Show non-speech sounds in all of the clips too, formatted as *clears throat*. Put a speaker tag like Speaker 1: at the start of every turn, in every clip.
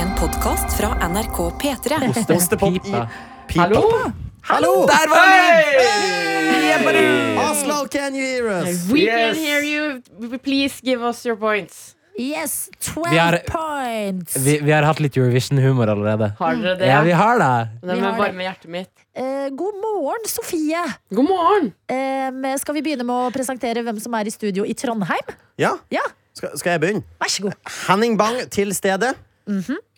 Speaker 1: En podkast fra NRK P3.
Speaker 2: Ostepop i
Speaker 3: Pipa.
Speaker 2: pipa.
Speaker 3: Hallo?
Speaker 2: Hallo!
Speaker 4: Der var den!
Speaker 2: Oslo, can you hear us?
Speaker 5: We
Speaker 4: Yes.
Speaker 5: can hear you. Please give us your points.
Speaker 6: Yes, 12
Speaker 3: Vi er-
Speaker 6: points!
Speaker 3: Vi, vi har hatt litt Eurovision-humor allerede.
Speaker 5: Har dere det?
Speaker 3: Ja, vi har det.
Speaker 5: det
Speaker 6: Mm. vi
Speaker 5: med
Speaker 6: har det.
Speaker 5: varme hjertet mitt.
Speaker 6: Eh, god morgen, Sofie!
Speaker 5: God morgen!
Speaker 6: Eh, men skal vi begynne med å presentere hvem som er i studio i Trondheim?
Speaker 2: Ja?
Speaker 6: Ja.
Speaker 2: Skal, skal jeg begynne?
Speaker 6: Vær så god.
Speaker 2: Henning Bang til stede.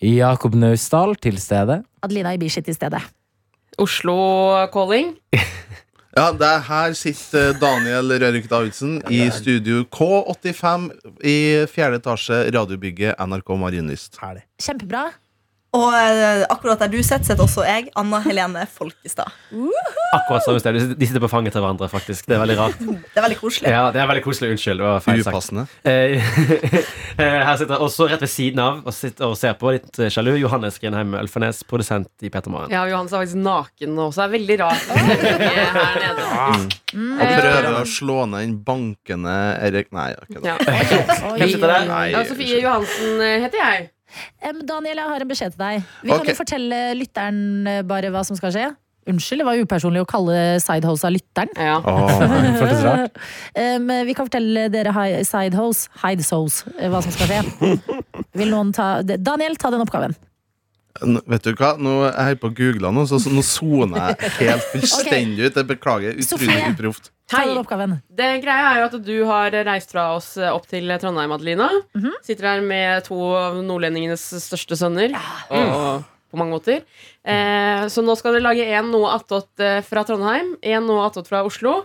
Speaker 3: Jakob Naustdal til stede.
Speaker 6: Adelina Ibishi til stede.
Speaker 5: Oslo calling.
Speaker 7: Ja, det er her sitter eh, Daniel Rørik Davidsen i studio K85 i fjerde etasje, radiobygget NRK Marienlyst.
Speaker 2: Herlig.
Speaker 6: Kjempebra.
Speaker 8: Og eh, akkurat der du sitter, sitter også jeg, Anna Helene Folkestad.
Speaker 4: Akkurat samme sted. De sitter på fanget til hverandre, faktisk. Det er veldig rart.
Speaker 8: Det er veldig koselig.
Speaker 4: Ja, det er veldig koselig. Unnskyld. Det var feil sagt.
Speaker 7: Upassende.
Speaker 4: Eh, *laughs* Her sitter jeg også rett ved siden av og sitter og ser på, litt eh, sjalu, Johannes Grinheim Ølfernes, produsent i Peter Maren.
Speaker 5: Ja, Johannes er faktisk naken nå, så det er veldig rart. å se dere her
Speaker 6: *laughs*
Speaker 5: nede.
Speaker 7: Og prøver å slå ned den bankende Erik Nei, jeg kødder.
Speaker 5: Ja.
Speaker 4: Hvem sitter der?
Speaker 7: Nei,
Speaker 5: Ja, Sofie Johansen eh, heter jeg.
Speaker 6: Em, Daniel, jeg har en beskjed til deg. Vi
Speaker 7: Ok.
Speaker 6: kan jo fortelle lytteren eh, bare hva som skal skje. Unnskyld, det var upersonlig å kalle sidehose av lytteren.
Speaker 5: Ja.
Speaker 7: Åh,
Speaker 3: Føltes rart.
Speaker 6: Em, vi kan fortelle dere hi- sidehose, hidesoles, eh, hva som skal skje. Vil noen ta Daniel, ta den oppgaven.
Speaker 7: n- vet du hva? Nå er jeg på googla nå, så så nå soner jeg helt fullstendig ut. Jeg beklager. Utrolig
Speaker 6: Sofie.
Speaker 7: uproft.
Speaker 6: Ta
Speaker 5: Hei.
Speaker 6: den oppgaven.
Speaker 5: Det greia er jo at du har reist fra oss eh, opp til Trondheim, Adelina. Sitter her med to av nordlendingenes største sønner. Og, på mange måter. Eh, så nå skal dere lage én noe attåt eh, fra Trondheim, én noe attåt fra Oslo.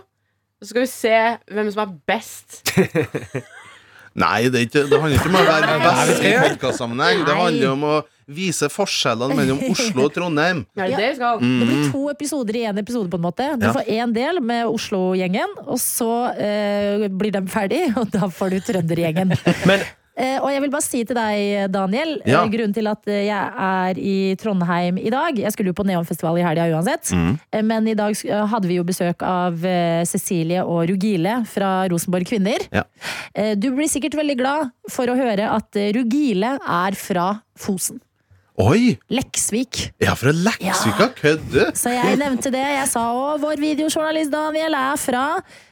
Speaker 5: Så skal vi se hvem som er best.
Speaker 7: Nei, det, er ikke, det handler ikke om å være best i podkastsammenheng. Det
Speaker 6: Nei.
Speaker 7: handler om å vise forskjellene mellom Oslo og Trondheim.
Speaker 5: Er det
Speaker 6: Ja.
Speaker 5: det vi skal?
Speaker 7: Mm.
Speaker 6: Det blir to episoder i én episode, på en måte. Du
Speaker 7: Ja.
Speaker 6: får én del med Oslo-gjengen, og så eh, blir de ferdig, *laughs* og da får du trøndergjengen.
Speaker 7: *laughs*
Speaker 4: Men
Speaker 6: Eh, og jeg vil bare si til deg, Daniel,
Speaker 7: Ja.
Speaker 6: eh, grunnen til at eh, jeg er i Trondheim i dag Jeg skulle jo på Neonfestival i helga uansett,
Speaker 7: Mm.
Speaker 6: eh, men i dag sk- eh, hadde vi jo besøk av eh, Cecilie og Rugile fra Rosenborg Kvinner.
Speaker 7: Ja.
Speaker 6: Eh, du blir sikkert veldig glad for å høre at eh, Rugile er fra Fosen.
Speaker 7: Oi!
Speaker 6: Leksvik.
Speaker 7: Jeg er fra Leksvika. Kødder du?
Speaker 6: Så
Speaker 7: *laughs*
Speaker 6: jeg nevnte det. Jeg sa å, vår videojournalist Daniel er fra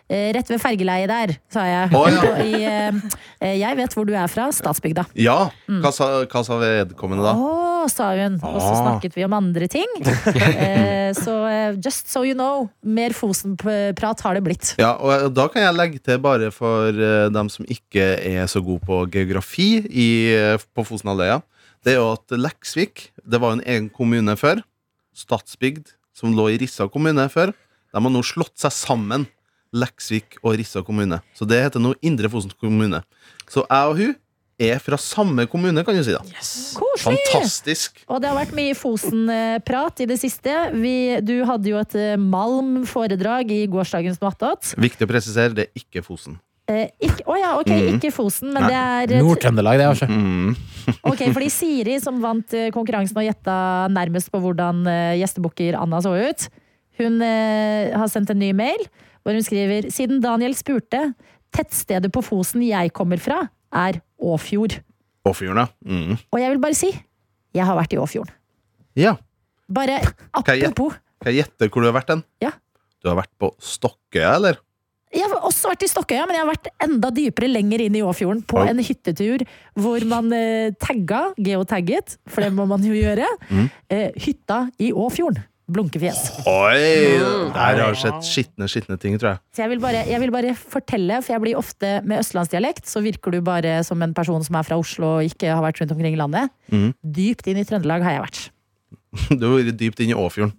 Speaker 6: eh, rett ved fergeleiet der, sa jeg.
Speaker 7: Å,
Speaker 6: *laughs*
Speaker 7: ja.
Speaker 6: Og I, eh, eh, jeg vet hvor du er fra, Stadsbygda.
Speaker 7: Ja. Hva sa, hva sa vedkommende da?
Speaker 6: Å, sa hun. Og så
Speaker 7: Ah.
Speaker 6: snakket vi om andre
Speaker 7: *laughs*
Speaker 6: ting. eh, så eh, just so you know, mer Fosen-prat har det blitt.
Speaker 7: Ja, og da kan jeg legge til bare for eh, dem som ikke er så gode på geografi i, eh, på Fosenhalvøya. Det er jo at Leksvik, det var jo en egen kommune før. Stadsbygd, som lå i Rissa kommune før. De har nå slått seg sammen. Leksvik og Rissa kommune. Så det heter nå Indre Fosen kommune. Så jeg og hun er fra samme kommune, kan du si. da
Speaker 6: Koselig!
Speaker 7: Fantastisk.
Speaker 6: Og det har vært mye Fosen-prat i det siste. Vi, du hadde jo et eh, Malm-foredrag i gårsdagens Noattot.
Speaker 7: Viktig å presisere, det er ikke Fosen.
Speaker 6: Eh, ikke- Å ja, ok, ikke Fosen, men det er eh,
Speaker 3: Nord-Trøndelag, det, altså.
Speaker 7: Mm.
Speaker 6: Ok, fordi Siri som vant eh, konkurransen og gjetta nærmest på hvordan eh, gjestebukker Anna så ut, hun eh, har sendt en ny mail hvor hun skriver Siden Daniel spurte, tettstedet på Fosen jeg kommer fra, er Åfjord.
Speaker 7: Åfjorden, ja. Mm.
Speaker 6: Og jeg vil bare si, jeg har vært i Åfjorden.
Speaker 7: Ja.
Speaker 6: Bare
Speaker 7: Kan jeg gjette?
Speaker 6: apropos.
Speaker 7: Kan jeg gjette hvor du har vært den?
Speaker 6: Ja.
Speaker 7: Du har vært på Stokkøya, eller?
Speaker 6: Jeg har også vært i Stokkøya, men jeg har vært enda dypere lenger inn i Åfjorden. På
Speaker 7: Oi.
Speaker 6: en hyttetur hvor man eh, tagga, geotagget, for det må man jo gjøre, eh, hytta i Åfjorden. Blunkefjes.
Speaker 7: Oi!
Speaker 6: Mm.
Speaker 7: Der har du sett skitne, skitne ting, tror jeg. *laughs*
Speaker 6: Så jeg vil, bare, jeg vil bare fortelle, for jeg blir ofte med østlandsdialekt, så virker du bare som en person som er fra Oslo og ikke har vært rundt omkring i landet.
Speaker 3: Mm.
Speaker 7: Mhm.
Speaker 6: Dypt inn i Trøndelag har jeg vært.
Speaker 7: Du har vært dypt inn i
Speaker 6: *laughs*
Speaker 7: Åfjorden.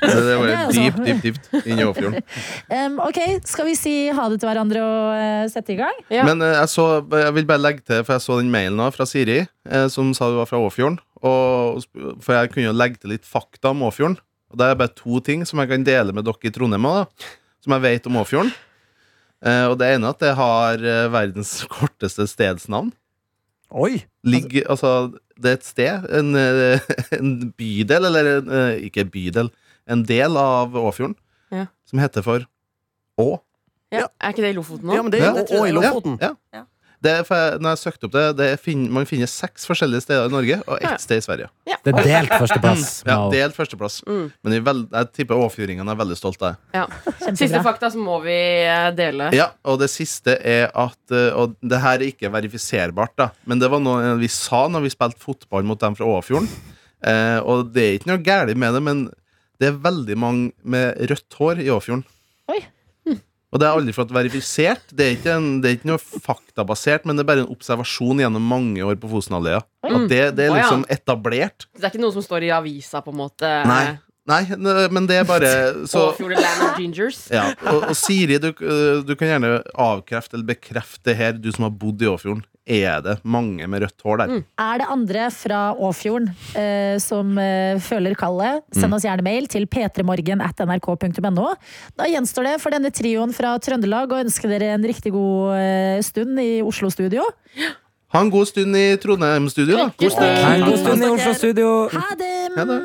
Speaker 7: Så det var
Speaker 6: Det er altså-
Speaker 7: dypt, dypt, dypt inn i Åfjorden.
Speaker 6: Em, ok, skal vi si ha det til hverandre og eh, sette i gang?
Speaker 5: Ja.
Speaker 7: Men eh, jeg, så, jeg vil bare legge til, for jeg så den mailen nå fra Siri, eh, som sa du var fra Åfjorden. Og, sp- for jeg kunne jo legge til litt fakta om Åfjorden. Og det er bare to ting som jeg kan dele med dere i Trondheim, også, da, som jeg vet om Åfjorden. Eh, og det ene er at det har eh, verdens *laughs* korteste stedsnavn.
Speaker 2: Oi!
Speaker 7: Ligg, altså, det er et sted, en, eh, *laughs* en bydel, eller en, eh, ikke en bydel, en del av Åfjorden,
Speaker 5: Ja.
Speaker 7: som heter for Å.
Speaker 5: Ja. Er ikke det i Lofoten nå?
Speaker 2: Ja, men det er
Speaker 7: Ja.
Speaker 2: jo og i Lofoten.
Speaker 7: Ja,
Speaker 8: Ja.
Speaker 7: ja. Det er, for jeg, når jeg søkte opp det, det er fin, Man finner seks forskjellige steder i Norge og
Speaker 5: Ja.
Speaker 7: ett sted i Sverige.
Speaker 3: Det er delt førsteplass.
Speaker 7: *laughs* Ja,
Speaker 3: Mao.
Speaker 7: Delt førsteplass.
Speaker 5: Mm.
Speaker 7: Men jeg, vel, jeg tipper åfjordingene er veldig stolt av det.
Speaker 5: Ja. Siste
Speaker 6: Kjempebra.
Speaker 5: fakta, så må vi eh, dele.
Speaker 7: Ja, og det siste er at eh, Og det her er ikke verifiserbart, da, men det var noe vi sa når vi spilte fotball mot dem fra Åfjorden. Eh, og det er ikke noe galt med det, men det er veldig mange med rødt hår i Åfjorden.
Speaker 6: Oi.
Speaker 7: Og det er aldri fått verifisert. Det er, ikke en, det er ikke noe faktabasert, men det er bare en observasjon gjennom mange år på Fosenhalvøya. At det, det er
Speaker 5: Å, ja.
Speaker 7: liksom etablert.
Speaker 5: Det er ikke noe som står i avisa, på en måte.
Speaker 7: Nei. Nei, ne- men det er bare så,
Speaker 5: Åfjord Land of *laughs* Gingers.
Speaker 7: ja, og, og Siri, du, øh, du kan gjerne avkrefte eller bekrefte det her, du som har bodd i Åfjorden. Er det mange med rødt hår der?
Speaker 5: Mm.
Speaker 6: Er det andre fra Åfjorden eh, som eh, føler kallet,
Speaker 3: Mm.
Speaker 6: send oss gjerne mail til p3morgen at nrk.no. Da gjenstår det for denne trioen fra Trøndelag å ønske dere en riktig god eh, stund i Oslo-studio.
Speaker 7: Ha en god stund i Trondheim-studio, da.
Speaker 5: Lykke til.
Speaker 3: Nei, God stund i Oslo Studio.
Speaker 6: Ha
Speaker 7: Ha
Speaker 6: det!
Speaker 7: det.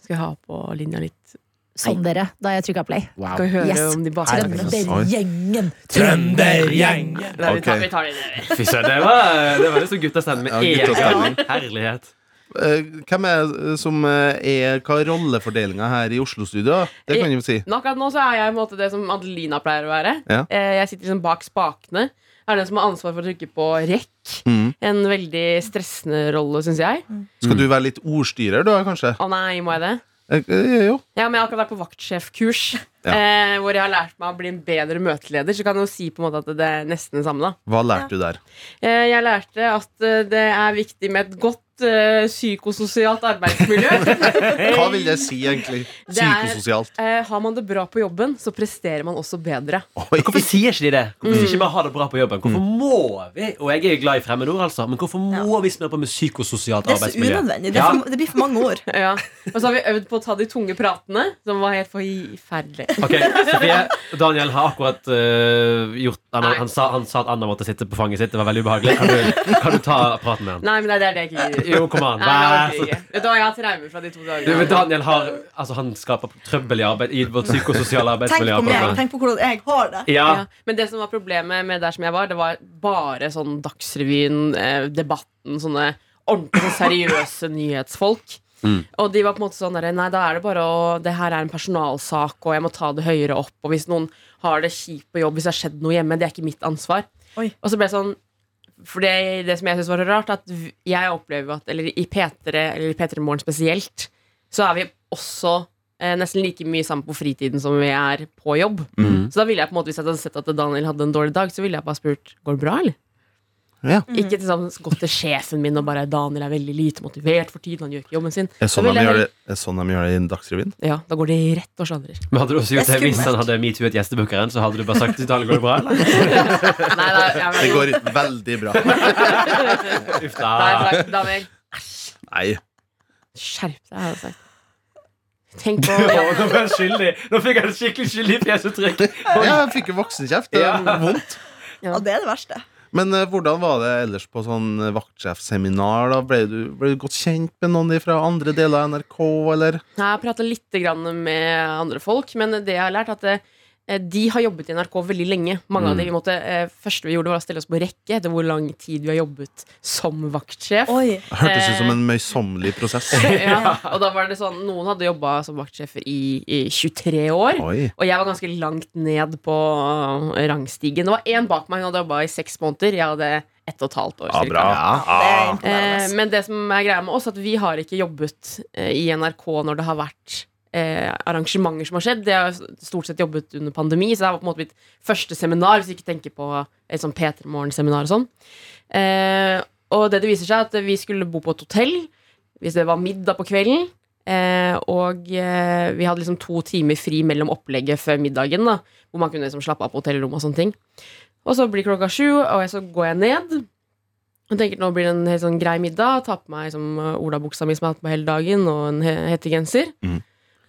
Speaker 5: Skal jeg ha på linja litt?
Speaker 6: Sånn, dere, da jeg trykka play.
Speaker 5: Skal vi høre
Speaker 6: Yes.
Speaker 5: om de baker
Speaker 6: Trøndergjengen!
Speaker 3: Trøndergjeng.
Speaker 5: Nei, vi tar-
Speaker 7: Ok.
Speaker 5: vi tar det videre.
Speaker 4: Fy søren, det var, det var liksom guttastemning med
Speaker 7: Ja, guttastemning.
Speaker 4: en gang. Herlighet.
Speaker 7: Eh, Hvem er det som eh, er Hva er rollefordelinga her i Oslo-studio? Det kan vi jo si.
Speaker 5: Men Akkurat nå så er jeg på en måte det som Adelina pleier å være.
Speaker 7: Ja.
Speaker 5: Eh, Jeg sitter liksom bak spakene. Jeg er den som har ansvar for å trykke på rekk.
Speaker 7: Mm.
Speaker 5: En veldig stressende rolle, syns jeg.
Speaker 7: Skal du være litt ordstyrer, du, kanskje?
Speaker 5: Å nei, må jeg det?
Speaker 7: Eh, eh, Jo.
Speaker 5: Ja, men Jeg har akkurat vært på vaktsjefkurs,
Speaker 7: Ja.
Speaker 5: eh, hvor jeg har lært meg å bli en bedre møteleder. Så kan jeg jo si på en måte at det er nesten det samme. da
Speaker 7: Hva lærte du der?
Speaker 5: Eh, Jeg lærte at eh, det er viktig med et godt eh, psykososialt
Speaker 7: *laughs*
Speaker 5: arbeidsmiljø.
Speaker 7: Hva vil det si, egentlig?
Speaker 5: *laughs* Det er-
Speaker 7: Psykososialt.
Speaker 5: Eh, Har man det bra på jobben, så presterer man også bedre.
Speaker 7: Oi.
Speaker 4: Hvorfor sier ikke de det? Hvorfor sier ikke vi ha det bra på jobben? Hvorfor må vi? Og jeg er glad i fremmedord, altså, men hvorfor må vi smøre på med psykososialt
Speaker 8: Det er så
Speaker 4: arbeidsmiljø?
Speaker 8: unødvendig. Det, er
Speaker 4: Ja.
Speaker 8: for, det blir for mange ord.
Speaker 5: Ja. Og så har vi øvd på å ta de tunge pratene, som var helt forferdelig.
Speaker 4: Ok, Sofie, Daniel har akkurat øh, gjort han,
Speaker 5: Nei.
Speaker 4: han, sa, han sa at Anna måtte sitte på fanget sitt. Det var veldig ubehagelig. Kan du, kan du ta praten med han?
Speaker 5: Nei, men det er det jeg ikke gidder.
Speaker 4: Jo, kom an.
Speaker 5: Nei, jeg
Speaker 4: Vær
Speaker 5: orker
Speaker 4: så
Speaker 5: ikke. Vet du hva, jeg har traumer fra de to
Speaker 4: Du, men
Speaker 5: dagene.
Speaker 4: Daniel har, altså, han skaper trøbbel i, arbeid, i vårt psykososiale
Speaker 8: Tenk
Speaker 4: arbeidsmiljø.
Speaker 8: på meg.
Speaker 4: akkurat nå.
Speaker 8: Tenk på hvordan jeg har det.
Speaker 4: Ja.
Speaker 5: Ja. Men det som var problemet med der som jeg var, det var bare sånn Dagsrevyen, eh, Debatten, sånne ordentlig sånn seriøse
Speaker 4: *laughs*
Speaker 5: nyhetsfolk.
Speaker 4: Mm.
Speaker 5: Og de var på en måte sånn der, Nei, da er det bare å Det her er en personalsak, og jeg må ta det høyere opp. Og hvis noen har det kjipt på jobb, hvis det har skjedd noe hjemme, det er ikke mitt ansvar.
Speaker 8: Oi.
Speaker 5: Og så ble det sånn For det, det som jeg syns var rart, at v- jeg opplever at Eller i P3, eller i P3 Morgen spesielt, så er vi også eh, nesten like mye sammen på fritiden som vi er på jobb.
Speaker 4: Mhm.
Speaker 5: Så da ville jeg på en måte, hvis jeg hadde sett at Daniel hadde en dårlig dag, så ville jeg bare spurt Går det bra, eller?
Speaker 7: Ja.
Speaker 5: Ikke til sammen gått til sjefen min og bare Daniel er veldig lite motivert for tiden, han gjør ikke jobben sin.
Speaker 7: Er sånn
Speaker 5: Da
Speaker 7: de
Speaker 5: ville jeg
Speaker 7: gjør det, er sånn de gjør det i Dagsrevyen?
Speaker 5: Ja, Da går det rett og sladrer.
Speaker 4: Men hadde du også gjort
Speaker 8: Det
Speaker 4: det
Speaker 8: er
Speaker 4: hvis han
Speaker 8: skummelt.
Speaker 4: hadde metoo-et gjestebukkeren, så hadde du bare sagt til Daniel går det bra, eller?
Speaker 5: Nei, da, ja,
Speaker 7: Det
Speaker 5: men,
Speaker 7: går veldig bra.
Speaker 5: *laughs*
Speaker 4: Uff
Speaker 5: da har
Speaker 4: da.
Speaker 5: jeg sagt Daniel,
Speaker 7: Nei.
Speaker 5: skjerp deg, har jeg sagt. Tenk på
Speaker 4: Å,
Speaker 5: ja.
Speaker 4: Nå ble han skyldig. Nå fikk han skikkelig skyldig fjesuttrykk.
Speaker 7: Ja, jeg fikk jo voksenkjeft. Det er vondt.
Speaker 5: Ja.
Speaker 8: Ja, det er det verste.
Speaker 7: Men eh, hvordan var det ellers på sånn eh, vaktsjefseminar? da? Ble du, ble du godt kjent med noen fra andre deler av NRK, eller?
Speaker 5: Nei, Jeg har pratet litt grann med andre folk, men det jeg har lært, er at eh, de har jobbet i NRK veldig lenge. Mange
Speaker 7: Mm.
Speaker 5: av de vi måtte, eh, første vi gjorde, var å stille oss på rekke etter hvor lang tid vi har jobbet som vaktsjef.
Speaker 8: Oi.
Speaker 7: Hørtes
Speaker 5: Eh.
Speaker 7: ut som en møysommelig prosess.
Speaker 5: *laughs* ja. Og da var det sånn, Noen hadde jobba som vaktsjefer i, i 23 år.
Speaker 7: Oi.
Speaker 5: Og jeg var ganske langt ned på øh, rangstigen. Det var én bak meg, hun hadde jobba i seks måneder. Jeg hadde ett og et halvt år.
Speaker 7: Ja,
Speaker 5: cirka.
Speaker 7: bra.
Speaker 8: Det er
Speaker 5: Eh,
Speaker 8: imponerende.
Speaker 5: men det som er greia med oss, at vi har ikke jobbet eh, i NRK når det har vært eh, arrangementer som har skjedd. Det har stort sett jobbet under pandemi, så det var på en måte mitt første seminar, hvis vi ikke tenker på et sånn P3 Morgen-seminar og sånn. Eh, og det det viser seg, er at vi skulle bo på et hotell hvis det var middag på kvelden. Eh, og eh, vi hadde liksom to timer fri mellom opplegget før middagen, da, hvor man kunne liksom slappe av på hotellrommet og sånne ting. Og så blir klokka sju, og så går jeg ned. Jeg tenker nå blir det en helt sånn grei middag. Ta på meg liksom, eh, olabuksa mi som jeg har hatt på hele dagen, og en he hettegenser.
Speaker 7: Mhm.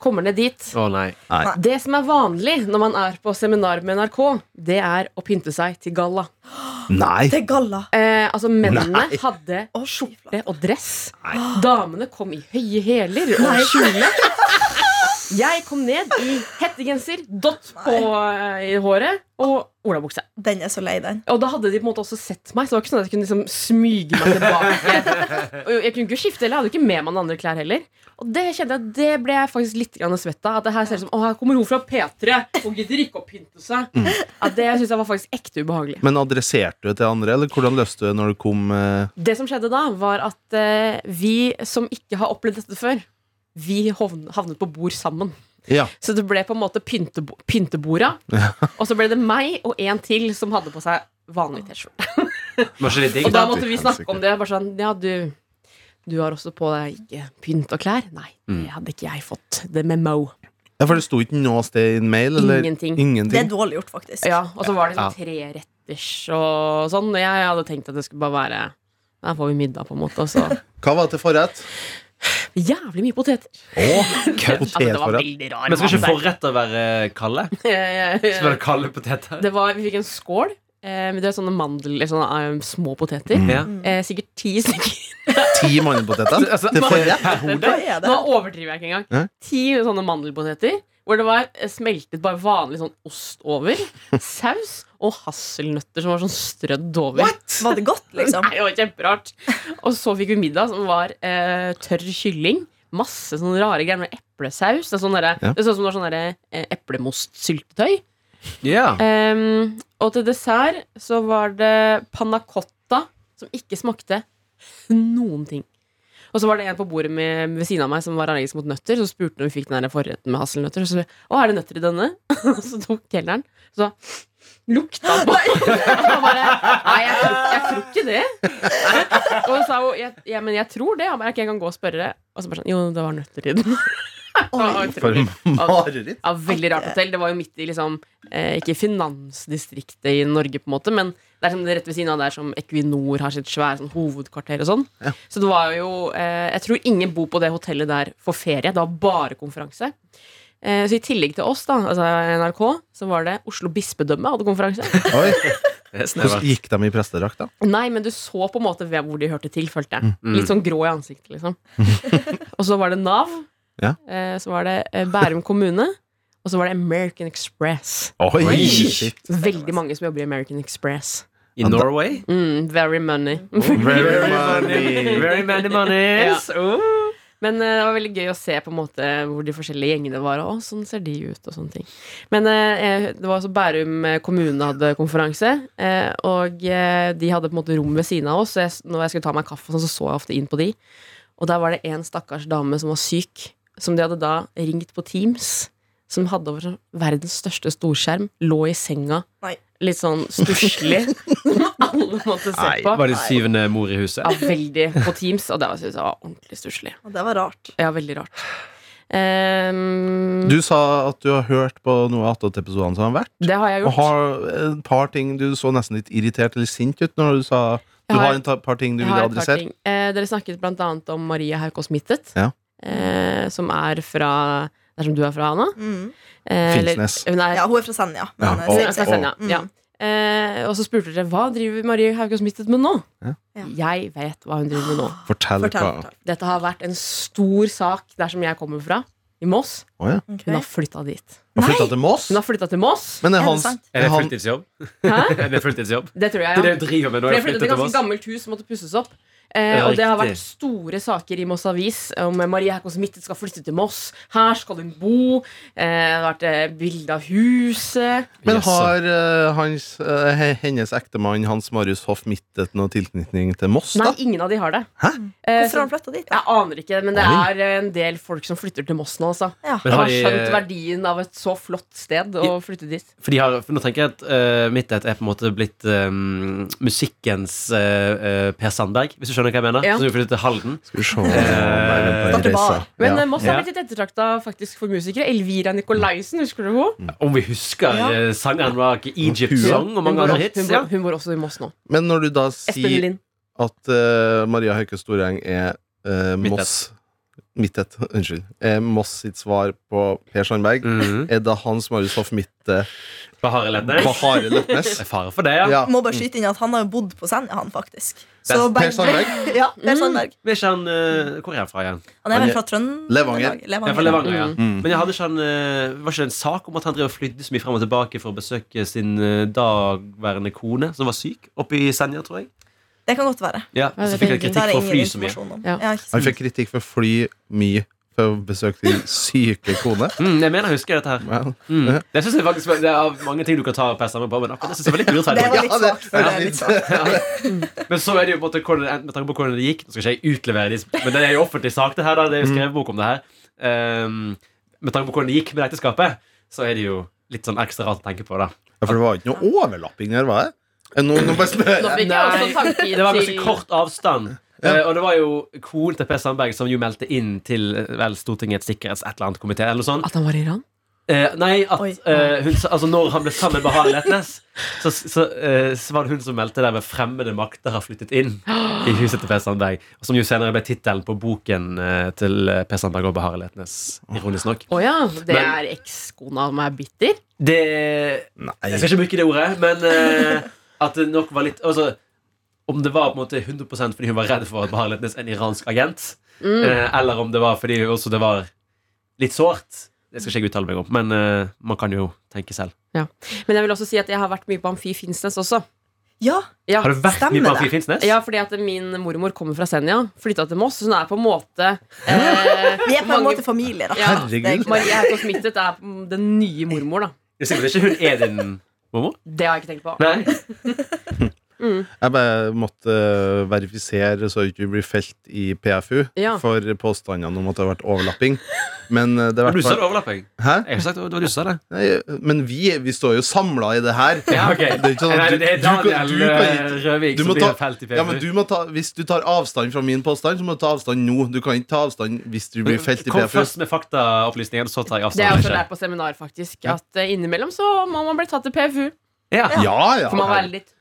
Speaker 5: Kommer ned dit.
Speaker 4: Å nei.
Speaker 5: Det som er vanlig når man er på seminar med NRK, det er å pynte seg til galla.
Speaker 7: Nei.
Speaker 8: Det er galla.
Speaker 5: Eh, altså, mennene hadde
Speaker 8: Å, skjorte.
Speaker 5: skjorte og dress. Damene kom i høye hæler og kjole. Jeg kom ned i hettegenser, dott på, eh, i håret og olabukse.
Speaker 8: Den er så lei, den.
Speaker 5: Og da hadde de på en måte også sett meg, så det var ikke sånn at jeg kunne liksom smyge meg tilbake. Og jeg kunne ikke skifte heller, jeg hadde ikke med meg noen andre klær heller. Og det kjente jeg, det ble jeg faktisk litt grann svett av. At det her ser ut som å, her kommer hun fra P3 og gidder ikke å pynte seg. At det syns jeg var faktisk ekte ubehagelig.
Speaker 7: Men adresserte du det til andre, eller hvordan løste du det når du kom? eh,
Speaker 5: Det som skjedde da, var at eh, vi som ikke har opplevd dette før, vi hovn- havnet på bord sammen.
Speaker 7: Ja.
Speaker 5: Så det ble på en måte pyntebo pynteborda. *laughs* Og så ble det meg og en til som hadde på seg vanlig T-skjorte.
Speaker 4: Var ikke det digg?
Speaker 5: Og da
Speaker 4: da?
Speaker 5: måtte vi snakke om det. Bare sånn, ja, du, du har også på deg ikke pynt og klær? Nei, det
Speaker 4: Mm.
Speaker 5: hadde ikke jeg fått. Det med Mo.
Speaker 7: Ja, for det sto ikke noe sted i en mail? Eller?
Speaker 5: Ingenting.
Speaker 7: Ingenting.
Speaker 8: Det er dårlig gjort, faktisk.
Speaker 5: Ja, og så var det
Speaker 4: Ja.
Speaker 5: sånn treretters og sånn. Og jeg hadde tenkt at det skulle bare være der får vi middag, på en måte. Og så
Speaker 4: *laughs*
Speaker 7: Hva var det til forrett?
Speaker 5: jævlig mye poteter. Altså, det var
Speaker 7: Potetforrett.
Speaker 5: veldig rar
Speaker 4: Men skal ikke
Speaker 5: mat
Speaker 4: forretter være kalde?
Speaker 5: *laughs*
Speaker 4: Skal
Speaker 5: der.
Speaker 4: være kalde poteter?
Speaker 5: Det var, vi fikk en skål. Eh, med det er sånne mandel, eller sånne eh, små poteter.
Speaker 4: Ja.
Speaker 5: Eh, sikkert ti stykker.
Speaker 7: Ti mandelpoteter?
Speaker 4: Altså,
Speaker 7: Til forrett?
Speaker 8: Hva er det?
Speaker 5: Nå overdriver jeg ikke engang.
Speaker 7: Hæ?
Speaker 5: Ti sånne mandelpoteter. Hvor det var eh, smeltet bare vanlig sånn ost over. Saus og hasselnøtter som var sånn strødd over.
Speaker 8: Var det godt, liksom?
Speaker 5: *laughs* Nei, det var kjemperart. Og så fikk vi middag som var eh, tørr kylling. Masse sånne rare greier med eplesaus. Det, er sånn derre-
Speaker 7: Ja.
Speaker 5: det så ut som det var sånn derre, eh, eplemostsyltetøy.
Speaker 4: Ja.
Speaker 5: Ehm, og til dessert så var det panna cotta som ikke smakte noen ting. Og så var det en på bordet med, ved siden av meg som var allergisk mot nøtter. Så spurte hun om vi fikk den der forretten med hasselnøtter. Og så å, er det nøtter i denne? *laughs* Og så tok kelneren. Så lukta han på *laughs* Og bare, Nei, jeg, tror- jeg tror ikke det. *laughs* Og så sa hun jeg, ja, men jeg tror det. Og bare, ok, jeg kan gå og spørre. Og så bare sånn Jo, det var nøtter i den. *laughs* Det var
Speaker 7: For
Speaker 5: utrolig.
Speaker 7: mareritt.
Speaker 5: Ja, veldig rart hotell. Det var jo midt i liksom eh, Ikke finansdistriktet i Norge, på en måte, men det er sånn rett ved siden av der som Equinor har sitt svære sånn, hovedkvarter og sånn. Så det var jo eh, Jeg tror ingen bor på det hotellet der for ferie. Det var bare konferanse. Eh, så i tillegg til oss, da, altså NRK, så var det Oslo bispedømme hadde
Speaker 7: *laughs*
Speaker 5: konferanse.
Speaker 7: Oi.
Speaker 4: Det er
Speaker 7: Hvordan
Speaker 4: snevert.
Speaker 7: gikk de i prestedrakt, da?
Speaker 5: Nei, men du så på en måte ved hvor de hørte til, følte jeg. Litt sånn grå i ansiktet, liksom. og så var det Nav.
Speaker 7: Ja.
Speaker 5: Eh, så var det eh, Bærum kommune. Og så var det American Express.
Speaker 7: Oi!
Speaker 4: Oi.
Speaker 7: Shit.
Speaker 5: Veldig mange som jobber i American Express.
Speaker 4: I Norway?
Speaker 5: Mm, very money.
Speaker 7: Very money.
Speaker 4: Very many monies. Oh.
Speaker 5: Men eh, det var veldig gøy å se på en måte hvor de forskjellige gjengene var. Og å, sånn ser de ut, og sånne ting. Men eh, det var altså Bærum kommune hadde konferanse. eh, og eh, de hadde på en måte rom ved siden av oss. Så jeg, når jeg skulle ta meg kaffe, og sånn, så så jeg ofte inn på de. Og der var det en stakkars dame som var syk, som de hadde da ringt på Teams. Som hadde over sånn verdens største storskjerm. Lå i senga.
Speaker 8: Nei.
Speaker 5: Litt sånn stusslig. som alle måtte se
Speaker 4: Nei,
Speaker 5: på.
Speaker 4: var det syvende mor i huset?
Speaker 5: Ja, veldig på Teams, og det var, synes jeg var ordentlig stusslig.
Speaker 8: Og Det var rart.
Speaker 5: Ja, veldig rart. Ehm,
Speaker 7: Du sa at du har hørt på noe av Attåt-episodene som har vært.
Speaker 5: det har jeg
Speaker 7: Og
Speaker 5: gjort.
Speaker 7: har et par ting Du så nesten litt irritert eller sint ut når du sa Du
Speaker 5: Jeg har-
Speaker 7: har et par ting du
Speaker 5: Jeg
Speaker 7: vil
Speaker 5: har et par
Speaker 7: adressere.
Speaker 5: ting. Eh, dere snakket blant annet om Marie Haukaas Mittet,
Speaker 7: Ja.
Speaker 5: eh, som er fra der som du er fra, Anna.
Speaker 8: Mm.
Speaker 5: Eh, eller-
Speaker 7: Finnsnes.
Speaker 5: Hun er
Speaker 8: Ja, hun er fra Senja.
Speaker 7: Ja,
Speaker 8: Men,
Speaker 7: og-
Speaker 8: eh,
Speaker 5: fra Senja.
Speaker 8: Mm.
Speaker 5: Ja. Eh, og så spurte dere hva driver Marie Haukaas Mittet med nå.
Speaker 7: Ja.
Speaker 5: Jeg vet hva hun driver med nå.
Speaker 7: Fortell,
Speaker 8: Fortell.
Speaker 7: hva
Speaker 8: fortell.
Speaker 5: Dette har vært en stor sak der som jeg kommer fra, i Moss.
Speaker 7: Å ja.
Speaker 5: Hun har flytta dit.
Speaker 7: Har flytta til Moss?
Speaker 5: Hun har flytta til Moss.
Speaker 7: Men er
Speaker 8: Er det
Speaker 7: hans
Speaker 8: sant?
Speaker 4: Er det
Speaker 5: *laughs*
Speaker 7: han-
Speaker 4: fulltidsjobb?
Speaker 5: Hæ?
Speaker 4: Er det fulltidsjobb?
Speaker 5: Det tror jeg, ja.
Speaker 4: Det er det du driver med
Speaker 5: For
Speaker 4: når
Speaker 5: jeg flyttet
Speaker 4: du flytter
Speaker 5: til et
Speaker 4: til
Speaker 5: ganske
Speaker 4: Voss?
Speaker 5: gammelt hus som måtte pusses opp. Eh,
Speaker 4: Ja,
Speaker 5: og det har
Speaker 4: riktig.
Speaker 5: vært store saker i Moss Avis om Marie Hakkons Mittet skal flytte til Moss. Her skal hun bo. Eh, det har vært eh, bilde av huset.
Speaker 7: Men
Speaker 4: Yes.
Speaker 7: har eh, hans, eh, he- hennes ektemann Hans Marius Hoff Mittet noen tilknytning til Moss,
Speaker 5: Nei,
Speaker 7: da?
Speaker 5: ingen av de har det.
Speaker 7: Hæ?
Speaker 5: Eh,
Speaker 8: Hvorfor har
Speaker 5: så,
Speaker 8: han flytta dit? da?
Speaker 5: jeg aner ikke, men det
Speaker 7: Oi.
Speaker 5: er eh, en del folk som flytter til Moss nå, altså.
Speaker 8: Ja.
Speaker 5: De
Speaker 4: Men har
Speaker 5: har skjønt
Speaker 4: de,
Speaker 5: verdien av et så flott sted å flytte dit.
Speaker 4: for de har, for nå tenker jeg at eh, Midtett er på en måte blitt eh, musikkens eh, eh, Per Sandberg, hvis du skjønner hva jeg mener?
Speaker 5: Ja.
Speaker 4: Så du flytter til Halden.
Speaker 7: Skal vi se om det er en
Speaker 8: Dr. Bar.
Speaker 7: reise.
Speaker 5: Men
Speaker 7: Ja.
Speaker 5: eh, Moss har
Speaker 4: Ja.
Speaker 5: blitt litt ettertrakta faktisk for musikere. Elvira Nikolaisen, husker du henne?
Speaker 4: Om vi husker
Speaker 5: Ja.
Speaker 4: eh, sangeren bak Egypt
Speaker 7: Hun-
Speaker 4: Song
Speaker 5: Hun
Speaker 4: og mange
Speaker 5: bor,
Speaker 4: andre
Speaker 5: også-
Speaker 4: hits.
Speaker 5: hun,
Speaker 4: Ja.
Speaker 5: bor, hun bor også i Moss nå.
Speaker 7: Men når du da
Speaker 5: Espen
Speaker 7: sier
Speaker 5: Lind.
Speaker 7: at eh, Maria Høike Storeng er eh,
Speaker 4: Mittet.
Speaker 7: Moss Mitt et, unnskyld. Eh, Moss sitt svar på Per Sandberg
Speaker 4: Mhm.
Speaker 7: er Eh, da Hans Marius Hoff Mitte
Speaker 4: Bahare Letnes.
Speaker 7: på Hare
Speaker 4: *laughs* Det
Speaker 7: Letnes.
Speaker 4: er fare for det, ja.
Speaker 7: Ja.
Speaker 8: Må bare skyte inn at han har jo bodd på Senja, han faktisk.
Speaker 4: Det
Speaker 7: Per Sandberg.
Speaker 8: *laughs* ja, per Sandberg.
Speaker 4: Men ikke han, eh, Hvor er han fra igjen?
Speaker 8: Han er
Speaker 7: Han
Speaker 8: vel
Speaker 7: er-
Speaker 8: fra Trøndelag?
Speaker 7: Levanger.
Speaker 4: Jeg er fra Levanger, ja.
Speaker 7: Mm.
Speaker 4: Men jeg hadde ikke han, eh, var ikke det en sak om at han drev og flydde så mye frem og tilbake for å besøke sin eh, dagværende kone, som var syk, oppe i Senja, tror jeg?
Speaker 8: Det kan godt være.
Speaker 4: Ja,
Speaker 5: Ja,
Speaker 4: Så
Speaker 5: det
Speaker 4: fikk
Speaker 5: tenker
Speaker 4: han
Speaker 5: jeg.
Speaker 4: kritikk
Speaker 8: Det har
Speaker 4: for
Speaker 8: jeg
Speaker 4: å
Speaker 8: ingen
Speaker 4: fly så mye.
Speaker 8: informasjon om.
Speaker 5: Ja.
Speaker 8: Ja, ikke
Speaker 7: Han
Speaker 8: sant.
Speaker 7: fikk kritikk for å fly mye for å besøke sin syke kone.
Speaker 4: Mm, jeg mener, jeg husker dette her.
Speaker 7: Wow.
Speaker 4: Mm. Det synes jeg faktisk var- Det er mange ting du kan ta og passe sammen på, men akkurat det synes jeg var litt lurt.
Speaker 8: Det
Speaker 4: Henrik.
Speaker 8: var litt
Speaker 7: Ja, det-
Speaker 8: svakt. det var litt sånn. svakt.
Speaker 4: Men så er det jo på en måte hvordan- Med tanke på hvordan det gikk Nå skal ikke jeg utlevere de Men det er jo offentlig sak det her da. Det er jo skrevet bok om det her Ehm, Med tanke på hvordan det gikk med det ekteskapet Så er det jo litt sånn ekstra rart å tenke på da
Speaker 7: Ja, for det var ikke noe overlapping der, var det? Eh, Nå, nå bare spør
Speaker 5: Nå
Speaker 7: jeg.
Speaker 5: fikk jeg også tanker
Speaker 4: Det var ganske
Speaker 5: til-
Speaker 4: kort avstand Eh, og det var jo konen til Per Sandberg som jo meldte inn til eh, vel, Stortingets sikkerhets et eller annet komité eller noe sånt.
Speaker 5: At han var i Iran?
Speaker 4: Eh, nei, at
Speaker 8: Oi.
Speaker 4: eh, hun, sa- altså, når han ble sammen med Harald Letnes, så, så, eh, så var det hun som meldte der med 'fremmede makter har flyttet inn' i huset til Per Sandberg. Som jo senere ble tittelen på boken eh, til eh, Per Sandberg og Harald Letnes. Ironisk nok.
Speaker 5: Å ja. Det
Speaker 4: Men-
Speaker 5: er ekskona som er bitter?
Speaker 4: Det
Speaker 7: Nei.
Speaker 4: Jeg skal ikke bruke det ordet, men eh, at det nok var litt altså, Om det var på en måte 100 fordi hun var redd for at Harald Letnes er en iransk agent,
Speaker 5: Mm.
Speaker 4: eh, eller om det var fordi også det var litt sårt, det skal ikke jeg uttale meg om, men eh, man kan jo tenke selv.
Speaker 5: Men jeg vil også si at jeg har vært mye på Amfi Finnsnes også.
Speaker 8: Ja,
Speaker 5: Ja.
Speaker 4: Har du vært
Speaker 8: Stemmer
Speaker 4: mye på
Speaker 8: det.
Speaker 4: Amfi Finnsnes?
Speaker 5: Ja, fordi at min mormor kommer fra Senja, flytta til Moss, så hun er på en måte eh,
Speaker 8: *laughs* vi er på en
Speaker 5: mange-
Speaker 8: måte familie,
Speaker 5: Ja.
Speaker 8: da. Det er sånn.
Speaker 7: Herregud.
Speaker 8: egentlig-
Speaker 5: Marie Haukås Mittet er den nye mormor, da.
Speaker 4: Det er sikkert ikke hun er din mormor?
Speaker 5: Det har jeg ikke tenkt på.
Speaker 4: Nei.
Speaker 7: Jeg bare måtte eh, verifisere så ikke vi blir felt i PFU
Speaker 5: Ja.
Speaker 7: for påstandene om at det har vært overlapping. Men eh, det har
Speaker 4: Men du
Speaker 7: vært
Speaker 4: sa det overlapping.
Speaker 7: Hæ?
Speaker 4: Jeg har sagt det var du som sa det.
Speaker 7: Nei, men vi, vi står jo samla i det her.
Speaker 4: Ja, ok.
Speaker 7: Det er ikke sånn
Speaker 4: Nei,
Speaker 7: at du,
Speaker 4: det er
Speaker 7: du, kan-
Speaker 4: Daniel
Speaker 7: du kan
Speaker 4: eh,
Speaker 7: ikke
Speaker 4: Røvik
Speaker 7: du
Speaker 4: som
Speaker 7: må
Speaker 4: blir
Speaker 7: ta-
Speaker 4: felt i PFU.
Speaker 7: ja, men du må ta, Hvis du tar avstand fra min påstand, så må du ta avstand nå. Du kan ikke ta avstand hvis du blir felt i
Speaker 4: Kom
Speaker 7: PFU.
Speaker 4: først med faktaopplysningen, så tar jeg
Speaker 5: Det er
Speaker 4: avstand.
Speaker 5: også lært på seminar, faktisk. At eh, innimellom så må man bli tatt til PFU.
Speaker 4: Ja.
Speaker 7: Ja, ja.
Speaker 5: For man må være litt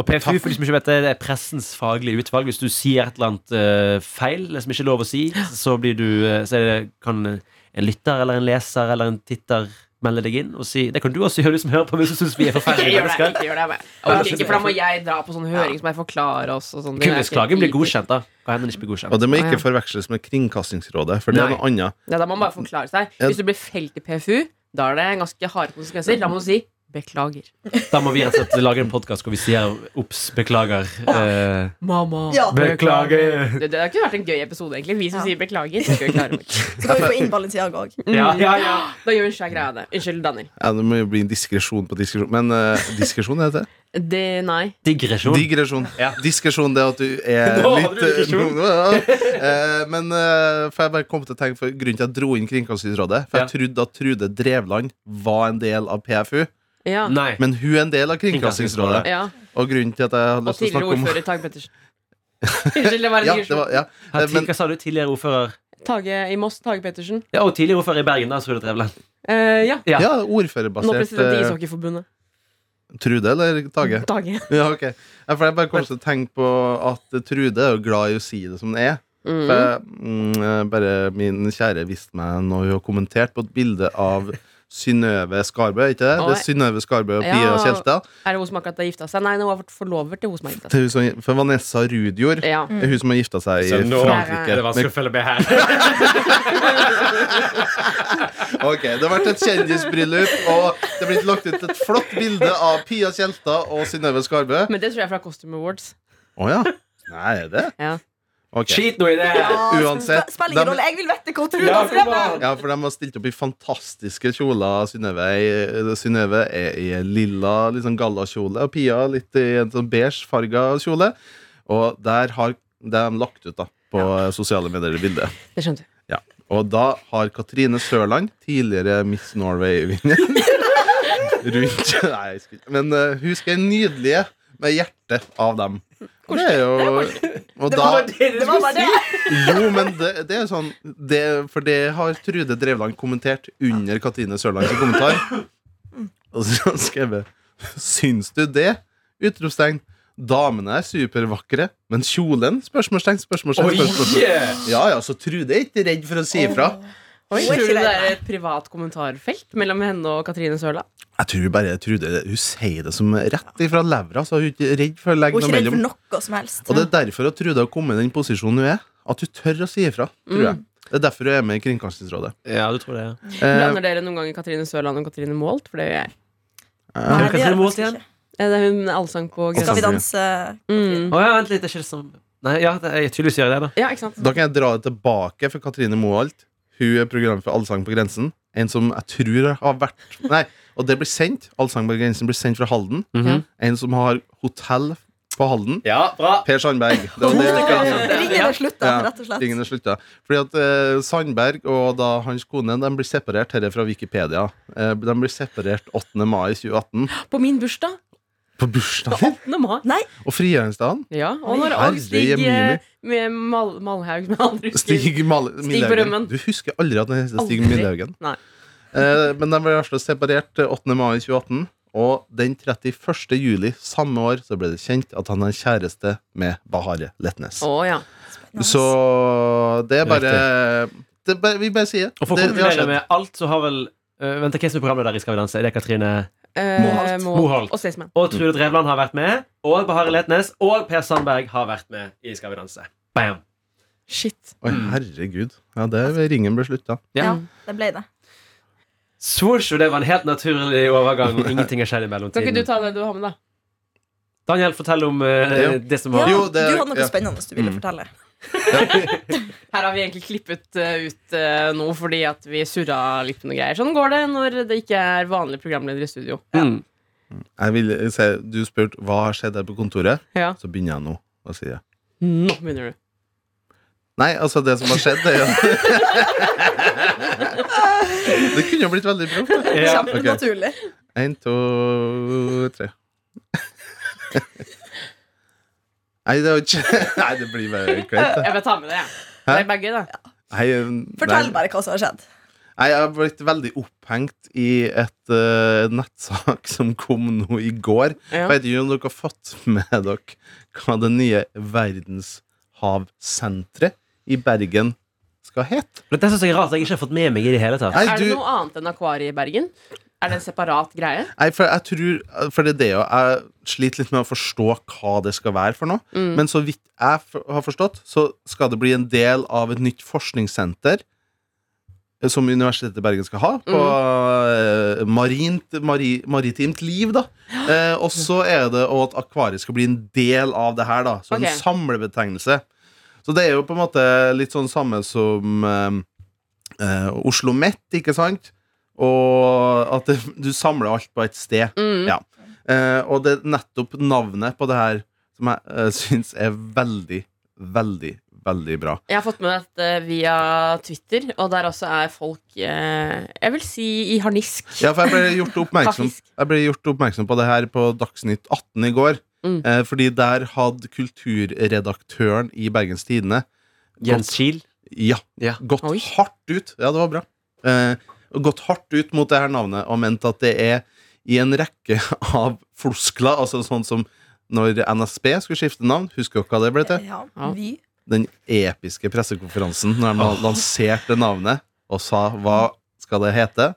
Speaker 4: Og PFU for de som ikke vet det, det er pressens faglige utvalg. Hvis du sier et eller annet eh, feil eller som ikke er lov å si, så, blir du, eh, så er det, kan en lytter eller en leser eller en titter melde deg inn og si Det kan du også gjøre, du som hører på, hvis du syns vi er
Speaker 5: Ikke
Speaker 4: forferdelige
Speaker 5: gjør det,
Speaker 4: mennesker.
Speaker 5: ikke gjør det. Jeg orker ikke, for da må jeg dra på sånn høring som jeg forklarer oss. Og sånn. Det er
Speaker 4: Kun hvis
Speaker 5: ikke
Speaker 4: klagen blir
Speaker 5: tid til.
Speaker 4: godkjent, da. Kan hende den ikke blir godkjent.
Speaker 7: Og det må
Speaker 5: Å, ja.
Speaker 7: ikke forveksles med Kringkastingsrådet, for det er
Speaker 4: Nei.
Speaker 7: noe annet.
Speaker 5: Ja, da må man bare forklare seg. Hvis du blir felt i PFU, da er det ganske harde konsekvenser. Da må du si beklager.
Speaker 4: Da må vi rett og slett lage en podkast hvor vi sier ops, beklager. Eh,
Speaker 5: Mamma.
Speaker 8: Ja.
Speaker 4: beklager.
Speaker 5: Det, det har ikke vært en gøy episode, egentlig. Vi som
Speaker 8: Ja.
Speaker 5: sier beklager. Skal vi klare det.
Speaker 8: Så kan vi få inn Balenciaga òg.
Speaker 4: Ja, ja, ja.
Speaker 5: Da gjør vi en svær greie av det. Unnskyld, Daniel.
Speaker 7: Ja, det må jo bli en diskresjon på diskresjon. Men eh, diskresjon heter det?
Speaker 5: Det, nei.
Speaker 4: Digresjon.
Speaker 7: Digresjon.
Speaker 4: Ja.
Speaker 7: Diskresjon, det er at du er
Speaker 4: Nå hadde
Speaker 7: litt
Speaker 4: du digresjon.
Speaker 7: eh, nå- ja. *laughs* Eh, Men eh, for jeg bare kom til å tenke for grunnen til at jeg dro inn Kringkastingsrådet. For jeg trodde at Trude Drevland var en del av PFU,
Speaker 5: Ja.
Speaker 4: Nei.
Speaker 7: men hun er en del av Kringkastingsrådet.
Speaker 5: ja.
Speaker 7: Og grunnen til at jeg
Speaker 5: Og
Speaker 7: hadde lyst til å
Speaker 5: tidligere
Speaker 7: snakke om
Speaker 5: ordfører Tage
Speaker 7: *laughs*
Speaker 5: Pettersen. Unnskyld, det var en
Speaker 7: ja, det
Speaker 5: digresjon.
Speaker 7: var, ja.
Speaker 4: Her,
Speaker 7: Eh,
Speaker 4: ti-
Speaker 7: men-
Speaker 4: Hva sa du? Tidligere ordfører?
Speaker 5: Tage i Moss. Tage Pettersen.
Speaker 4: Ja, og tidligere ordfører i Bergen, da, Trude Drevland.
Speaker 5: Eh, ja.
Speaker 4: Ja.
Speaker 7: ja,
Speaker 5: Nå
Speaker 7: ordførerbasert.
Speaker 5: president i
Speaker 7: eh,
Speaker 5: Ishockeyforbundet.
Speaker 7: Trude eller Tage?
Speaker 5: Tage.
Speaker 7: *laughs* Ja, ok ja, for Jeg bare kom til å tenke på at Trude er jo glad i å si det som det er.
Speaker 5: Mm.
Speaker 7: For jeg, mm, eh, bare min kjære viste meg når hun har kommentert på et bilde av Synnøve Skarbø. ikke det? Det
Speaker 5: Oi.
Speaker 7: er Synnøve Skarbø og Pia
Speaker 5: Ja.
Speaker 7: Tjelta.
Speaker 5: *laughs* Er det hun som akkurat har gifta seg? Nei, hun har vært forlover til hun som har gifta seg.
Speaker 7: Det er hun som- For Vanessa Rudjord
Speaker 5: Ja.
Speaker 7: er hun som har gifta seg i
Speaker 4: Så nå-
Speaker 7: Frankrike.
Speaker 4: å følge med her.
Speaker 7: Men- ok, Det har vært et kjendisbryllup, og det er blitt lagt ut et flott bilde av Pia Tjelta og Synnøve Skarbø.
Speaker 5: Men det tror jeg er fra Costume Awards.
Speaker 7: Å ja? Nei, er det?
Speaker 5: Ja.
Speaker 7: Ok.
Speaker 4: Skit nå i det!
Speaker 7: Uansett,
Speaker 8: Sp- Spiller ingen
Speaker 7: dem-
Speaker 8: rolle. Jeg vil vite hva hun tror.
Speaker 4: Ja,
Speaker 8: da,
Speaker 4: kom
Speaker 8: Trine.
Speaker 4: an.
Speaker 7: Ja, for de har stilt opp i fantastiske kjoler. Synnøve er i- Synnøve er i en lilla liksom gallakjole, og Pia litt i en sånn beige farga kjole. Og der har det har de lagt ut da på sosiale medier det bildet.
Speaker 5: Det skjønte jeg.
Speaker 7: Ja. Og da har Katrine Sørland, tidligere Miss Norway-vinneren *laughs* Rundt Nei, jeg skulle- men eh, hun skal nydelige med hjertet av dem. Og det er jo Og da
Speaker 8: Det var bare det.
Speaker 7: jo, men det, det er sånn det, For det har Trude Drevland kommentert under Katrine Sørlands kommentar. Og så har hun skrevet Syns du det? Utropstegn. Damene er supervakre, men kjolen? Spørsmålstegn, spørsmålstegn. spørsmålstegn.
Speaker 4: yeah.
Speaker 7: Ja, ja, så Trude er ikke redd for å si ifra.
Speaker 5: Oi, tror du det er et privat kommentarfelt mellom henne og Katrine Sørla?
Speaker 7: Jeg tror bare Trude hun sier det som rett ifra levra, så hun er ikke redd for å legge
Speaker 8: Hun er
Speaker 7: noe
Speaker 8: ikke redd for
Speaker 7: mellom.
Speaker 8: noe som helst.
Speaker 7: Og det er derfor at Trude har kommet i den posisjonen hun er. At hun tør å si ifra, tror
Speaker 8: Mm.
Speaker 7: jeg. Det er derfor hun er med i Kringkastingsrådet.
Speaker 4: Ja, du tror det, ja.
Speaker 7: Eh,
Speaker 5: Blander dere noen ganger Katrine Sørland og Katrine Målt? For det gjør jeg.
Speaker 8: Nei,
Speaker 4: Hvem
Speaker 8: det gjør
Speaker 4: kan stemme
Speaker 8: jeg
Speaker 4: mot
Speaker 8: faktisk
Speaker 4: igjen?
Speaker 8: ikke.
Speaker 5: Eh, Det er hun allsang på
Speaker 7: Skal
Speaker 8: Skal
Speaker 5: Grønland.
Speaker 8: vi danse?
Speaker 5: Mm.
Speaker 4: Å ja, vent litt, det er ikke det som Nei, ja, det, jeg tydeligvis gjør jeg det, da.
Speaker 5: Ja, ikke sant?
Speaker 7: da kan jeg dra det tilbake for Katrine Moholt. Hun er programmet for Allsang på grensen. En som jeg tror har vært Nei, og det blir sendt. Allsang på grensen blir sendt fra Halden.
Speaker 4: Mhm.
Speaker 7: En som har hotell på Halden.
Speaker 4: Ja, bra!
Speaker 7: Per Sandberg. Det var det.
Speaker 5: altså.
Speaker 8: Ringen er slutt, da,
Speaker 7: Ja,
Speaker 8: rett og slett.
Speaker 7: Tingene slutta. Fordi at eh, Sandberg og da hans kone de blir separert. Dette er fra Wikipedia. Eh, de blir separert 8. mai 2018.
Speaker 5: På min bursdag.
Speaker 7: På bursdagen
Speaker 5: 8. mai.
Speaker 7: og frigjøringsdagen.
Speaker 5: Ja, og når
Speaker 7: Herre
Speaker 5: og Stig eh,
Speaker 7: jemini.
Speaker 5: med Mal Malhaug med andre
Speaker 7: Stig Mal
Speaker 5: Stig på rømmen.
Speaker 7: Millehaugen. Du husker aldri at han heter Stig
Speaker 5: Aldri.
Speaker 7: Millehaugen.
Speaker 5: Nei.
Speaker 7: Eh, men de ble altså separert eh, 8. mai 2018. Og den 31. juli samme år så ble det kjent at han har kjæreste med Bahare Letnes.
Speaker 5: Å ja.
Speaker 7: Så det er bare det er bare- Vi bare sier
Speaker 4: Og for å
Speaker 7: det. det har
Speaker 4: konkludere
Speaker 7: skjedd.
Speaker 4: med alt, så har vel øh, Vent, hvem som er programleder i Skal vi danse? Er det Katrine?
Speaker 5: Eh,
Speaker 8: Moholt.
Speaker 4: Moholt.
Speaker 5: Og Staysman.
Speaker 4: Og Trude Drevland har vært med. Og Bahareh Letnes og Per Sandberg har vært med i Skal vi danse. Bam!
Speaker 5: Shit.
Speaker 7: Oi,
Speaker 4: Mm.
Speaker 7: herregud. Ja, det er ringen ble slutta.
Speaker 8: Ja,
Speaker 4: Ja.
Speaker 8: det ble det.
Speaker 4: Swoosh, og det var en helt naturlig *laughs* overgang. Ingenting har skjedd i
Speaker 5: Kan ikke du
Speaker 4: mellomtiden.
Speaker 5: ta det du har med, da?
Speaker 4: Daniel, fortell om øh,
Speaker 7: Jo.
Speaker 4: det som
Speaker 8: Ja,
Speaker 4: var
Speaker 7: Jo, det-
Speaker 8: du hadde noe
Speaker 7: ja. Mm.
Speaker 8: spennende du ville fortelle.
Speaker 5: Her har vi egentlig klippet eh, ut eh, noe fordi at vi surra litt med noe greier. Sånn går det når det ikke er vanlige programledere i studio.
Speaker 4: Mm.
Speaker 7: Jeg vil si, Du spurte hva har skjedd her på kontoret.
Speaker 5: Ja.
Speaker 7: Så begynner jeg nå å si det.
Speaker 5: Nå begynner du.
Speaker 7: Nei, altså, det som har skjedd, det er jo *laughs* Det kunne jo blitt veldig proft.
Speaker 4: Ja.
Speaker 8: Kjempenaturlig.
Speaker 7: Én, to, tre. Nei, det, er jo ikke, *laughs* nei, det blir bare kleint, det.
Speaker 5: Eh, Jeg vil ta med det, jeg.
Speaker 7: Hæ?
Speaker 5: Det er bare gøy, da.
Speaker 7: Nei, eh, nei.
Speaker 8: Fortell bare hva som har skjedd.
Speaker 7: Nei, jeg har blitt veldig opphengt i et eh, nettsak som kom nå i går.
Speaker 5: Ja.
Speaker 7: Jeg vet ikke om dere har fått med dere hva det nye verdenshavsenteret i Bergen skal hete.
Speaker 4: Dette synes jeg er rart jeg ikke har fått med meg i det hele tatt.
Speaker 7: Nei,
Speaker 5: Er
Speaker 7: du,
Speaker 5: det noe annet enn akvariet i Bergen? Er det en separat greie?
Speaker 7: nei, for jeg tror For det er det jo Jeg sliter litt med å forstå hva det skal være for noe.
Speaker 5: Mm.
Speaker 7: Men så vidt jeg f har forstått, så skal det bli en del av et nytt forskningssenter. eh, Som Universitetet i Bergen skal ha, på
Speaker 5: Mm.
Speaker 7: eh, marint, mari, maritimt liv, da. Eh, og så er det og at akvariet skal bli en del av det her, da. Så
Speaker 5: Ok.
Speaker 7: en samlebetegnelse. Så det er jo på en måte litt sånn samme som eh, eh, Oslo Met, ikke sant? Og at det, du samler alt på et sted.
Speaker 5: Mm.
Speaker 7: Ja. Eh, og det er nettopp navnet på det her som jeg uh, syns er veldig, veldig, veldig bra.
Speaker 5: Jeg har fått med dette via Twitter, og der også er folk eh, Jeg vil si i harnisk.
Speaker 7: Ja, for jeg ble gjort oppmerksom,
Speaker 5: Faktisk.
Speaker 7: jeg ble gjort oppmerksom på det her på Dagsnytt 18 i går.
Speaker 5: Mm.
Speaker 7: Eh, fordi der hadde kulturredaktøren i Bergens Tidende
Speaker 4: Jens Kiel.
Speaker 7: ja,
Speaker 4: Ja.
Speaker 7: gått
Speaker 5: Oi.
Speaker 7: hardt ut. Ja, det var bra. Eh, og gått hardt ut mot det her navnet og ment at det er i en rekke *laughs* av floskler, altså sånn som når NSB skulle skifte navn, husker dere hva det ble til?
Speaker 8: Ja,
Speaker 5: Ja.
Speaker 8: vi
Speaker 7: den episke pressekonferansen når de lanserte navnet og sa hva skal det hete?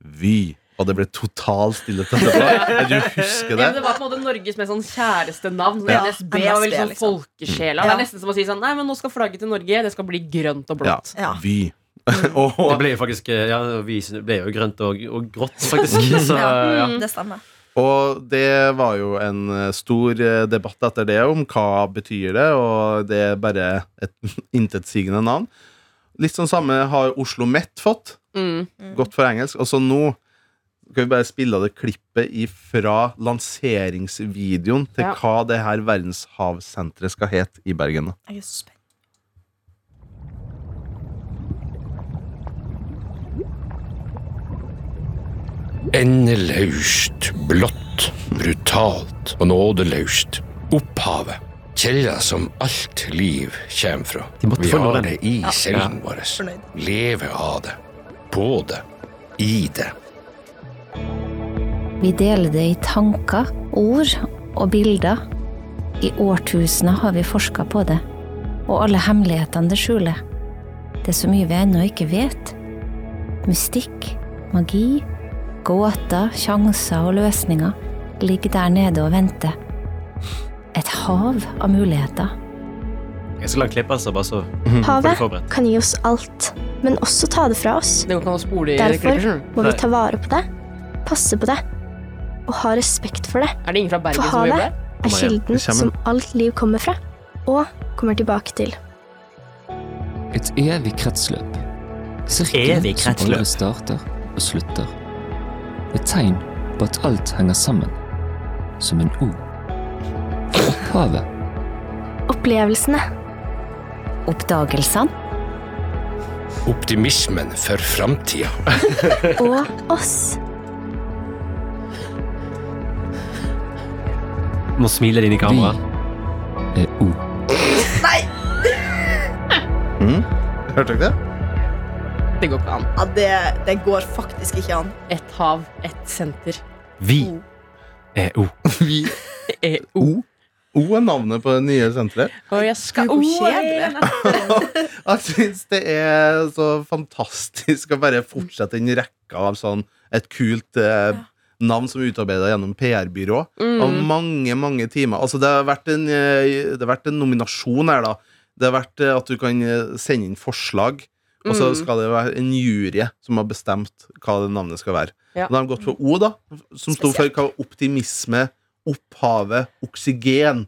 Speaker 7: Vy. Og det ble total stillhet etterpå. Du husker
Speaker 5: Ja, men
Speaker 7: det?
Speaker 5: det var på en måte Norges mest sånn kjæreste navn.
Speaker 8: Ja.
Speaker 5: NSB var veldig sånn
Speaker 8: NSB, liksom.
Speaker 5: folkesjela. Det
Speaker 8: Ja.
Speaker 5: er nesten som å si sånn Nei, men nå skal flagget til Norge. Det skal bli grønt og
Speaker 7: Ja.
Speaker 5: blått.
Speaker 8: Ja.
Speaker 7: Vy. *laughs* Og,
Speaker 4: Det ble jo faktisk eh, Ja, vi synes- det ble jo grønt og, og grått, *laughs* faktisk. Så ja.
Speaker 7: Mm.
Speaker 8: Det stemmer.
Speaker 7: og det var jo en eh, stor eh, debatt etter det om hva betyr det, og det er bare et *laughs* intetsigende navn. Litt sånn samme har Oslo Met fått.
Speaker 5: Mm.
Speaker 7: Godt for engelsk. Og så nå skal vi bare spille av det klippet fra lanseringsvideoen til
Speaker 5: Ja.
Speaker 7: hva det her verdenshavsenteret skal hete i Bergen. da.
Speaker 8: Jeg er så spent.
Speaker 9: Endelaust, blått, brutalt og nådeløst. Opphavet. Kjella som alt liv kommer fra.
Speaker 4: De måtte
Speaker 9: Vi
Speaker 4: få
Speaker 9: har
Speaker 4: lov.
Speaker 9: det i
Speaker 8: Ja.
Speaker 9: cellen vår.
Speaker 8: Fornøyd.
Speaker 9: Leve av det. På det. I det.
Speaker 10: Vi deler det i tanker, ord og bilder. I årtusener har vi forska på det, og alle hemmelighetene det skjuler. Det er så mye vi ennå ikke vet. Mystikk, magi, gåter, sjanser og løsninger ligger der nede og venter. Et hav av muligheter.
Speaker 4: Jeg skal lage klippelser, altså, bare så
Speaker 7: Mm.
Speaker 4: blir
Speaker 11: Havet
Speaker 4: forberedt.
Speaker 11: kan gi oss alt, men også ta det fra oss.
Speaker 5: Det går ikke an å spole i
Speaker 11: Derfor
Speaker 5: klipper, skjønner du.
Speaker 11: må
Speaker 4: Nei.
Speaker 11: vi ta vare på det, passe på det og ha respekt for det.
Speaker 5: Er det ingen fra
Speaker 11: For
Speaker 5: Bergen som gjør det?
Speaker 11: havet er
Speaker 4: Kom igjen,
Speaker 11: kilden
Speaker 7: det kommer.
Speaker 11: som alt liv kommer fra, og kommer tilbake til.
Speaker 9: Et evig kretsløp. Sirkelen
Speaker 3: Evig
Speaker 9: som
Speaker 3: kretsløp.
Speaker 9: aldri starter og slutter. Et tegn på at alt henger sammen. Som en O. Opphavet.
Speaker 11: Opplevelsene
Speaker 10: Oppdagelsene
Speaker 9: Optimismen for framtida.
Speaker 11: og oss.
Speaker 4: Nå smiler de inn i kamera.
Speaker 9: Vi er O.
Speaker 7: Hørte dere det?
Speaker 5: Det går ikke an.
Speaker 8: Ja, det, det går faktisk ikke an.
Speaker 5: Ett hav, ett senter.
Speaker 4: Vi er O.
Speaker 7: Vi
Speaker 5: E-O.
Speaker 7: O. O er navnet på det nye senteret.
Speaker 5: Og jeg skal
Speaker 8: Ukjedelig.
Speaker 7: Jeg syns det er så fantastisk å bare fortsette den rekka av sånn et kult eh, navn som er utarbeida gjennom PR-byrå. Av mange, mange timer. Altså, det har vært en, eh, det har vært en nominasjon her, da. Det har vært eh, at du kan eh, sende inn forslag, og så
Speaker 5: Mm.
Speaker 7: skal det være en jury som har bestemt hva det navnet skal være.
Speaker 5: Ja.
Speaker 7: Og Da har de gått for O, da, som sto for hva optimisme, opphavet, oksygen.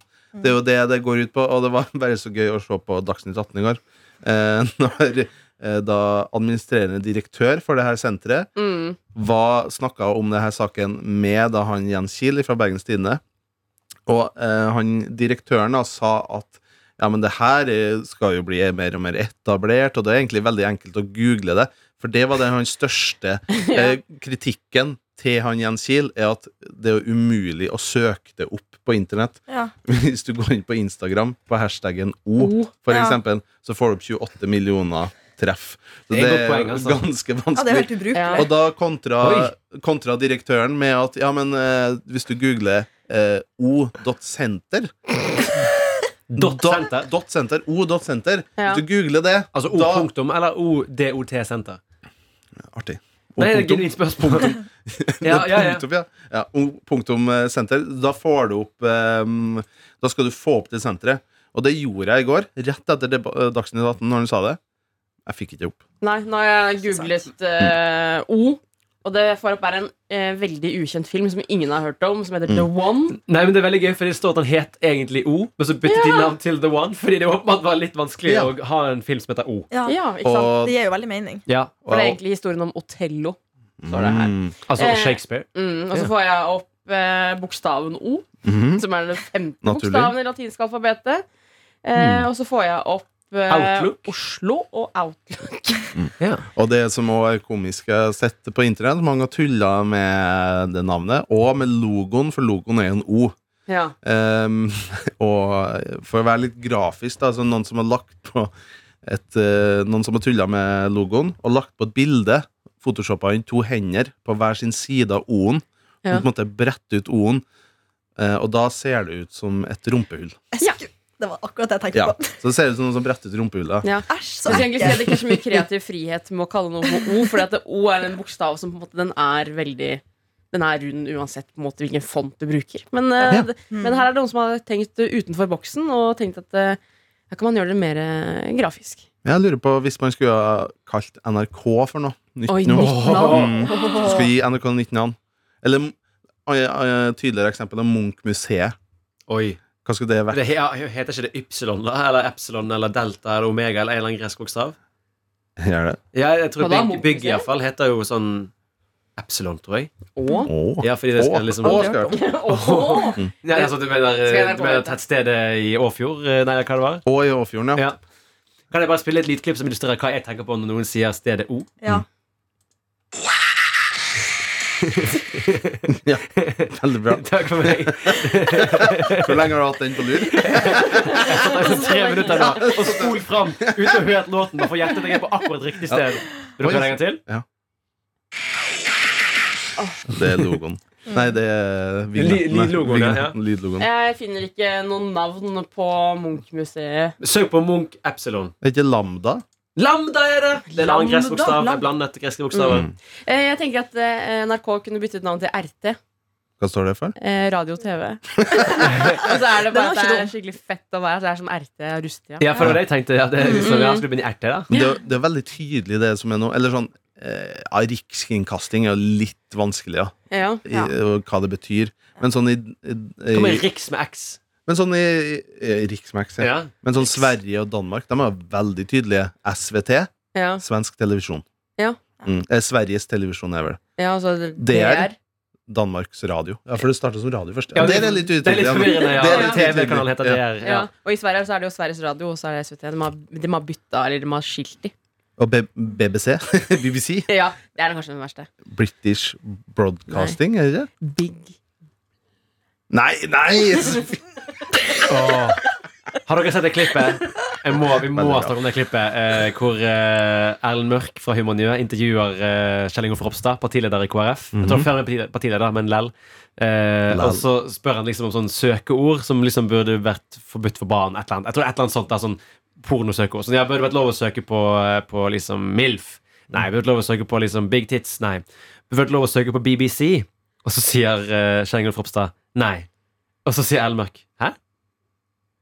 Speaker 7: Det er jo det det går ut på, og det var *laughs* bare så gøy å se på Dagsnytt 18 i går. Eh, *laughs* når eh, da administrerende direktør for det her senteret
Speaker 5: Mm.
Speaker 7: var, snakka om denne saken med da han Jens Kiel fra Bergens Tidende. Og eh, han, direktøren da, sa at ja, men det her eh, skal jo bli mer og mer etablert, og det er egentlig veldig enkelt å google det. For det var den hans
Speaker 8: *laughs*
Speaker 7: største eh, kritikken til han Jens Kiel, er at det er jo umulig å søke det opp på internett.
Speaker 8: Ja.
Speaker 7: *laughs* Hvis du går inn på Instagram på hashtaggen O, for
Speaker 8: Ja.
Speaker 7: eksempel, så får du opp 28 millioner treff. Så
Speaker 4: Det
Speaker 7: det
Speaker 4: er
Speaker 7: er,
Speaker 4: et godt poeng, altså.
Speaker 7: ganske
Speaker 8: Ja, det er
Speaker 7: vanskelig.
Speaker 8: helt ubrukelig.
Speaker 5: Ja.
Speaker 7: Og da kontra,
Speaker 4: Oi.
Speaker 7: kontra direktøren med at ja, men eh, hvis du googler eh, o.senter
Speaker 4: Dot
Speaker 7: da-
Speaker 4: senter.
Speaker 7: dot senter, o.senter
Speaker 5: Ja.
Speaker 7: Hvis du googler det,
Speaker 4: Altså O
Speaker 7: da
Speaker 4: punktum eller ODOT senter.
Speaker 7: Artig. O
Speaker 4: Nei, det er et
Speaker 7: punktum.
Speaker 4: genuint spørsmål.
Speaker 7: Det
Speaker 4: *laughs*
Speaker 7: *laughs*
Speaker 4: Ja,
Speaker 7: er
Speaker 4: ja, ja.
Speaker 7: Punktum, ja. ja o punktum eh, senter. Da får du opp eh, Da skal du få opp det senteret. Og det gjorde jeg i går, rett etter deba- eh, Dagsnytt 18, når han sa det. Jeg fikk ikke opp.
Speaker 5: Nei, nå har jeg googlet eh, O. Og det får opp er en eh, veldig ukjent film som ingen har hørt om, som heter The One.
Speaker 4: Nei, men Det er veldig gøy, for det står at han het egentlig O, men så byttet de navn til The One. Fordi det åpenbart var litt vanskelig
Speaker 7: Ja.
Speaker 4: å ha en film som heter O.
Speaker 8: Ja.
Speaker 5: Ja, ikke sant?
Speaker 7: Og
Speaker 8: Det gir jo veldig mening.
Speaker 4: Ja,
Speaker 5: For det er egentlig historien om Otello. Står det her.
Speaker 7: Mm.
Speaker 4: Altså
Speaker 5: Eh.
Speaker 4: Shakespeare.
Speaker 5: Mm, og så får jeg opp eh, bokstaven O,
Speaker 7: Mhm.
Speaker 5: som er den femte
Speaker 7: Naturlig.
Speaker 5: bokstaven i latinske alfabetet. Eh, og så får jeg opp eh,
Speaker 4: Outlook.
Speaker 5: Oslo og Outlook.
Speaker 7: Og det som også er komisk jeg har sett på internett, mange har tulla med det navnet, og med logoen, for logoen er jo en O.
Speaker 5: Ja.
Speaker 7: Ehm, *laughs* og for å være litt grafisk, da, så noen som har lagt på et, eh, Noen som har tulla med logoen, og lagt på et bilde, photoshoppa inn to hender på hver sin side av O-en,
Speaker 5: Ja.
Speaker 7: og på en måte brette ut O-en, eh, og da ser det ut som et rumpehull.
Speaker 8: Jeg
Speaker 5: Ja.
Speaker 8: skulle- Det var akkurat det jeg tenkte
Speaker 7: Ja,
Speaker 8: på.
Speaker 7: så det ser ut som noen som bretter ut rumpehullet.
Speaker 5: ja.
Speaker 8: Æsj, så
Speaker 5: Så jeg egentlig
Speaker 8: ekkelt.
Speaker 5: ser det ikke er så *laughs* mye kreativ frihet med å kalle noe for O, fordi at det O er en bokstav som på en måte den er veldig den er rund uansett på en måte hvilken font du bruker. Men, eh,
Speaker 7: Ja.
Speaker 5: det, men her er det noen som har tenkt eh, utenfor boksen og tenkt at eh, her kan man gjøre det mer eh, grafisk.
Speaker 7: Jeg lurer på hvis man skulle ha kalt NRK for noe. Nytt
Speaker 5: Oi,
Speaker 7: nå.
Speaker 5: nytt
Speaker 7: *laughs*
Speaker 5: navn.
Speaker 7: Du skal gi NRK nytt navn. Eller eh, eh, tydeligere eksempel er Munch-museet.
Speaker 4: Oi.
Speaker 7: Hva skulle det vært?
Speaker 4: Det he, ja, heter ikke det Ypsilon, da? Eller Epsilon, eller Delta, eller Omega, eller en eller annen gresk bokstav?
Speaker 7: Gjør det?
Speaker 4: Ja, jeg tror
Speaker 5: Hva da,
Speaker 4: Bygg, bygg
Speaker 5: Munch-museet?
Speaker 4: iallfall heter jo sånn Epsilon, tror jeg.
Speaker 5: *laughs* Og
Speaker 7: Åh.
Speaker 4: Ja, fordi det skal
Speaker 7: Åh,
Speaker 4: liksom
Speaker 7: åh, skal jeg høre.
Speaker 5: *laughs*
Speaker 4: Nei, altså, Du mener,
Speaker 5: Eh, Skal jeg
Speaker 4: du mener tettstedet i Åfjord? eh, Nei, hva det var?
Speaker 7: Åh, i Åfjorden, ja.
Speaker 4: Ja. Kan jeg bare spille et lydklipp som illustrerer hva jeg tenker på når noen sier stedet O? *laughs*
Speaker 8: Ja.
Speaker 7: Veldig bra.
Speaker 4: Takk
Speaker 7: *laughs*
Speaker 4: for meg.
Speaker 7: Hvor lenge har du hatt den på lur?
Speaker 4: Det er sånn tre minutter nå Og spol fram uten å ha hørt låten. Bare for å gjette deg på akkurat riktig sted. Vil du prøve en gang til?
Speaker 7: *laughs* Det er logoen. *laughs* Nei, det er
Speaker 4: Lyd-
Speaker 7: vignetten, nei.
Speaker 4: lydlogoen, ja, ja.
Speaker 7: Vignetten, Lydlogoen.
Speaker 5: Jeg finner ikke noen navn på Munch-museet.
Speaker 4: Søk på Munch Epsilon.
Speaker 7: Er ikke Lambda?
Speaker 4: Lambda er det! Det er en annen
Speaker 5: Lambda,
Speaker 4: gressbokstav.
Speaker 5: lambda.
Speaker 4: Jeg blandet greske bokstaver.
Speaker 7: Mm.
Speaker 5: Eh, Jeg tenker at eh, NRK kunne byttet navn til RT.
Speaker 7: Hva står det for?
Speaker 5: Eh, radio og *laughs* TV. og så er det bare
Speaker 8: var
Speaker 5: at
Speaker 8: ikke
Speaker 5: det
Speaker 8: dum.
Speaker 5: er skikkelig fett å være. at Det er som RT og Rustia.
Speaker 4: Ja, for det var det jeg tenkte. Ja, det er liksom,
Speaker 5: Mm.
Speaker 4: ja, skulle begynne i RT, da.
Speaker 7: Men Det, er- det er veldig tydelig, det som er nå. Eller sånn eh, ja, Rikskringkasting er jo litt vanskelig, ja.
Speaker 5: Ja.
Speaker 7: I, og Hva det betyr. Men sånn i, i,
Speaker 4: Hva med
Speaker 7: i
Speaker 4: Riks med X?
Speaker 7: Men sånn i, i i Riksmax, ja.
Speaker 4: Ja.
Speaker 7: Men sånn Sverige og Danmark, de er veldig tydelige. SVT,
Speaker 5: Ja.
Speaker 7: svensk televisjon.
Speaker 5: Ja.
Speaker 7: Mm. Eh, Sveriges televisjon er vel
Speaker 5: ja, altså
Speaker 7: DR. Danmarks radio. Ja, for det starta som radio først.
Speaker 4: Ja,
Speaker 7: Ja, det er litt utydelig.
Speaker 4: Det er litt forvirrende, ja.
Speaker 7: Det er litt utydelig.
Speaker 4: TV-kanalen heter
Speaker 7: Ja.
Speaker 4: DR. Ja.
Speaker 5: Ja. Og i Sverige så er det jo Sveriges Radio, og så er det SVT. De har, de har bytta, eller de har skilt de.
Speaker 7: Og B *laughs* BBC. BBC.
Speaker 5: Ja, det er kanskje den verste.
Speaker 7: British Broadcasting, er det det?
Speaker 5: Big.
Speaker 7: Nei, *laughs* nei!
Speaker 4: Åh. Har dere sett det klippet? Jeg må, vi må
Speaker 7: Veldig bra.
Speaker 4: snakke om det klippet eh, hvor eh, Erlend Mørk fra Human New intervjuer eh, Kjell Ingolf Ropstad, partileder i KrF. Jeg tror han før han er parti- partileder, men lell. Eh,
Speaker 7: Mhm. Lell.
Speaker 4: og så spør han liksom om sånne søkeord som liksom burde vært forbudt for barn. Et eller annet. Jeg tror et eller annet sånt der, sånn pornosøkeord. Sånn, ja, burde vært lov å søke på, eh, på liksom MILF. Nei. Burde vært lov å søke på liksom Big Tits. Nei. Burde vært lov å søke på BBC. Og så sier eh, Kjell Ingolf Ropstad nei. Og så sier Erlend Mørk hæ?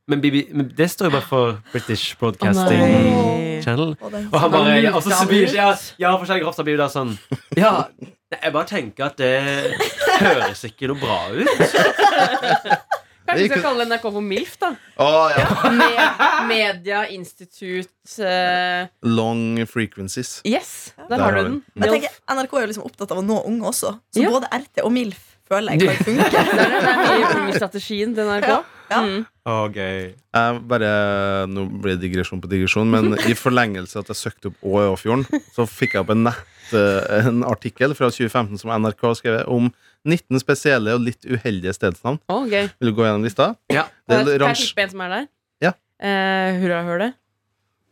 Speaker 4: Men, BB, men det står jo bare for British Broadcasting
Speaker 5: nei.
Speaker 4: Channel.
Speaker 8: Og den-
Speaker 4: Og han bare
Speaker 5: Han
Speaker 4: ja, Og så
Speaker 5: lurte han
Speaker 4: blir
Speaker 5: ut.
Speaker 4: ja, ja, for Kjell Grafstad blir jo da sånn Ja, nei, jeg bare tenker at det høres ikke noe bra ut.
Speaker 5: Kanskje vi
Speaker 7: Det
Speaker 5: skal
Speaker 7: gikk-
Speaker 5: kalle NRK for MILF, da.
Speaker 7: Å, ja.
Speaker 5: Med, media Institute eh,
Speaker 7: Long frequencies.
Speaker 5: Yes, der,
Speaker 7: Der
Speaker 5: har du
Speaker 7: har
Speaker 5: den.
Speaker 8: Jeg
Speaker 5: MILF.
Speaker 8: tenker, NRK er jo liksom opptatt av å nå unge også. Så
Speaker 5: Ja.
Speaker 8: både RT og MILF føler jeg kan funke.
Speaker 5: Der er den nye ungstrategien til NRK.
Speaker 8: Ja.
Speaker 5: Mm.
Speaker 4: Okay.
Speaker 7: Jeg bare, Nå blir det digresjon på
Speaker 5: *laughs*
Speaker 7: digresjon, men i forlengelse at jeg søkte opp Å i Åfjorden, så fikk jeg opp en, nett, eh, en artikkel fra 2015 som NRK har skrevet om 19 spesielle og litt uheldige stedsnavn.
Speaker 5: Å, gøy.
Speaker 7: Vil du gå gjennom lista?
Speaker 4: Ja.
Speaker 7: Det
Speaker 5: Kan
Speaker 7: er
Speaker 5: jeg kan jeg
Speaker 7: oransje.
Speaker 5: tippe en som er der?
Speaker 7: Ja.
Speaker 5: Eh, Hurrahølet.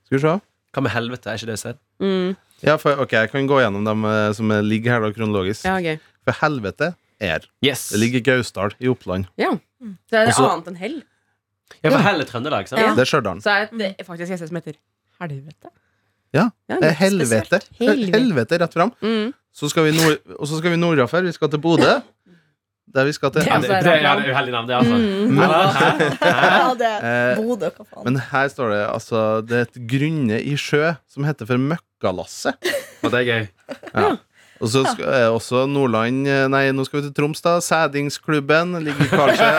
Speaker 7: Skal vi se.
Speaker 4: Hva med helvete? Er ikke det sted?
Speaker 5: Mm.
Speaker 7: Ja, for, ok, Jeg kan gå gjennom dem eh, som ligger her da kronologisk.
Speaker 5: Ja, gøy.
Speaker 7: For helvete er
Speaker 4: Yes.
Speaker 7: Det ligger i Gausdal i Oppland.
Speaker 5: Så er det
Speaker 4: Også-
Speaker 5: annet enn hell.
Speaker 4: Ja, for hell er Trøndelag, sant?
Speaker 5: Ja.
Speaker 7: Det er Stjørdal.
Speaker 5: Så er det faktisk et sted som heter Helvete.
Speaker 7: Ja, Det er
Speaker 5: litt
Speaker 7: helvete.
Speaker 5: spesielt. Helvete.
Speaker 7: Helvete rett fram.
Speaker 5: Mm.
Speaker 7: Så skal vi nord, og så skal vi nordafor. Vi skal til Bodø. Der vi skal til E-
Speaker 5: Det er altså-
Speaker 4: Det, det, ja, det er uheldig navn, det, altså.
Speaker 7: Mm.
Speaker 4: Eller? Hæ?
Speaker 8: Ja, det
Speaker 7: Eh,
Speaker 8: Bodø, hva faen.
Speaker 7: Men her står det altså Det er et grunne i sjø som heter for Møkkalasset.
Speaker 4: Og det er gøy.
Speaker 7: Og så skal, eh, også Nordland eh, Nei, nå skal vi til Troms, da. Sædingsklubben ligger i
Speaker 4: *laughs*
Speaker 7: Karlsøy.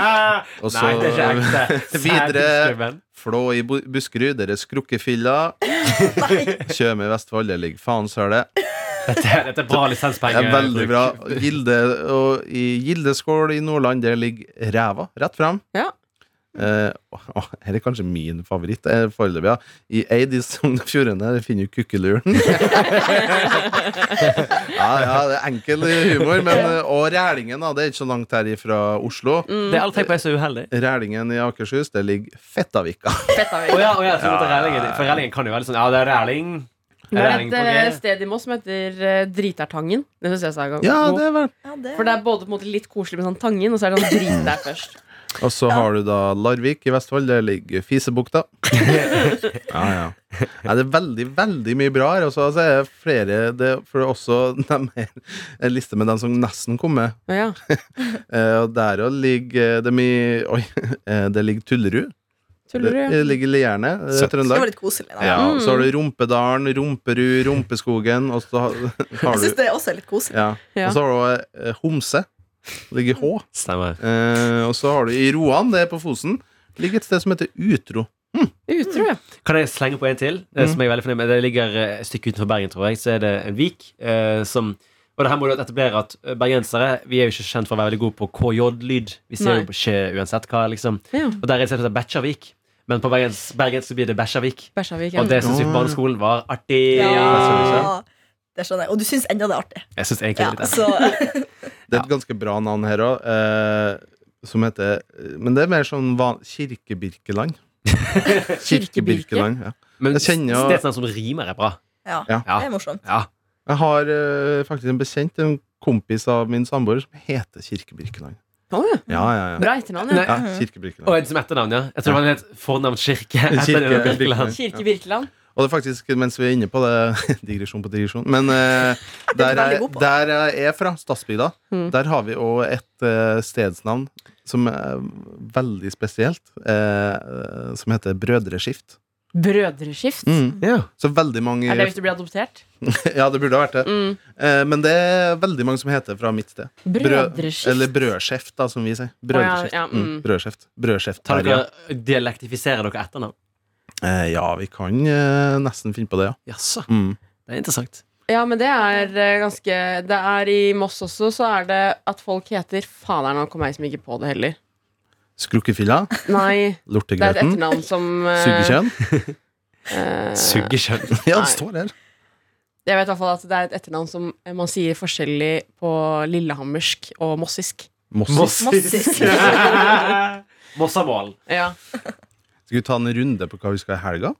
Speaker 7: *laughs* Og så
Speaker 4: Nei, det er ikke ekte.
Speaker 7: *laughs* videre.
Speaker 4: Sædklubben.
Speaker 7: Flå i Bu- Buskerud, der er skrukkefilla. Tjøme i Vestfold, der ligger faensølet.
Speaker 4: Dette, er- dette er bra lisenspenger.
Speaker 7: Det er veldig bra. Gilde, og i Gildeskål i Nordland, der ligger ræva rett fram.
Speaker 5: Ja.
Speaker 7: Eh, å, å, her er kanskje min favoritt eh, foreløpig. Ja. I Eid i Sogn og Fjordane der finner du kukkeluren. ja, ja, det er enkel humor, men eh, Og Rælingen, da. Det er ikke så langt her fra Oslo.
Speaker 4: Det er alt jeg på er så uheldig.
Speaker 7: Rælingen i Akershus, der ligger Fettavika.
Speaker 5: Fett av
Speaker 4: Å
Speaker 5: det.
Speaker 4: ja, å ja, så måtte Rælingen- For Rælingen kan jo være litt sånn Ja, det er Ræling.
Speaker 5: Det er
Speaker 4: Ræling
Speaker 5: et
Speaker 4: på
Speaker 5: eh,
Speaker 4: G.
Speaker 5: sted i Moss som heter eh, Dritertangen. Det synes jeg er god.
Speaker 7: Ja, det er vel
Speaker 8: Ja, det,
Speaker 5: *laughs* For det er både på en måte litt koselig med sånn Tangen, og så er det sånn
Speaker 7: *clears throat*
Speaker 5: drit der først.
Speaker 7: Og så har du da Larvik i Vestfold. Der ligger Fisebukta. ja, ja. Nei, det er veldig, veldig mye bra her. Og så altså, er det flere det, For det er også *laughs* dem her, en liste med dem som nesten kom med.
Speaker 5: Å, Ja.
Speaker 7: Eh, og der også ligger det mye *laughs* Oi. eh, det ligger Tullerud.
Speaker 5: Tuller du?
Speaker 7: Det ligger Lierne. eh,
Speaker 9: Søtt.
Speaker 8: det var
Speaker 7: Trøndelag.
Speaker 8: litt koselig. Da.
Speaker 7: Ja, så har du Rumpedalen, Rumperud, Rumpeskogen, og så har, *laughs* har
Speaker 8: Jeg syns
Speaker 7: du
Speaker 8: det også er litt koselig.
Speaker 7: ja.
Speaker 5: Ja.
Speaker 7: Og så har du eh, Homse. Ligger i Hå.
Speaker 4: Stemmer.
Speaker 7: Eh, og så har du i Roan, det er på Fosen, ligger et sted som heter Utro.
Speaker 5: Utro, ja.
Speaker 4: Kan jeg slenge på en til? eh,
Speaker 7: Mhm.
Speaker 4: Som jeg er veldig fornøyd med Det ligger eh, et stykke utenfor Bergen, tror jeg. Så er det en vik eh, som Og det her må du etablere at eh, bergensere Vi er jo ikke kjent for å være veldig gode på KJ-lyd. Vi ser
Speaker 5: Nei.
Speaker 4: jo ikke uansett hva, liksom.
Speaker 5: ja.
Speaker 4: Og der er det et sted som heter Bekkjarvik. Men på bergens, bergensk så blir det Bekkjarvik.
Speaker 5: Bæsjavik. Ja.
Speaker 4: Og det
Speaker 7: Mm.
Speaker 4: syns vi på barneskolen var artig. Bekkjarvik,
Speaker 8: Ja, det skjønner jeg. Og du syns enda det er artig.
Speaker 4: ja. Jeg syns egentlig
Speaker 8: Ja,
Speaker 4: det er litt artig.
Speaker 8: så
Speaker 7: altså-
Speaker 8: *laughs*
Speaker 7: Det er et ganske bra navn her òg, eh, som heter Men det er mer sånn van Kirkebirkeland. Kirkebirkeland, ja.
Speaker 4: Men
Speaker 7: Jeg kjenner jo-
Speaker 4: stedsnavn som rimer, er bra.
Speaker 8: ja,
Speaker 7: Ja.
Speaker 8: det er morsomt.
Speaker 4: Ja.
Speaker 7: Jeg har eh, faktisk en bekjent, en kompis av min samboer som heter Kirkebirkeland. Ja, ja, ja.
Speaker 5: Bra etternavn, ja.
Speaker 7: ja Kirkebirkeland.
Speaker 4: Og en som etternavn, ja. Jeg tror det var en helt fornavn Kirke. etternavn
Speaker 7: Kirke-
Speaker 4: Birkeland.
Speaker 5: Kirke Birkeland.
Speaker 7: Og det er faktisk, mens vi er inne på det *laughs* Digresjon på digresjon. Men
Speaker 5: *laughs*
Speaker 7: eh,
Speaker 5: veldig
Speaker 7: der, jeg,
Speaker 5: god på.
Speaker 7: der jeg er fra, Stadsbygda,
Speaker 5: Mm.
Speaker 7: der har vi òg et eh, stedsnavn som er veldig spesielt, eh, som heter Brødreskift.
Speaker 5: Brødreskift.
Speaker 7: Mm.
Speaker 4: Ja.
Speaker 7: Så veldig mange
Speaker 5: Er det hvis du blir adoptert?
Speaker 7: *laughs* Ja, det burde ha vært det.
Speaker 5: Mm.
Speaker 7: Eh, men det er veldig mange som heter fra mitt sted. Brød-
Speaker 5: Brødreskift?
Speaker 7: Eller brødskjeft, da, som vi sier.
Speaker 5: Å
Speaker 7: Brødreskjeft.
Speaker 5: ja, ja,
Speaker 7: mm.
Speaker 5: mm.
Speaker 7: brødskjeft. Brødskjeft.
Speaker 4: Tar
Speaker 7: ja.
Speaker 4: dere, dialektifiserer dere etternavn?
Speaker 7: Eh, ja, vi kan eh, nesten finne på det, ja.
Speaker 4: Jaså,
Speaker 7: Mm.
Speaker 4: det er interessant.
Speaker 5: Ja, men det er eh, ganske Det er i Moss også, så er det at folk heter Fader, nå kom jeg som ikke på det heller.
Speaker 7: Skrukkefilla,
Speaker 5: *laughs* Nei, det er et
Speaker 7: lortegrøten,
Speaker 5: etternavn som eh,
Speaker 7: suggekjønn.
Speaker 5: eh,
Speaker 4: Suggekjønn.
Speaker 7: *laughs* Ja,
Speaker 5: nei.
Speaker 7: det står her.
Speaker 5: Jeg vet i hvert fall at det er et etternavn som eh, man sier forskjellig på lillehammersk og mossisk.
Speaker 7: Mossis.
Speaker 4: *laughs* Mossamål.
Speaker 5: Ja.
Speaker 7: *laughs* Skal vi ta en runde på hva vi skal i helga?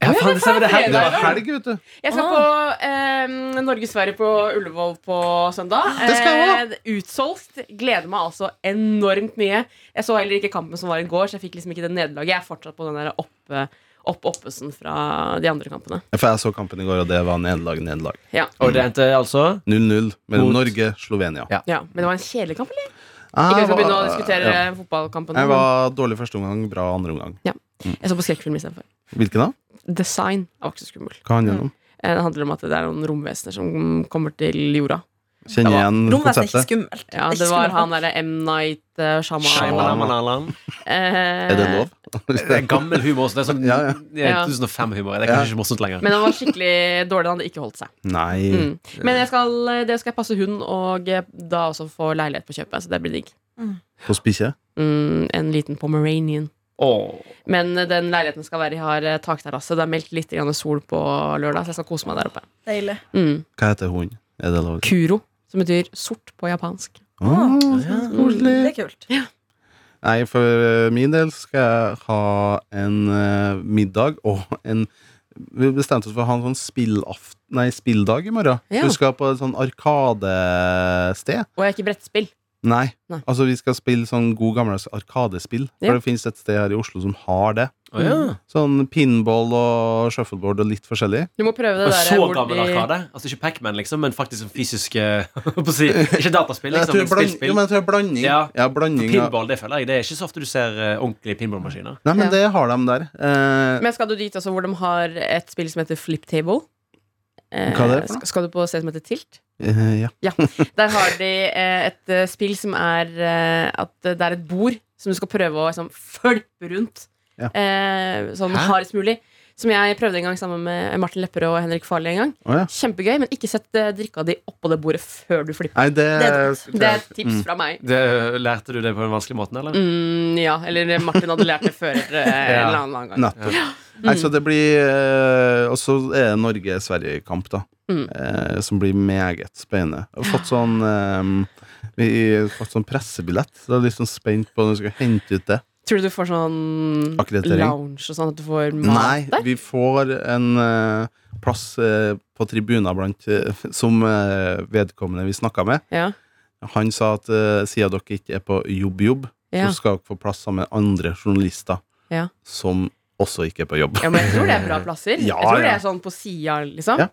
Speaker 4: Ja, faen, det stemmer. Det er
Speaker 7: Det
Speaker 4: helg.
Speaker 7: var helg, vet du.
Speaker 5: Jeg skal på eh, Norge-Sverige på Ullevål på søndag.
Speaker 7: Det skal jeg
Speaker 5: Eh, utsolgt. Gleder meg altså enormt mye. Jeg så heller ikke kampen som var i går, så jeg fikk liksom ikke det nederlaget. Jeg er fortsatt på den der oppe, opp oppesen fra de andre kampene.
Speaker 7: Ja, For jeg så kampen i går, og det var nederlag, nederlag.
Speaker 5: Ja.
Speaker 4: Og det endte altså
Speaker 7: 0-0 mellom
Speaker 4: Mot-
Speaker 7: Norge og Slovenia.
Speaker 4: Ja.
Speaker 5: ja, Men det var en kjedelig kamp, eller?
Speaker 7: Ah,
Speaker 5: Ikke at vi skal
Speaker 7: jeg
Speaker 5: begynne å
Speaker 7: var-
Speaker 5: diskutere
Speaker 7: ja.
Speaker 5: fotballkampen.
Speaker 7: Jeg
Speaker 5: men
Speaker 7: var dårlig første omgang, bra andre omgang.
Speaker 5: Jeg så på skrekkfilm istedenfor.
Speaker 7: Hvilken da?
Speaker 5: Design var ikke så skummel.
Speaker 7: Hva handler det om?
Speaker 5: Eh, Det handler om at det er noen romvesener som kommer til jorda.
Speaker 7: Kjenner igjen
Speaker 8: Romvesen
Speaker 7: Mm.
Speaker 8: er ikke
Speaker 7: konseptet.
Speaker 8: skummelt.
Speaker 5: Ja,
Speaker 8: Ikke
Speaker 5: Det var
Speaker 8: skummelt.
Speaker 5: han derre M. Night eh, Shyamalan.
Speaker 4: Shyamalan.
Speaker 5: Eh,
Speaker 7: Er det lov?
Speaker 4: Det er gammel humor. Så det er sånn
Speaker 7: Ja, ja.
Speaker 4: det er 2005-humor. Det er kanskje ikke morsomt lenger.
Speaker 5: Men han var skikkelig dårlig. Han hadde ikke holdt seg.
Speaker 7: *laughs* Nei.
Speaker 5: Mm. Men jeg skal, det skal jeg passe hund, og eh, da også få leilighet på kjøpet. Så det blir digg.
Speaker 7: På Spikkje?
Speaker 5: Mm, en liten pomeranian.
Speaker 4: Åh.
Speaker 5: Men eh, den leiligheten skal være i har eh, takterrasse. Det er meldt litt grann sol på lørdag, så jeg skal kose meg der oppe.
Speaker 8: Deilig.
Speaker 5: Mm.
Speaker 7: Hva heter hun? Er det lov?
Speaker 5: Kuro, som betyr sort på japansk.
Speaker 7: Ah,
Speaker 4: Ja.
Speaker 8: Mm, Det
Speaker 7: koselig.
Speaker 8: er kult.
Speaker 7: Nei, for eh, min del skal jeg ha en eh, middag og en Vi bestemte oss for å ha en sånn spillaft, nei, spilldag i morgen.
Speaker 5: Ja.
Speaker 7: Vi skal på et sånn arkadested.
Speaker 5: Og jeg er ikke brettspill.
Speaker 7: Nei.
Speaker 5: Nei.
Speaker 7: Altså, vi skal spille sånn god gammeldags arkadespill.
Speaker 5: Ja.
Speaker 7: For det fins et sted her i Oslo som har det.
Speaker 4: Å, ja.
Speaker 7: Sånn pinball og shuffleboard og litt forskjellig.
Speaker 5: Du må prøve det
Speaker 4: Og
Speaker 5: der
Speaker 4: så
Speaker 5: hvor
Speaker 4: gammel
Speaker 5: de-
Speaker 4: arkade. Altså Ikke Pac-Man liksom, men faktisk en fysisk eh, *laughs* holdt på å si, Ikke dataspill,
Speaker 7: Jeg
Speaker 4: liksom,
Speaker 7: tror
Speaker 4: men
Speaker 7: bland-
Speaker 4: spillspill.
Speaker 7: Jo, men jeg tror blanding.
Speaker 4: Ja.
Speaker 7: Ja, blanding av-
Speaker 4: Pinball, det føler jeg. Det er ikke så ofte du ser eh, ordentlige pinballmaskiner.
Speaker 7: Nei, men
Speaker 5: Ja.
Speaker 7: det har de der. Eh,
Speaker 5: Men skal du dit også hvor de har et spill som heter Flip Table? Eh,
Speaker 7: Hva er det for noe?
Speaker 5: sk- Skal du på et sted som heter Tilt?
Speaker 7: eh, ja.
Speaker 5: Der har de eh, et eh, spill som er eh, at det er et bord som du skal prøve å liksom, følpe rundt
Speaker 7: Ja.
Speaker 5: eh, sånn
Speaker 4: Hæ?
Speaker 5: hardest mulig. Som jeg prøvde en gang sammen med Martin Lepperød og Henrik Farley. en gang
Speaker 7: Å, ja.
Speaker 5: Kjempegøy, men ikke sett eh, drikka di oppå det bordet før du flipper.
Speaker 7: Nei, det,
Speaker 8: Det er
Speaker 5: Det er et tips
Speaker 7: Mm.
Speaker 5: fra meg.
Speaker 4: Det, lærte du det på den vanskelige måten, eller?
Speaker 5: Mm, ja, eller Martin hadde lært det før eh,
Speaker 7: *laughs*
Speaker 5: en eller annen gang.
Speaker 7: Nettopp. Nei, så det blir eh, Og så er det Norge-Sverige-kamp, da.
Speaker 5: Mm.
Speaker 7: Eh, som blir meget spennende. Jeg har fått sånn eh, Vi har fått sånn pressebillett, så jeg er litt sånn spent på når vi skal hente ut det.
Speaker 5: Tror du du får sånn
Speaker 7: Akkreditering.
Speaker 5: lounge og sånn? At du får
Speaker 7: Nei,
Speaker 5: mat der?
Speaker 7: vi får en eh, plass eh, på tribuner blant eh, Som eh, vedkommende vi snakka med.
Speaker 5: Ja.
Speaker 7: Han sa at eh, siden dere ikke er på jobb-jobb,
Speaker 5: Ja.
Speaker 7: så skal dere få plass sammen med andre journalister
Speaker 5: Ja.
Speaker 7: som også ikke er på jobb.
Speaker 5: ja, men jeg tror det er bra plasser.
Speaker 7: *laughs* Ja,
Speaker 5: jeg tror det
Speaker 7: ja.
Speaker 5: er sånn på sida, liksom.
Speaker 7: Ja.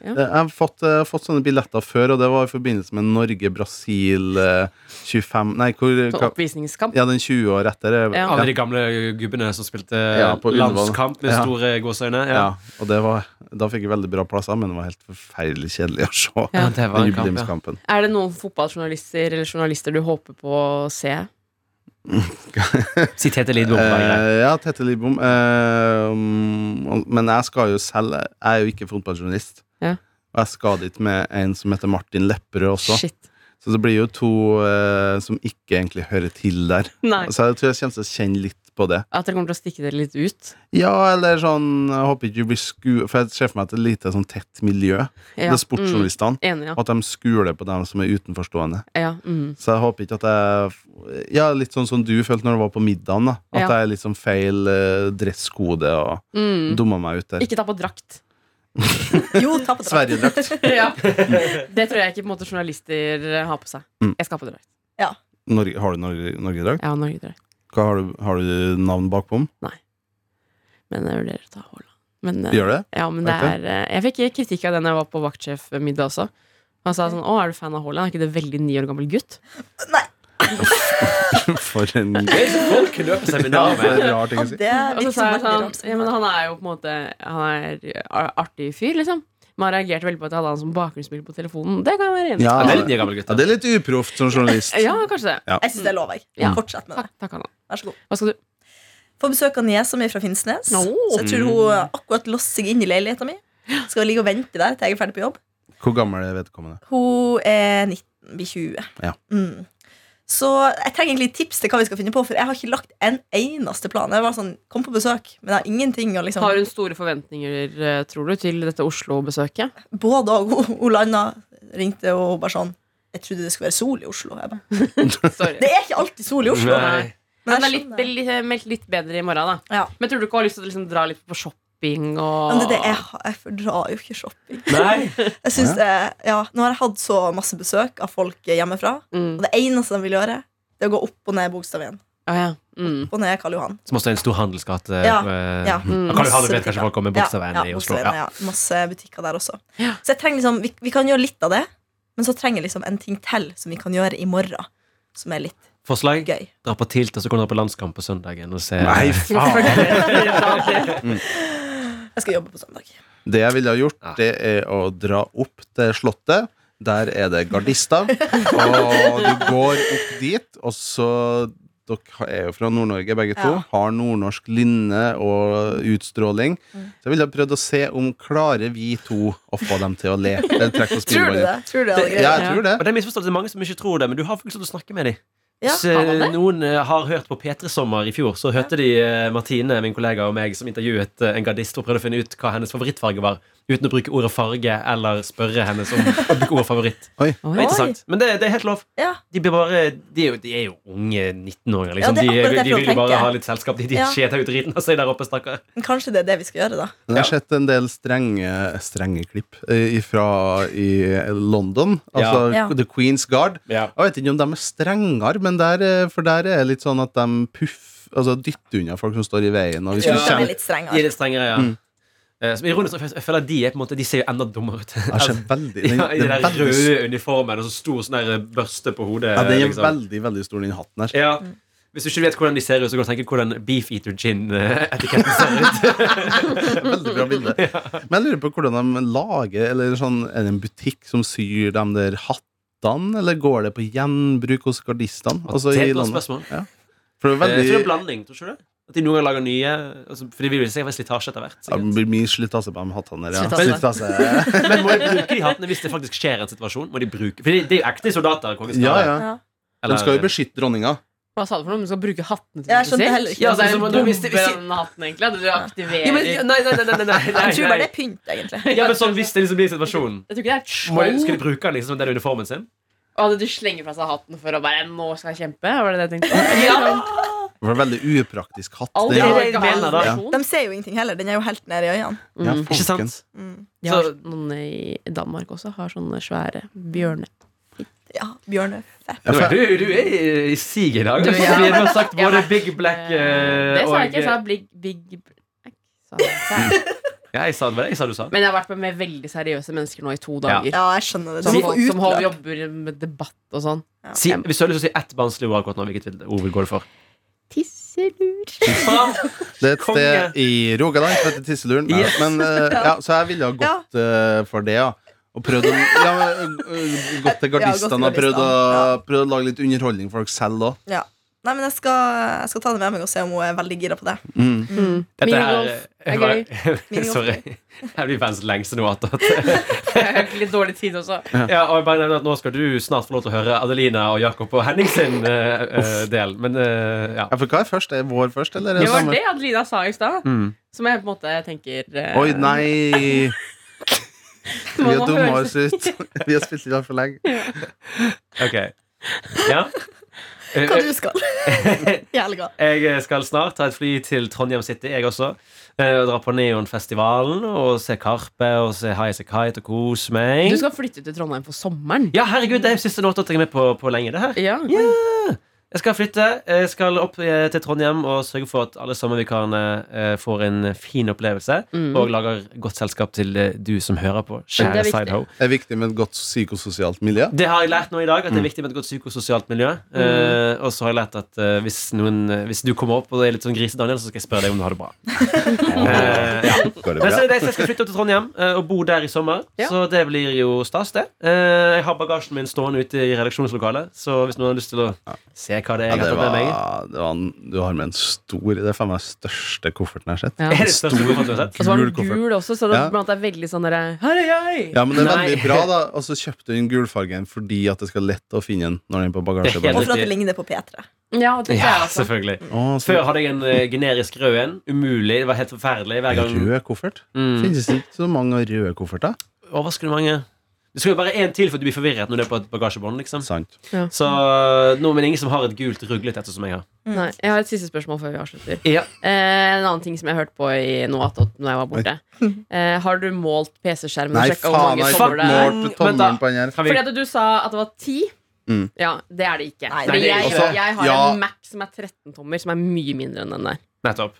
Speaker 7: Eh, Jeg har fått, eh, fått sånne billetter før, og det var i forbindelse med Norge-Brasil eh, 25 Nei, hvor
Speaker 5: Sånn
Speaker 7: hva,
Speaker 5: oppvisningskamp.
Speaker 7: Ja, den 20 år etter. eh,
Speaker 5: Ja.
Speaker 4: Alle de gamle gubbene som spilte
Speaker 7: Ja, på Ullevål.
Speaker 4: landskamp med
Speaker 7: Ja.
Speaker 4: store gåseøyne. Ja.
Speaker 7: ja, og det var, da fikk jeg veldig bra plasser, men det var helt forferdelig kjedelig å se.
Speaker 5: Ja.
Speaker 4: det var
Speaker 7: Den
Speaker 4: en kamp, ja.
Speaker 7: jubileumskampen.
Speaker 5: Er det noen fotballjournalister eller journalister du håper på å se?
Speaker 4: Si Tete Lidbom. bare.
Speaker 7: Eh, ja, Tete Lidbom. eh, mm, men jeg skal jo selv Jeg er jo ikke fotballjournalist.
Speaker 5: Ja.
Speaker 7: Og jeg skal dit med en som heter Martin Lepperød også.
Speaker 5: Shit.
Speaker 7: Så det blir jo to eh, som ikke egentlig hører til der.
Speaker 5: Nei.
Speaker 7: Så jeg tror jeg kommer til å kjenne litt på det.
Speaker 5: At dere kommer til å stikke dere litt ut?
Speaker 7: Ja, eller sånn Jeg håper ikke du blir sku... For jeg ser for meg at det er et lite sånn tett miljø.
Speaker 5: Ja,
Speaker 7: Det er sportsjournalistene.
Speaker 5: Mm, enig, ja.
Speaker 7: Og at de skuler på dem som er utenforstående.
Speaker 5: ja mm.
Speaker 7: Så jeg håper ikke at jeg Ja, litt sånn som du følte når du var på middagen, da. At
Speaker 5: Ja.
Speaker 7: jeg er litt sånn feil eh, dresskode og
Speaker 5: Mm.
Speaker 7: dumma meg ut der. *laughs*
Speaker 5: Ikke ta på drakt. *laughs*
Speaker 8: Jo, ta på drakt.
Speaker 7: Sverigedrakt.
Speaker 5: ja. Det tror jeg ikke på en måte, journalister eh, har på seg.
Speaker 7: Mm.
Speaker 5: Jeg skal ha på drakt.
Speaker 7: Norge, har du Norge- Norgedrakt?
Speaker 5: Ja, Norgedrakt.
Speaker 7: Hva har du, har du navn bakpå? den?
Speaker 5: Men jeg vurderer å ta Haaland. Men, eh,
Speaker 7: Gjør det?
Speaker 5: Ja, men det
Speaker 7: Ok.
Speaker 5: er, eh, jeg fikk kritikk av den jeg var på vaktsjefmiddag også. Han sa sånn 'Å, er du fan av Haaland? Er ikke det veldig ni år gammel gutt?'
Speaker 7: *laughs* For en
Speaker 4: Det er så folk løper
Speaker 7: Ja,
Speaker 4: seminar
Speaker 7: for
Speaker 4: med.
Speaker 7: en rar ting å
Speaker 8: Og
Speaker 7: si.
Speaker 8: det er
Speaker 5: Og så
Speaker 8: litt
Speaker 5: sa jeg
Speaker 8: som
Speaker 5: sånn
Speaker 8: Norgedrakt.
Speaker 5: ja, men Han er jo på en måte Han er ar- artig fyr, liksom. Man reagerte veldig på at jeg hadde han som bakgrunnsbilde på telefonen. Det kan jeg være enig i.
Speaker 7: Ja,
Speaker 4: Ja, det er litt
Speaker 7: ja,
Speaker 4: nye gamle gutter.
Speaker 7: det er litt uproft som journalist.
Speaker 5: Ja, kanskje det.
Speaker 8: Jeg syns det er lov, jeg.
Speaker 5: Ja.
Speaker 8: Fortsett med det.
Speaker 5: Takk, takk Anna.
Speaker 8: Vær så god.
Speaker 5: Hva skal du
Speaker 8: Får besøk av nye som er fra Finnsnes.
Speaker 5: Nå.
Speaker 8: Så jeg tror hun akkurat låser seg inn i leiligheten min. Skal ligge og vente der til jeg er ferdig på jobb.
Speaker 7: Hvor gammel er vedkommende?
Speaker 8: Hun er 19, blir 20.
Speaker 7: Ja.
Speaker 8: Mm. Så jeg trenger egentlig tips til hva vi skal finne på, for jeg har ikke lagt en eneste plan. Jeg var sånn, kom på besøk, men jeg har ingenting å liksom
Speaker 5: Har hun store forventninger, eh, tror du, til dette Oslo-besøket?
Speaker 8: *laughs* Både og. Hun- Hun landa, ringte og bare sånn Jeg trodde det skulle være sol i Oslo. Jeg bare,
Speaker 5: Sorry.
Speaker 8: det er ikke alltid sol i Oslo.
Speaker 4: Nei.
Speaker 5: Men det
Speaker 8: Men
Speaker 5: er
Speaker 8: jeg
Speaker 5: litt,
Speaker 8: skjønner.
Speaker 5: det er litt, eh, meldt litt bedre i morgen, da.
Speaker 8: Ja.
Speaker 5: Men tror du ikke hun har lyst til å liksom dra litt på shopping og
Speaker 8: Men det, er det, jeg, jeg fordrar jo ikke shopping.
Speaker 4: Nei.
Speaker 8: Jeg synes det, ja, Nå har jeg hatt så masse besøk av folk hjemmefra, og
Speaker 5: Mm.
Speaker 8: det eneste de vil gjøre, det er å gå opp og ned Bogstadveien.
Speaker 5: Å, ja. mm.
Speaker 8: Opp og ned Karl Johan.
Speaker 4: Som også er en stor handelsgate.
Speaker 8: Ja,
Speaker 4: eh,
Speaker 8: ja.
Speaker 4: og
Speaker 5: Mm.
Speaker 4: Karl Johan
Speaker 8: Masse
Speaker 4: vet kanskje
Speaker 8: butikker.
Speaker 4: folk kommer Bogstadveien i Oslo.
Speaker 8: Bogstadveien, ja.
Speaker 4: Ja.
Speaker 8: Masse butikker der også.
Speaker 5: Ja.
Speaker 8: Så jeg trenger liksom, vi, vi kan gjøre litt av det, men så trenger jeg liksom en ting til som vi kan gjøre i morgen, som er litt
Speaker 4: Forslag?
Speaker 8: gøy.
Speaker 4: Dra på Tilt, og så kan du dra på landskamp på søndagen og se
Speaker 7: Nei, faen!
Speaker 8: Jeg skal jobbe på søndag.
Speaker 7: Det jeg ville ha gjort, det er å dra opp til Slottet. Der er det
Speaker 8: *laughs*
Speaker 7: gardister. Og du går opp dit, og så Dere er jo fra Nord-Norge, begge to.
Speaker 8: Ja.
Speaker 7: Har nordnorsk lynne og utstråling.
Speaker 8: Mm.
Speaker 7: Så jeg ville ha prøvd å se om klarer vi to å få dem til å
Speaker 8: *laughs*
Speaker 7: le. Eller trekke på
Speaker 8: Tror du
Speaker 7: smilebåndet.
Speaker 8: det? Tror du det er
Speaker 7: Ja,
Speaker 8: greit?
Speaker 7: jeg tror det.
Speaker 4: Og det er misforstått, det er mange som ikke tror det, men du har faktisk lov til å snakke med dem.
Speaker 8: Ja,
Speaker 4: Hvis eh,
Speaker 8: har man det?
Speaker 4: noen eh, har hørt på P3 Sommer i fjor, så hørte de eh, Martine, min kollega og meg, som intervjuet eh, en gardist og prøvde å finne ut hva hennes favorittfarge var, uten å bruke ordet farge eller spørre hennes
Speaker 8: *laughs*
Speaker 4: om å bruke ordet favoritt.
Speaker 7: Oi.
Speaker 4: Det var interessant. Men det, det er helt lov.
Speaker 8: Ja.
Speaker 4: De, blir bare, de, er, jo, de er jo unge 19-åringer,
Speaker 8: Ja,
Speaker 4: liksom.
Speaker 8: det er akkurat
Speaker 4: de,
Speaker 8: det jeg
Speaker 4: de vil
Speaker 8: prøver å
Speaker 4: jo bare
Speaker 8: tenke.
Speaker 4: ha litt selskap. De, de
Speaker 8: Ja.
Speaker 4: skjeter ut driten av seg der oppe, stakkar.
Speaker 8: Men kanskje det er det vi skal gjøre, da.
Speaker 7: Men jeg har sett en del strenge, strenge klipp eh, fra i London. Altså
Speaker 8: Ja. Ja.
Speaker 7: The Queen's Guard.
Speaker 4: Ja.
Speaker 7: Jeg vet ikke om de er strengere, men der, eh, for der er det litt sånn at de puff, altså dytter unna folk som står i veien. Og hvis
Speaker 8: Jeg
Speaker 7: du
Speaker 8: tror
Speaker 4: Ja.
Speaker 8: de er
Speaker 7: kommer,
Speaker 8: litt
Speaker 4: De er
Speaker 8: strengere.
Speaker 4: litt strengere,
Speaker 7: Mm.
Speaker 4: ja. Eh, Som ironisk, jeg jeg føler at de er på en måte De ser jo enda dummere ut.
Speaker 7: jeg ser veldig, den,
Speaker 4: Ja, I den
Speaker 7: den er
Speaker 4: der
Speaker 7: veldig,
Speaker 4: røde
Speaker 7: s-
Speaker 4: uniformen og så stor sånn der børste på hodet.
Speaker 7: ja, den er
Speaker 4: liksom.
Speaker 7: veldig, veldig stor, den hatten her.
Speaker 4: ja.
Speaker 5: Mm.
Speaker 4: Hvis du ikke vet hvordan de ser ut, så kan du tenke hvordan beef eater eh,
Speaker 7: *laughs*
Speaker 4: gin-etiketten ser ut.
Speaker 7: Veldig bra bilde.
Speaker 4: *laughs*
Speaker 7: Men jeg lurer på hvordan de lager Eller sånn, er det en butikk som syr de der hattene, eller går det på gjenbruk hos gardistene? Altså,
Speaker 4: Det
Speaker 7: i
Speaker 4: er et godt
Speaker 7: landet.
Speaker 4: spørsmål.
Speaker 7: For det er
Speaker 4: Eh, Jeg tror det er
Speaker 7: veldig
Speaker 4: blanding. tror ikke du det? At de noen ganger lager nye. Altså, fordi vi vil sikkert være slitasje etter hvert.
Speaker 7: Ja, det
Speaker 4: sikkert.
Speaker 7: blir mye slitasje på de hattene der. Ja.
Speaker 8: Slitasje.
Speaker 7: Slitasje.
Speaker 4: Men må de bruke de hattene hvis det faktisk skjer en situasjon? Må de bruke For det er jo ekte soldater. kongens
Speaker 7: *laughs* ja,
Speaker 4: skare.
Speaker 7: ja.
Speaker 8: Ja.
Speaker 7: De
Speaker 4: Eller-
Speaker 7: skal jo beskytte dronninga.
Speaker 5: Hva sa du for noe? Du skal bruke hattene til
Speaker 8: Jeg skjønte heller ikke.
Speaker 5: Ja, det er
Speaker 4: Ja,
Speaker 5: en
Speaker 4: men
Speaker 5: bombe
Speaker 4: hvis det- hvis-
Speaker 5: den hatten, egentlig. At du aktiverer
Speaker 4: Ja, men, ja, nei, nei, nei, nei, nei,
Speaker 5: *laughs*
Speaker 4: nei,
Speaker 8: Jeg tror bare
Speaker 4: nei,
Speaker 8: det er pynt, egentlig.
Speaker 4: *laughs* Ja, men sånn Hvis det liksom blir situasjonen,
Speaker 5: Jeg tror ikke det er et
Speaker 4: må de,
Speaker 5: skjold.
Speaker 4: skal de bruke den liksom, den uniformen sin?
Speaker 5: Å, du slenger fra seg hatten for å bare Nå skal jeg kjempe? Var det det jeg tenkte? ja.
Speaker 7: Det var en veldig upraktisk hatt.
Speaker 5: Alt
Speaker 7: Det,
Speaker 4: er
Speaker 5: har
Speaker 4: det
Speaker 5: ikke
Speaker 4: jeg
Speaker 5: all
Speaker 4: mener, da.
Speaker 5: funksjon.
Speaker 8: De ser jo ingenting heller. Den er jo helt nede i øynene.
Speaker 7: ja,
Speaker 5: Mm.
Speaker 4: Ikke
Speaker 7: folken.
Speaker 4: sant?
Speaker 8: Mm.
Speaker 5: De har noen i Danmark også har sånne svære bjørner.
Speaker 8: Ja, Bjørnø. Fett.
Speaker 7: Ja,
Speaker 4: Du,
Speaker 7: for,
Speaker 4: du er i siget i dag.
Speaker 5: Du,
Speaker 4: Du,
Speaker 5: ja.
Speaker 4: Vi har sagt
Speaker 5: Ja,
Speaker 4: både
Speaker 5: men-
Speaker 4: Big Black eh,
Speaker 5: det sa jeg
Speaker 4: og-
Speaker 5: ikke. Jeg sa big, big black. sa
Speaker 4: *laughs*
Speaker 5: jeg.
Speaker 4: Ja, jeg sa det, var det jeg sa du sa.
Speaker 5: Men jeg har vært med veldig seriøse mennesker nå i to dager.
Speaker 8: Ja, jeg skjønner det. Du
Speaker 5: Som,
Speaker 8: må få
Speaker 5: som hold-
Speaker 8: utløp.
Speaker 5: jobber med debatt og sånn.
Speaker 4: Si, hvis du har lyst til å si ett barnslig ord akkurat nå, hvilket ord vil gå det for?
Speaker 5: Tisselur.
Speaker 4: Faen!
Speaker 7: det er et
Speaker 4: Konge.
Speaker 7: sted i Rogaland som heter Tisseluren. Nei,
Speaker 4: Yes.
Speaker 7: Men, eh, ja, så jeg ville ha gått eh, for det, ja. Og prøvd å ja, men, eh, gått til
Speaker 8: Ja, gått til
Speaker 7: gardistene og prøvd å,
Speaker 8: gardistene,
Speaker 7: prøvd å lage litt underholdning for dere selv òg.
Speaker 8: Nei, men jeg skal, jeg skal ta det med meg og se om hun er veldig gira på det.
Speaker 7: Mm.
Speaker 5: Mm.
Speaker 4: Dette
Speaker 5: Minigolf
Speaker 4: her
Speaker 5: er
Speaker 4: var-
Speaker 5: gøy.
Speaker 8: Minigolf.
Speaker 4: *laughs* Sorry. Jeg blir verdens lengste nå. At, at,
Speaker 5: *laughs* Jeg har litt dårlig tid også.
Speaker 4: ja, og jeg bare nevner at Nå skal du snart få lov til å høre Adelina og Jakob og Henning sin eh, eh, del. Men eh, ja.
Speaker 7: Ja, for hva er først? Er vår først, eller? er
Speaker 5: Det var
Speaker 7: sommer?
Speaker 5: det Adelina sa i stad,
Speaker 4: Mm.
Speaker 5: som jeg på en måte tenker eh,
Speaker 7: Oi, nei! Vi
Speaker 5: Man må
Speaker 7: er dumme
Speaker 5: høre
Speaker 7: *laughs* oss ut. Vi har spilt i lag for lenge.
Speaker 4: Ok. Ja.
Speaker 5: Eh,
Speaker 4: Eh,
Speaker 8: Hva du
Speaker 5: *laughs*
Speaker 8: skal i helga?
Speaker 4: Jeg skal snart ta et fly til Trondheim City, jeg også. eh, Og dra på Neonfestivalen og se Karpe og se Highasakite og kose meg.
Speaker 5: Du skal flytte til Trondheim for sommeren?
Speaker 4: Ja, herregud, det er siste låta jeg er med på på lenge. det her
Speaker 5: Ja.
Speaker 4: Jeg skal flytte. Jeg skal opp eh, til Trondheim og sørge for at alle sommervikarene eh, får en fin opplevelse.
Speaker 5: Mm.
Speaker 4: Og lager godt selskap til eh, du som hører på.
Speaker 5: Det er
Speaker 4: Kjære
Speaker 5: viktig.
Speaker 4: Sidehow.
Speaker 7: Det er viktig med et godt psykososialt miljø.
Speaker 4: Det har jeg lært nå i dag, at det
Speaker 7: Mm.
Speaker 4: er viktig med et godt psykososialt miljø.
Speaker 5: Mm.
Speaker 4: Eh, og så har jeg lært at eh, hvis, noen, eh, hvis du kommer opp og er litt sånn grise, Daniel, så skal jeg spørre deg om du har det
Speaker 5: *laughs*
Speaker 4: bra. Eh, ja.
Speaker 7: Går det
Speaker 4: Men så
Speaker 7: bra?
Speaker 4: er det, så jeg skal flytte opp til Trondheim eh, og bo der i sommer.
Speaker 5: Ja.
Speaker 4: Så det blir jo stas, det. Eh, jeg har bagasjen min stående ute i redaksjonslokalet, så hvis noen har lyst til å se hva det er
Speaker 7: Ja,
Speaker 4: jeg
Speaker 7: det
Speaker 4: har fått med meg
Speaker 7: var, det var en, du har med en stor Det er faen meg største kofferten jeg har sett.
Speaker 4: *laughs*
Speaker 5: Ja.
Speaker 4: Er det største kofferten du har sett?
Speaker 5: Og så var den
Speaker 7: Gul koffert.
Speaker 5: gul også, så det,
Speaker 7: Ja.
Speaker 5: blant annet er veldig sånn derre Her er jeg!
Speaker 7: Ja, men det er veldig
Speaker 4: Nei.
Speaker 7: bra, da. Og så kjøpte hun gulfargen fordi at det skal lett å finne den når den er på
Speaker 4: Det er
Speaker 8: Og
Speaker 7: bagasjebåndet.
Speaker 4: helt-
Speaker 8: for at det ligner på P3.
Speaker 5: Ja, det er altså-
Speaker 4: Ja,
Speaker 5: jeg også.
Speaker 4: selvfølgelig.
Speaker 7: Å, så-
Speaker 4: Før hadde jeg en eh, generisk rød en. Umulig. Det var helt forferdelig hver gang.
Speaker 7: Rød koffert?
Speaker 4: Mm.
Speaker 7: Finnes det ikke så mange røde kofferter?
Speaker 4: Overraskende mange. Det skal jo bare én til for at du blir forvirret når du er på et bagasjebånd. liksom
Speaker 7: Sant.
Speaker 4: Så nå, men ingen som har et gult ruglete, ettersom jeg har.
Speaker 5: Nei, jeg har et siste spørsmål før vi avslutter.
Speaker 4: Ja.
Speaker 5: Eh, en annen ting som jeg hørte på i nå at når jeg var borte. *laughs* Eh, har du målt PC-skjermen og
Speaker 7: Nei,
Speaker 5: sjekka hvor
Speaker 7: faen,
Speaker 5: mange
Speaker 7: jeg
Speaker 5: tommer
Speaker 4: fuck
Speaker 7: fant
Speaker 5: det er?
Speaker 7: målt tommelen på den her.
Speaker 4: Kan vi,
Speaker 5: Fordi at du sa at det var ti.
Speaker 7: Mm.
Speaker 5: Ja, det er det ikke.
Speaker 8: Nei,
Speaker 5: Fordi
Speaker 4: det er
Speaker 5: jeg,
Speaker 4: ikke
Speaker 7: det.
Speaker 5: jeg har
Speaker 7: Ja.
Speaker 5: en Mac som er 13 tommer, som er mye mindre enn den der.
Speaker 4: nettopp.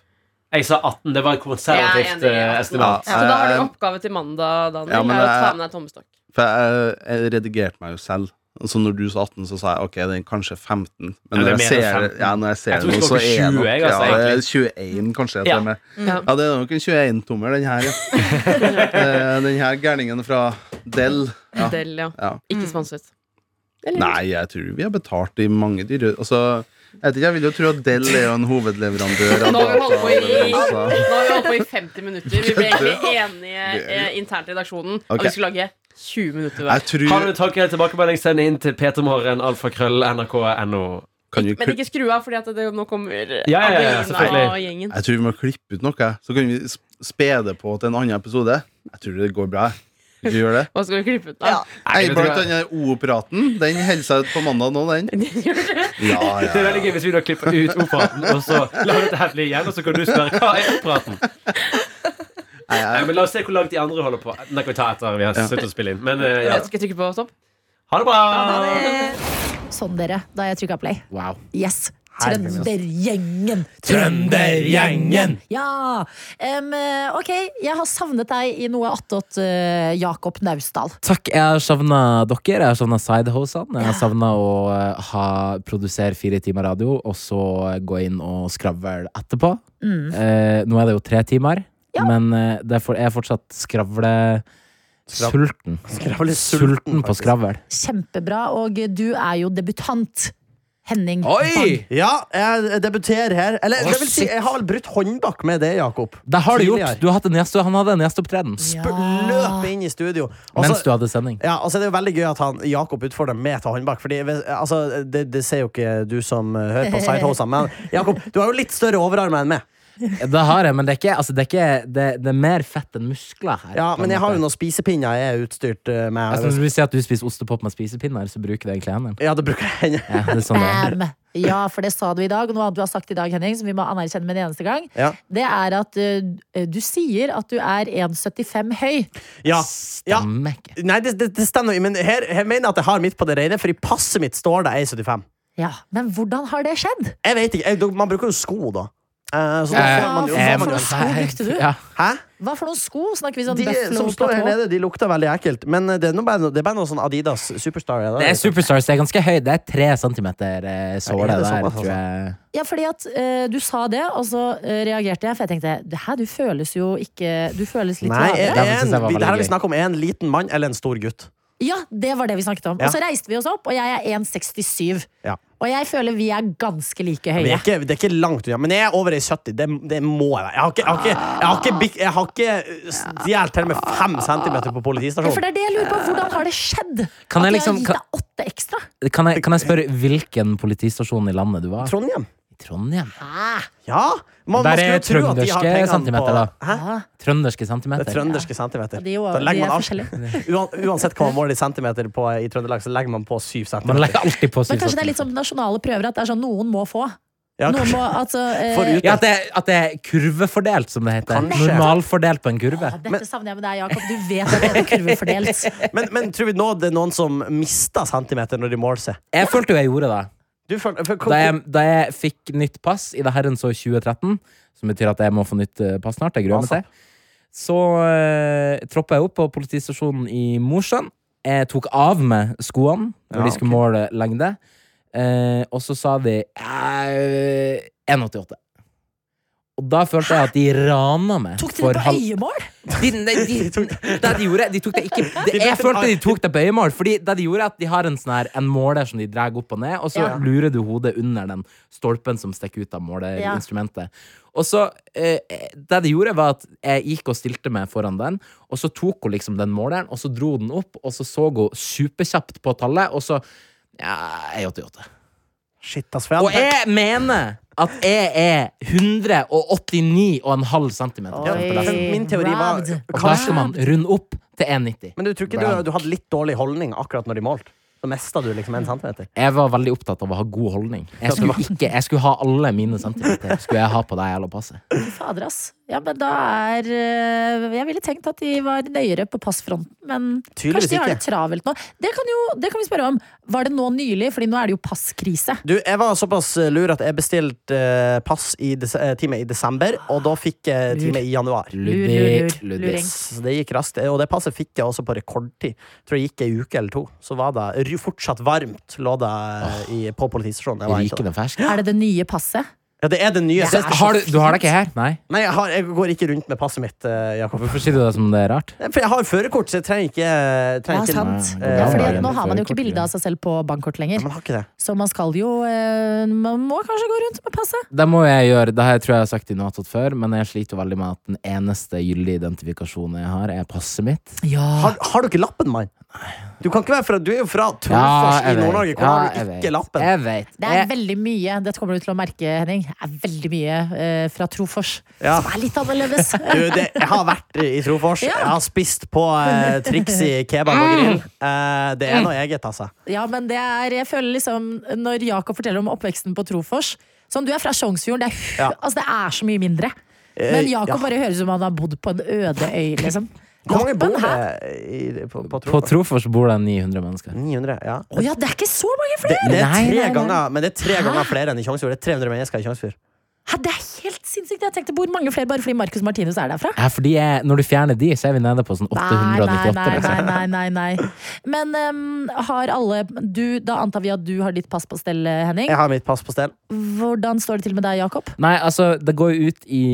Speaker 4: Jeg sa 18. Det var et
Speaker 5: Jeg er
Speaker 4: konservativt
Speaker 5: enig,
Speaker 4: eh,
Speaker 5: ja. Så
Speaker 4: estimat.
Speaker 5: da har
Speaker 7: jeg-
Speaker 5: du oppgave til mandag, Daniel.
Speaker 7: Eh, Ja, men
Speaker 5: er å ta
Speaker 7: jeg-
Speaker 5: med deg tommestokk.
Speaker 7: For jeg, jeg redigerte meg jo selv. Så når du sa 18, så sa jeg ok, den er kanskje 15. Men
Speaker 4: Ja,
Speaker 7: når
Speaker 4: det er
Speaker 7: jeg,
Speaker 4: mer enn
Speaker 7: ser,
Speaker 4: 15.
Speaker 7: ja, når jeg ser
Speaker 4: Jeg
Speaker 7: den,
Speaker 4: tror vi skal
Speaker 7: så
Speaker 4: opp
Speaker 7: er
Speaker 4: i 20,
Speaker 7: nok
Speaker 4: jeg,
Speaker 7: ja,
Speaker 4: altså,
Speaker 7: det er 21, kanskje.
Speaker 4: Ja.
Speaker 7: Ja. Med.
Speaker 5: Ja.
Speaker 7: ja, det er nok en 21-tommer,
Speaker 5: *laughs*
Speaker 7: den her. Ja. Eh, den her gærningen fra Dell. Ja.
Speaker 5: Del, ja.
Speaker 7: Ja.
Speaker 5: Ikke sponset. Eller?
Speaker 7: Nei, jeg tror vi har betalt i mange dyre Altså, jeg vet ikke, jeg vil jo tro at Dell er jo en hovedleverandør av
Speaker 5: Nå har vi holdt på i-
Speaker 7: dataleveranser.
Speaker 5: Nå har vi holdt på i 50 minutter. Vi ble egentlig enige eh, internt i redaksjonen om
Speaker 7: Ok.
Speaker 5: vi skulle lage 20 minutter hver.
Speaker 7: Jeg tror
Speaker 4: Har du en tanke tilbakemelding, send inn til ptmorgen, alfakrøll, nrk.no.
Speaker 7: kan vi,
Speaker 5: Men
Speaker 7: kli-
Speaker 5: ikke skru av, fordi at det, nå kommer ja,
Speaker 4: ja, ja, selvfølgelig.
Speaker 5: og gjengen.
Speaker 7: jeg tror vi må klippe ut noe, så kan vi sp- spede på til en annen episode. Jeg tror det går bra. Vil du gjøre det?
Speaker 5: Hva skal vi klippe ut, *laughs*
Speaker 8: Ja.
Speaker 5: da?
Speaker 7: Nei,
Speaker 4: vet du
Speaker 7: blant
Speaker 4: hva?
Speaker 7: annet O-praten. Den holder seg ut på mandag nå, den. *laughs* Ja,
Speaker 4: Det er veldig gøy hvis vi da klipper ut operaten, og så lar dette her bli igjen, og så kan du spørre hva er operaten?
Speaker 7: Nei,
Speaker 4: Nei,
Speaker 7: jeg,
Speaker 4: men La oss se hvor langt de andre holder på. Den kan vi ta etter vi har sluttet å spille inn. Men eh, ja.
Speaker 5: Skal jeg trykke på stopp?
Speaker 4: Ha det bra!
Speaker 6: Sånn, dere, da har jeg trykka play.
Speaker 7: wow.
Speaker 6: Yes! Trøndergjengen!
Speaker 3: Trøndergjengen!
Speaker 6: Ja! Em, eh, ok, jeg har savnet deg i noe attåt eh, Jakob Naustdal.
Speaker 3: Takk, jeg har savna dere. Jeg har savna sidehosene. Jeg har savna å eh, ha, produsere fire timer radio, og så eh, gå inn og skravle etterpå. Eh, nå er det jo tre timer, men eh, det er for, jeg er fortsatt skravle...
Speaker 2: Skrav-
Speaker 3: Sulten.
Speaker 2: Skravlesulten,
Speaker 3: Sulten på
Speaker 2: faktisk.
Speaker 3: skravl.
Speaker 6: Kjempebra, og du er jo debutant. Henning. Bang.
Speaker 2: Ja, jeg debuterer her. Eller
Speaker 3: Å,
Speaker 2: det vil si,
Speaker 3: shit.
Speaker 2: jeg har vel brutt håndbak med det, Jakob.
Speaker 3: Det har du gjort!
Speaker 2: Tidligere.
Speaker 3: Du har hatt en gjeste, han hadde en gjesteopptreden.
Speaker 2: Løp inn i studio. Og så-
Speaker 3: Mens du hadde sending.
Speaker 2: Ja, altså Det er jo veldig gøy at han, Jakob utfordrer meg til håndbak. Fordi, hvis- altså, det, det ser jo ikke du som eh, hører på sidehosa, men Jakob, du har jo litt større overarmer enn meg.
Speaker 3: Det har jeg, men det er ikke Altså, det er, ikke, det, det er mer fett enn muskler her.
Speaker 2: Ja,
Speaker 3: på en
Speaker 2: Men jeg har
Speaker 3: måte.
Speaker 2: jo noen spisepinner jeg er utstyrt eh,
Speaker 3: Altså, Hvis
Speaker 2: med.
Speaker 3: du sier at du spiser ostepop med spisepinner, så bruker du egentlig hendene.
Speaker 2: Ja, det bruker jeg henne.
Speaker 3: Ja, det er sånn det er.
Speaker 6: Bam! Ja, for det sa du i dag, og noe annet du har sagt i dag, Henning, som vi må anerkjenne med en eneste gang,
Speaker 2: Ja.
Speaker 6: det er at eh, du sier at du er 1,75 høy.
Speaker 2: Ja. ja.
Speaker 3: Stemmer ikke.
Speaker 2: Nei, det, det, det stemmer, jo, men her, her mener jeg at jeg har mitt på det reine, for i passet mitt står det 1,75.
Speaker 6: Ja, Men hvordan har det skjedd?
Speaker 2: Jeg vet ikke, jeg, man bruker jo sko, da. Eh, så da
Speaker 3: Eh,
Speaker 2: får man jo,
Speaker 6: eh,
Speaker 2: får man jo.
Speaker 6: noen sko brukte du?
Speaker 3: Ja.
Speaker 2: Hæ?
Speaker 6: Hva for noen sko? Snakker vi sånn
Speaker 2: De som
Speaker 6: Buffalo
Speaker 2: står her
Speaker 6: platå?
Speaker 2: nede, de lukter veldig ekkelt. Men eh, det er, nå bare, no- det er bare noe sånn Adidas Superstar. ja, da.
Speaker 3: Det er superstars, det er ganske høy. Det er tre centimeter eh, såle
Speaker 2: Er det
Speaker 3: der,
Speaker 2: såpass,
Speaker 3: tror jeg.
Speaker 6: Ja, fordi at eh, du sa det, og så eh, reagerte jeg, for jeg tenkte "Det her, du føles jo ikke Du føles litt
Speaker 2: Nei, jeg,
Speaker 6: lavere.
Speaker 3: Ja, men synes
Speaker 2: en,
Speaker 3: jeg var
Speaker 2: vi,
Speaker 3: veldig
Speaker 2: det her har vi
Speaker 3: gøy.
Speaker 2: snakket om en liten mann eller en stor gutt.
Speaker 6: Ja, det var det vi snakket om.
Speaker 2: Ja.
Speaker 6: Og så reiste vi oss opp, og jeg er 1,67.
Speaker 2: Ja.
Speaker 6: Og jeg føler vi er ganske like
Speaker 2: Men jeg
Speaker 6: høye.
Speaker 2: er ikke, det er ikke langt unna. Men jeg er over i 70. Det, det må jeg være. Jeg har ikke, jeg har ikke, jeg har ikke, bik- jeg har ikke eh, stjålet til og med fem centimeter på
Speaker 6: Ja, for
Speaker 2: politistasjonen.
Speaker 6: det er det jeg lurer på. Hvordan har det skjedd?
Speaker 3: Kan jeg
Speaker 6: at
Speaker 3: liksom-
Speaker 6: jeg har gitt deg åtte ekstra?
Speaker 3: Kan jeg, kan jeg spørre hvilken politistasjon i landet du var?
Speaker 2: Trondheim.
Speaker 3: Trondheim.
Speaker 2: Ja! Man, man
Speaker 3: Der
Speaker 2: skulle
Speaker 3: er
Speaker 2: jo tro at de har
Speaker 3: trønderske
Speaker 2: pengene
Speaker 3: centimeter,
Speaker 2: på
Speaker 3: da.
Speaker 2: Hæ?
Speaker 3: Trønderske
Speaker 2: Det er
Speaker 3: centimeter.
Speaker 2: trønderske centimeter.
Speaker 6: Og de er jo-
Speaker 2: Da
Speaker 6: de
Speaker 2: legger
Speaker 6: er
Speaker 2: man alt. *laughs* Uan- Uansett hva man måler i centimeter på i Trøndelag, så legger man på syv
Speaker 3: Man
Speaker 2: centimeter.
Speaker 3: legger alltid på sånn.
Speaker 6: Men
Speaker 3: syv
Speaker 6: kanskje det er litt som nasjonale prøver, at det er sånn noen må få.
Speaker 2: Ja,
Speaker 6: Noen må,
Speaker 2: kanskje.
Speaker 6: altså, eh,
Speaker 2: Forut,
Speaker 3: Ja, at det, at det er kurvefordelt, som det heter.
Speaker 2: Kanskje.
Speaker 3: Normalfordelt på en kurve.
Speaker 6: Dette savner jeg med deg, Jakob. Du vet at det er
Speaker 2: *laughs*
Speaker 6: kurvefordelt.
Speaker 2: Men, men tror vi nå det er noen som mister centimeter når de måler seg?
Speaker 3: Jeg følte jo jeg gjorde det.
Speaker 2: Du føler, for,
Speaker 3: Da jeg, da jeg fikk nytt pass i det herrens år 2013, som betyr at jeg må få nytt eh, pass snart, jeg gruer meg til, så uh, troppa jeg opp på politistasjonen i Mosjøen. Jeg tok av meg skoene når
Speaker 2: Ja,
Speaker 3: de skulle måle lengde, Eh, og så sa de eh, 1,88. Og da følte jeg at de rana meg.
Speaker 6: Tok
Speaker 3: for
Speaker 6: dere på
Speaker 3: halv-
Speaker 6: øyemål?
Speaker 3: De, de, de, det de gjorde, de tok det ikke det,
Speaker 2: De tok
Speaker 3: Jeg
Speaker 2: det-
Speaker 3: følte de tok det på øyemål. Fordi det de gjorde er at de har en, sånn her, en måler som de drar opp og ned, og så
Speaker 6: Ja.
Speaker 3: lurer du hodet under den stolpen som stikker ut av måleinstrumentet. Og så eh, Det de gjorde, var at jeg gikk og stilte meg foran den, og så tok hun liksom den måleren, og så dro den opp, og så så hun superkjapt på tallet, og så Ja, jeg er 88.
Speaker 2: Shit, ass, for jeg
Speaker 3: Og
Speaker 2: hadde tenkt-
Speaker 3: jeg mener at jeg er 189,5 cm.
Speaker 2: ja,
Speaker 6: Oi,
Speaker 2: men Min teori var
Speaker 6: robbed.
Speaker 3: Og da skal man runde opp til 1,90.
Speaker 2: Men du tror ikke du, du hadde litt dårlig holdning akkurat når de målte? Så mista du liksom en centimeter?
Speaker 3: Jeg var veldig opptatt av å ha god holdning. Jeg skulle, ikke, jeg skulle ha alle mine centimeter. Skulle jeg ha på deg eller passet.
Speaker 6: Fy fader, ass. Ja, men da er eh, Jeg ville tenkt at de var nøyere på passfronten, men
Speaker 2: Tydeligvis
Speaker 6: kanskje de har
Speaker 2: ikke.
Speaker 6: det travelt nå. Det kan, jo, det kan vi spørre om. Var det nå nylig? Fordi nå er det jo passkrise.
Speaker 2: Du, jeg var såpass eh, lur at jeg bestilte eh, pass i des eh, time i desember, og da fikk jeg time i januar.
Speaker 3: Ludvig,
Speaker 6: lur, lur.
Speaker 3: Ludvig.
Speaker 2: Så det gikk raskt. Og det passet fikk jeg også på rekordtid. Tror jeg gikk ei uke eller to. Så var det ru- fortsatt varmt, lå det i, på politistasjonen. Jeg var ikke der.
Speaker 3: Rikende fersk.
Speaker 6: Er det det nye passet?
Speaker 2: Ja, det er det nye.
Speaker 3: Så, har du, du har det ikke her? Nei?
Speaker 2: Nei, jeg, har, jeg går ikke rundt med passet mitt, eh, Jakob.
Speaker 3: Hvorfor sier du det som det er rart?
Speaker 2: For jeg har førerkort, så jeg trenger ikke,
Speaker 6: Ja,
Speaker 2: trenger ikke
Speaker 6: sant.
Speaker 3: Nei,
Speaker 6: Ja,
Speaker 2: det
Speaker 6: fordi
Speaker 2: var
Speaker 6: at
Speaker 3: en
Speaker 6: nå har man jo
Speaker 3: førerkort,
Speaker 6: ikke bilde av seg selv på bankkort lenger.
Speaker 2: Man har ikke det.
Speaker 6: Så man skal jo eh, Man må kanskje gå rundt med passet.
Speaker 3: Det må jeg gjøre. Det her tror jeg jeg har sagt i Noatot før, men jeg sliter jo veldig med at den eneste gyldige identifikasjonen jeg har, er passet mitt.
Speaker 2: Har, har du ikke lappen, mann? Du kan ikke være fra, du er jo fra
Speaker 3: Ja,
Speaker 2: Trofors i
Speaker 3: jeg vet.
Speaker 2: Nord-Norge.
Speaker 3: Ja,
Speaker 2: Hvordan har
Speaker 3: jeg
Speaker 2: du
Speaker 3: vet.
Speaker 2: ikke lappen?
Speaker 3: Jeg vet.
Speaker 6: Det er
Speaker 2: Eh.
Speaker 3: Jeg-
Speaker 6: veldig mye, dette kommer du til å merke, Henning, det er veldig mye eh, fra Trofors
Speaker 2: Ja.
Speaker 6: som er litt annerledes.
Speaker 2: *laughs* Du, det, jeg har vært i Trofors. Jeg har spist på eh, Trixie kebab og grill. Eh, det er noe eget, altså.
Speaker 6: ja, men det er Jeg føler liksom Når Jakob forteller om oppveksten på Trofors Sånn, du er fra Sjongsfjorden, det er,
Speaker 2: Ja.
Speaker 6: altså, det er så mye mindre. Men
Speaker 2: Eh,
Speaker 6: Jakob
Speaker 2: ja.
Speaker 6: bare høres ut som om han har bodd på en øde øy, liksom.
Speaker 2: Hvor mange bor
Speaker 6: Lappen her-
Speaker 2: det i- på, på
Speaker 3: På
Speaker 2: Trofors?
Speaker 3: Trofors bor det 900 mennesker.
Speaker 2: 900, ja.
Speaker 6: Å ja, det er ikke så mange
Speaker 2: Det,
Speaker 6: flere!
Speaker 2: det er
Speaker 3: Nei,
Speaker 2: tre
Speaker 3: nei, nei.
Speaker 2: ganger, men det er tre ganger flere enn i Tjongsfjord. Det er 300 mennesker i Tjongsfjord.
Speaker 6: Hæ, det er helt sinnssykt! Jeg tenkte hvor mange flere bare fordi Marcus Martinus er derfra.
Speaker 3: Ja, fordi jeg, når du fjerner de, så er vi nede på sånn
Speaker 6: Nei,
Speaker 3: 898.
Speaker 6: Nei,
Speaker 3: liksom.
Speaker 6: nei, nei, nei, nei, nei. Men em, har alle du, Da antar vi at du har ditt pass på stell, eh, Henning.
Speaker 2: Jeg har mitt pass på stell.
Speaker 6: Hvordan står det til med deg, Jakob?
Speaker 3: Nei, altså, det går jo ut i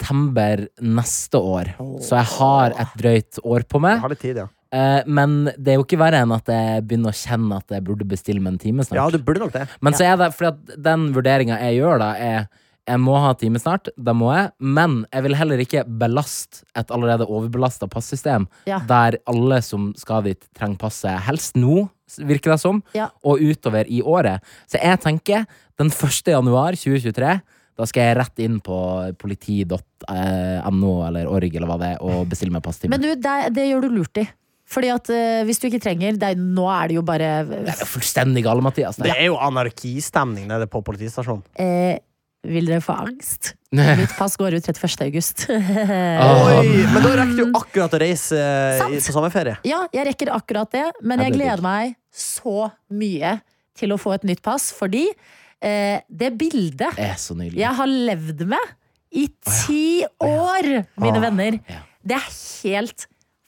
Speaker 3: september neste år, så jeg har et drøyt år på
Speaker 2: Jeg
Speaker 3: meg.
Speaker 2: har litt tid, ja.
Speaker 3: Eh, men det er jo ikke verre enn at jeg begynner å kjenne at jeg burde bestille meg en time
Speaker 2: Ja,
Speaker 3: snart.
Speaker 2: du burde nok det.
Speaker 3: Men så er det fordi at den vurderinga jeg gjør, da, er jeg må ha time snart, det må jeg, men jeg vil heller ikke belaste et allerede overbelasta passystem,
Speaker 6: Ja.
Speaker 3: der alle som skal dit, trenger passet helst nå, virker det som,
Speaker 6: Ja.
Speaker 3: og utover i året. Så jeg tenker den 1. januar 2023 da skal jeg rett inn på politi.no eller org eller hva det er, og bestille meg passtime.
Speaker 6: Men du, det, det gjør du lurt i. Fordi at eh, hvis du ikke trenger det, er- Nå er det jo bare
Speaker 3: Det er jo fullstendig gale, Mathias.
Speaker 2: Det
Speaker 3: Det.
Speaker 2: er jo anarkistemning nede på politistasjonen.
Speaker 6: eh, Vil dere få
Speaker 3: *laughs*
Speaker 6: angst? Mitt pass går ut 31. august. *laughs*
Speaker 3: Åh.
Speaker 2: Oi, men da rekker du akkurat å reise eh, i- på sommerferie.
Speaker 6: Ja, jeg rekker akkurat det, men
Speaker 3: Ja,
Speaker 6: jeg
Speaker 3: det er
Speaker 6: gleder meg så mye til å få et nytt pass, fordi eh, det bildet
Speaker 3: er så nydelig.
Speaker 6: jeg har levd med i ti år, mine venner.
Speaker 3: Ja.
Speaker 6: Det er helt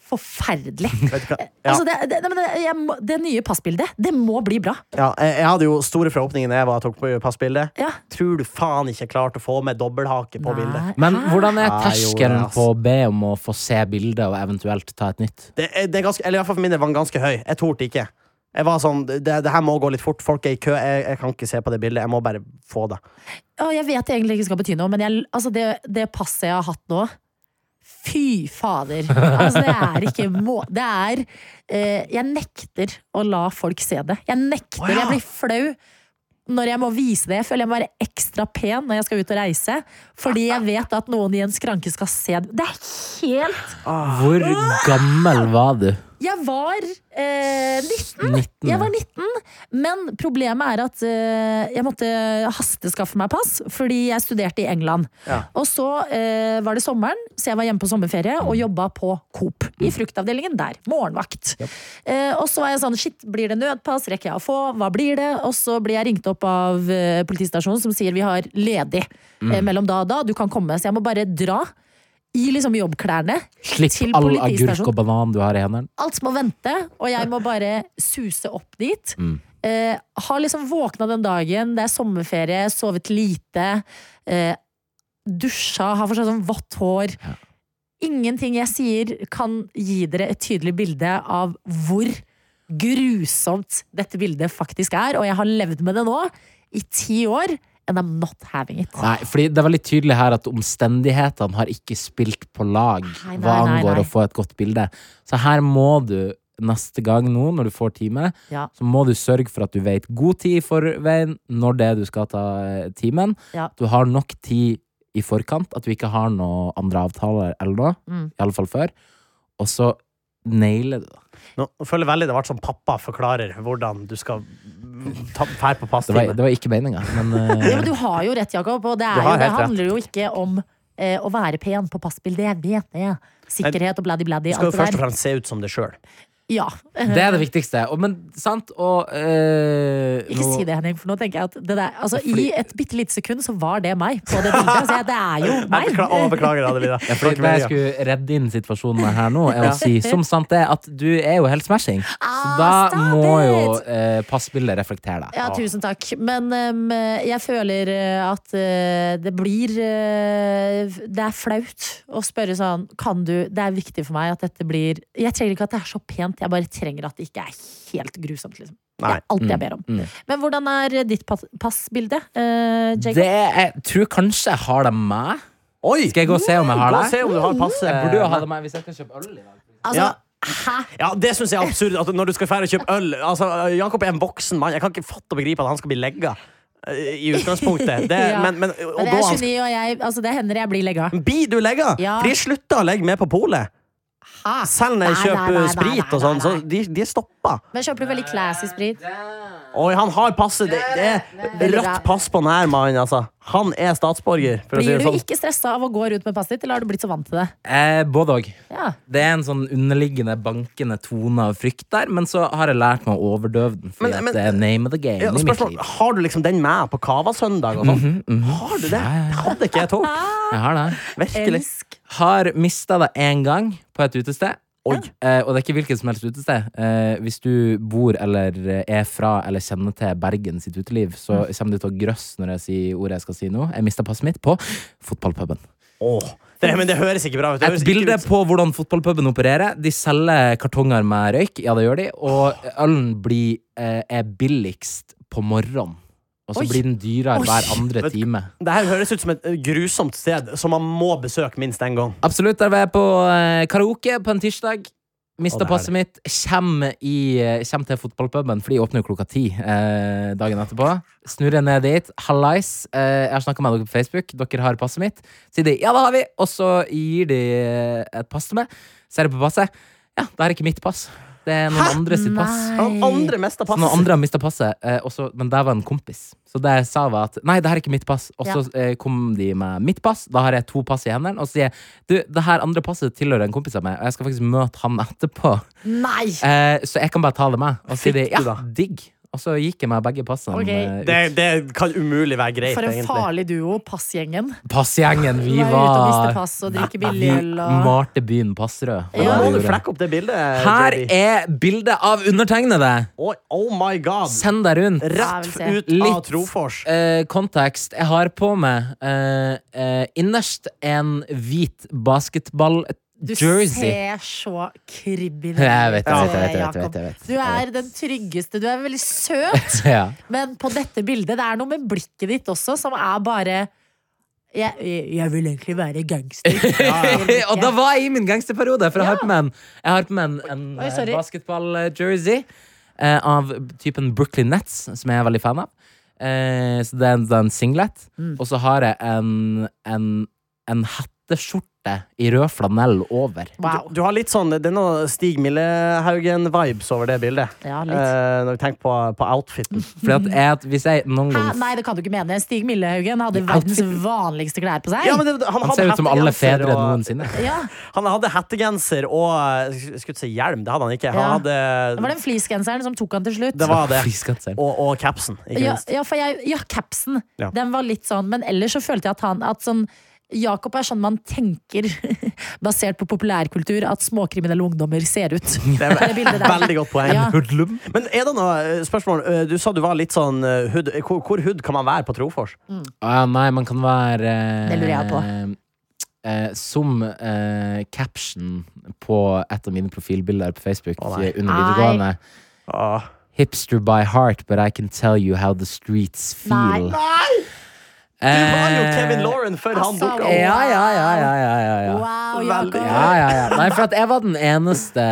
Speaker 6: forferdelig.
Speaker 3: *laughs*
Speaker 2: Vet du hva? Ja.
Speaker 6: Altså, det, det, nei, men det, jeg, må- det nye passbildet, det må bli bra.
Speaker 2: Ja, jeg, jeg hadde jo store forhåpninger da jeg var, tok på passbildet.
Speaker 6: Ja.
Speaker 2: Tror du faen ikke jeg klarte å få med dobbelthake på bildet?
Speaker 6: Nei.
Speaker 3: Men hvordan er
Speaker 2: Hæ? Nei,
Speaker 3: terskelen
Speaker 2: jo, det, ass.
Speaker 3: på å be om å få se bildet og eventuelt ta et nytt?
Speaker 2: Det, er- det er ganske, eller i hvert fall for min del var den ganske høy. Jeg torde ikke. Jeg var sånn, det, det her må gå litt fort. Folk er i kø. Jeg, jeg kan ikke se på det bildet. Jeg må bare få det.
Speaker 6: Å, jeg vet det egentlig ikke skal bety noe, men jeg, altså, det, det passet jeg har hatt nå Fy fader! Altså, det er ikke må... Det er eh, Jeg nekter å la folk se det. Jeg nekter. Jeg blir flau når jeg må vise det, jeg føler jeg må være ekstra pen når jeg skal ut og reise. Fordi jeg vet at noen i en skranke skal se det. Det er helt
Speaker 3: Hvor gammel var du?
Speaker 6: Jeg var eh, 19.
Speaker 3: 19.
Speaker 6: Ah, Jeg var 19, men problemet er at eh, jeg måtte hasteskaffe meg pass, fordi jeg studerte i England.
Speaker 2: Ja.
Speaker 6: Og så eh, var det sommeren, så jeg var hjemme på sommerferie og jobba på Coop. I fruktavdelingen der. Morgenvakt. Eh, og så var jeg sånn shit, blir det nødpass? Rekker jeg å få? Hva blir det? Og så blir jeg ringt opp av eh, politistasjonen som sier vi har ledig eh, mellom da og da, du kan komme. Så jeg må bare dra. I liksom jobbklærne. til
Speaker 3: Slipp all agurk
Speaker 6: politistasjonen.
Speaker 3: og banan du har i hendene.
Speaker 6: Alt må vente, og jeg må bare suse opp dit. Eh, har liksom våkna den dagen, det er sommerferie, sovet lite. Eh, dusja, har fortsatt sånn vått hår. Ingenting jeg sier kan gi dere et tydelig bilde av hvor grusomt dette bildet faktisk er, og jeg har levd med det nå i ti år, and I'm not having it.
Speaker 3: Nei, fordi det er veldig tydelig her at omstendighetene har ikke spilt på lag
Speaker 6: Nei, nei,
Speaker 3: hva
Speaker 6: nei,
Speaker 3: angår
Speaker 6: nei.
Speaker 3: å få et godt bilde. Så her må du neste gang nå, når du får time,
Speaker 6: Ja.
Speaker 3: så må du sørge for at du vet god tid i forveien når det er du skal ta eh, timen.
Speaker 6: Ja.
Speaker 3: Du har nok tid i forkant, at du ikke har noen andre avtaler eller noe,
Speaker 6: Mm.
Speaker 3: i alle fall før. Og så nailer du det.
Speaker 2: Nå føler jeg veldig det ble som pappa forklarer hvordan du skal ta fær på
Speaker 3: Det var,
Speaker 2: passtime.
Speaker 3: det var ikke meninga, men
Speaker 6: *laughs* Ja,
Speaker 3: eh,
Speaker 6: men du har jo rett, Jakob, og det,
Speaker 2: Du
Speaker 6: er
Speaker 2: har
Speaker 6: jo, det
Speaker 2: helt rett.
Speaker 6: handler jo ikke om eh, å være pen på passbildet. Jeg vet det. Sikkerhet og
Speaker 2: Du
Speaker 6: bladdi-bladdi.
Speaker 2: skal jo
Speaker 6: Alt
Speaker 2: først
Speaker 6: det
Speaker 2: og
Speaker 6: der.
Speaker 2: fremst se ut som deg sjøl.
Speaker 6: Ja. *laughs*
Speaker 3: det er det viktigste. Og, men sant, og eh,
Speaker 6: Ikke
Speaker 3: nå-
Speaker 6: si det, Henning, for nå tenker jeg at det der, altså, i et bitte lite sekund så var det meg på det bildet. Så jeg, det er jo
Speaker 2: Jeg
Speaker 6: meg.
Speaker 2: Beklager, å, beklager Adelina.
Speaker 3: Ja, fordi det jeg skulle redde inn situasjonen her nå, er å si som sant det, at du er jo helt smashing. Så
Speaker 6: Ah,
Speaker 3: da
Speaker 6: stop
Speaker 3: må jo
Speaker 6: it!
Speaker 3: eh, passbildet reflektere deg.
Speaker 6: Ja, tusen takk. Men em, jeg føler eh, at eh, det blir eh, Det er flaut å spørre sånn Kan du Det er viktig for meg at dette blir Jeg trenger ikke at det er så pent, jeg bare trenger at det ikke er helt grusomt, liksom. Det
Speaker 2: Nei.
Speaker 6: er alt jeg
Speaker 3: Mm,
Speaker 6: ber om.
Speaker 3: mm.
Speaker 6: Men hvordan er ditt pass passbilde, eh, Jacob?
Speaker 3: Det jeg tror kanskje jeg har det med.
Speaker 2: Oi!
Speaker 3: Skal jeg gå og se om jeg har
Speaker 2: La
Speaker 3: det?
Speaker 2: oss se om du har passet.
Speaker 3: Jeg burde jo ha det med hvis jeg skal kjøpe øl i dag.
Speaker 6: Altså,
Speaker 2: Ja.
Speaker 6: hæ?
Speaker 2: Ja, det syns jeg er absurd. At når du skal fære og kjøpe øl altså, Jakob er en voksen mann. Jeg kan ikke fatte og begripe at han skal bli legga eh, i utgangspunktet. Det,
Speaker 6: *laughs* Ja.
Speaker 2: men, men, og
Speaker 6: Men
Speaker 2: da
Speaker 6: jeg er
Speaker 2: han
Speaker 6: 29, og jeg, altså, det hender jeg blir legga.
Speaker 2: skal Blir du legga?
Speaker 6: Ja.
Speaker 2: For de slutta å legge med på polet.
Speaker 6: Hæ?
Speaker 2: Selv når jeg
Speaker 6: Nei, nei,
Speaker 2: kjøper
Speaker 6: nei, nei,
Speaker 2: sprit og
Speaker 6: nei,
Speaker 2: sånn, så
Speaker 6: nei.
Speaker 2: de, de er stoppa.
Speaker 6: Men kjøper du veldig classy sprit?
Speaker 2: Oi, han har passet. Det, det er rått pass på den her mannen, altså. Han er statsborger, for å si det
Speaker 6: Blir du
Speaker 2: sånn.
Speaker 6: ikke stressa av å gå rundt med passet ditt, eller har du blitt så vant til det?
Speaker 3: Eh, både òg.
Speaker 6: Ja.
Speaker 3: Det er en sånn underliggende bankende tone av frykt der, men så har jeg lært meg å overdøve den, fordi
Speaker 2: Men- men-
Speaker 3: at det er name of the game
Speaker 2: Ja,
Speaker 3: i mitt
Speaker 2: spørsmål,
Speaker 3: liv.
Speaker 2: har du liksom den med på Cava søndag og sånn?
Speaker 6: Mhm,
Speaker 2: Har du det? Det hadde ikke jeg, Tor.
Speaker 6: *laughs*
Speaker 3: Jeg har det.
Speaker 2: Virkelig.
Speaker 3: Har mista det én gang på et utested. Eh, og det er ikke hvilket som helst utested. Eh, hvis du bor eller eh, er fra eller kjenner til Bergen sitt uteliv, så
Speaker 2: Mm.
Speaker 3: kommer du til å grøsse når jeg sier ordet jeg skal si nå. Jeg mista passet mitt på fotballpuben.
Speaker 2: Åh. Det, men det høres ikke bra ut. Det
Speaker 3: Et
Speaker 2: høres ikke
Speaker 3: bilde
Speaker 2: ut som-
Speaker 3: på hvordan fotballpuben opererer. De selger kartonger med røyk, ja det gjør de, og ølen blir, eh, er billigst på morgenen. Og så
Speaker 6: Oi.
Speaker 3: blir den dyrere
Speaker 6: Oi.
Speaker 3: hver andre
Speaker 2: Vet-
Speaker 3: time.
Speaker 2: Det her høres ut som et eh, grusomt sted som man må besøke minst en gang.
Speaker 3: Absolutt. Der var jeg på eh, karaoke på en tirsdag.
Speaker 2: Å,
Speaker 3: Mista
Speaker 2: det er
Speaker 3: passet mitt. Kjem, i, eh, kjem til fotballpuben, for de åpner jo klokka ti eh, dagen etterpå. Snurrer ned dit. Hallais. Eh, jeg har snakka med dere på Facebook. Dere har passet mitt. Sier de ja, det har vi. Og så gir de eh, et pass til meg. Ser jeg på passet. Ja, det er ikke mitt pass. Det er noen andre sitt pass.
Speaker 2: Han andre mest av
Speaker 3: Så
Speaker 2: passet
Speaker 3: noen andre har mista passet, eh, og så- men der var en kompis. Så det jeg sa var at nei, det her er ikke mitt pass. Og så eh, kom de med mitt pass. Da har jeg to pass i hendene. Og så sier jeg du, det her andre passet tilhører en kompis av meg, og jeg skal faktisk møte han *laughs* etterpå.
Speaker 6: Nei!
Speaker 3: Eh, så jeg kan bare ta det med. Og så sier de
Speaker 2: Fikk du
Speaker 3: ja,
Speaker 2: da?
Speaker 3: digg. Og så gikk jeg med begge passene.
Speaker 6: Ok.
Speaker 3: eh, ut.
Speaker 2: Det, det kan umulig være greit,
Speaker 6: For en
Speaker 2: egentlig.
Speaker 6: farlig duo, passgjengen.
Speaker 3: Passgjengen, vi
Speaker 6: Være ute og miste
Speaker 3: var
Speaker 6: pass og drikke billig
Speaker 3: Vi
Speaker 6: øl og
Speaker 3: malte byen Passrød. Det var
Speaker 6: Ja.
Speaker 2: Da
Speaker 3: det vi
Speaker 2: må du
Speaker 3: gjorde.
Speaker 2: flekke opp det bildet.
Speaker 3: Her
Speaker 2: JB.
Speaker 3: er bildet av undertegnede!
Speaker 2: Oi, Oh my god!
Speaker 3: Send deg rundt.
Speaker 6: Ja, jeg
Speaker 2: Rett
Speaker 6: vil
Speaker 2: ut av
Speaker 3: Litt.
Speaker 2: Trofors.
Speaker 3: Eh, kontekst. Jeg har på meg eh, eh, innerst en hvit
Speaker 6: Du
Speaker 3: *laughs* basketball-jersey.
Speaker 6: ser så kribbel
Speaker 3: Jeg vet det,
Speaker 6: ut,
Speaker 3: jeg vet det, jeg vet det, jeg vet
Speaker 6: Jakob.
Speaker 3: det, jeg vet det.
Speaker 6: Du er den tryggeste. Du er veldig
Speaker 3: *laughs*
Speaker 6: søt, *laughs*
Speaker 3: Ja.
Speaker 6: men på dette bildet Det er noe med blikket ditt også som er bare Jeg, jeg- jeg vil egentlig
Speaker 3: *laughs*
Speaker 6: være gangster.
Speaker 3: og da var jeg i min gangsterperiode, for jeg har på meg en, jeg har på meg en, en eh,
Speaker 6: Oi, sorry.
Speaker 3: basketball-jersey av typen Brooklyn Nets, som jeg er veldig fan av. Eh, så det er en, det er en singlet.
Speaker 6: Mm.
Speaker 3: Og så har jeg en, en, en hatteskjorte i rød flanell over.
Speaker 6: Wow.
Speaker 2: Du har litt sånn det er noe Stig Millehaugen-vibes over det bildet.
Speaker 6: Ja,
Speaker 2: Eh,
Speaker 6: litt.
Speaker 2: når vi tenker på, på outfiten.
Speaker 3: Fordi at jeg, hvis jeg noen
Speaker 6: Hæ?
Speaker 3: gang
Speaker 6: Nei, det kan du ikke mene. Stig Millehaugen hadde verdens vanligste klær på seg.
Speaker 2: Ja, men det, han,
Speaker 3: Han
Speaker 2: hadde
Speaker 3: ser ut som alle
Speaker 2: hettegenser
Speaker 3: fedre
Speaker 2: og-
Speaker 3: noensinne.
Speaker 6: Ja,
Speaker 2: Han hadde hettegenser og eh, jeg skulle ikke si hjelm, det hadde han ikke. Han
Speaker 6: Ja. Det var
Speaker 2: hadde,
Speaker 6: den fleecegenseren som tok han til slutt.
Speaker 2: det
Speaker 3: *laughs*
Speaker 2: var det.
Speaker 3: Friskatseren.
Speaker 2: Og, og capsen, ikke
Speaker 6: ja,
Speaker 2: minst.
Speaker 6: ja, for jeg, ja, capsen.
Speaker 2: Ja.
Speaker 6: Den var litt sånn, men ellers så følte jeg at han at sånn Jakob er sånn man tenker, *laughs* basert på populærkultur, at småkriminelle ungdommer ser ut.
Speaker 2: *laughs* Det er
Speaker 6: Det bildet der.
Speaker 2: veldig godt poeng.
Speaker 6: Ja.
Speaker 3: Hoodlum.
Speaker 2: Men er det noe eh, spørsmål? eh, Du sa du var litt sånn eh, hood. Hvor, hvor hood kan man være på Trofors?
Speaker 3: Ah, ja, nei, man kan være eh,
Speaker 6: Det lurer jeg
Speaker 3: eh, som eh, caption på et av mine profilbilder på Facebook
Speaker 2: Å, nei.
Speaker 3: eh, under
Speaker 6: Nei.
Speaker 3: videregående.
Speaker 2: Ah.
Speaker 3: Hipster by heart, but I can tell you how the streets
Speaker 6: Nei.
Speaker 3: feel.
Speaker 2: Du var jo
Speaker 3: Eh,
Speaker 2: Kevin Lauren før han
Speaker 6: altså,
Speaker 2: dukka
Speaker 3: Ja,
Speaker 2: opp.
Speaker 3: ja, ja, ja, ja, ja, ja.
Speaker 6: Wow,
Speaker 2: Veldig.
Speaker 6: Jakob.
Speaker 3: Ja, ja, ja. Nei, for at jeg var den eneste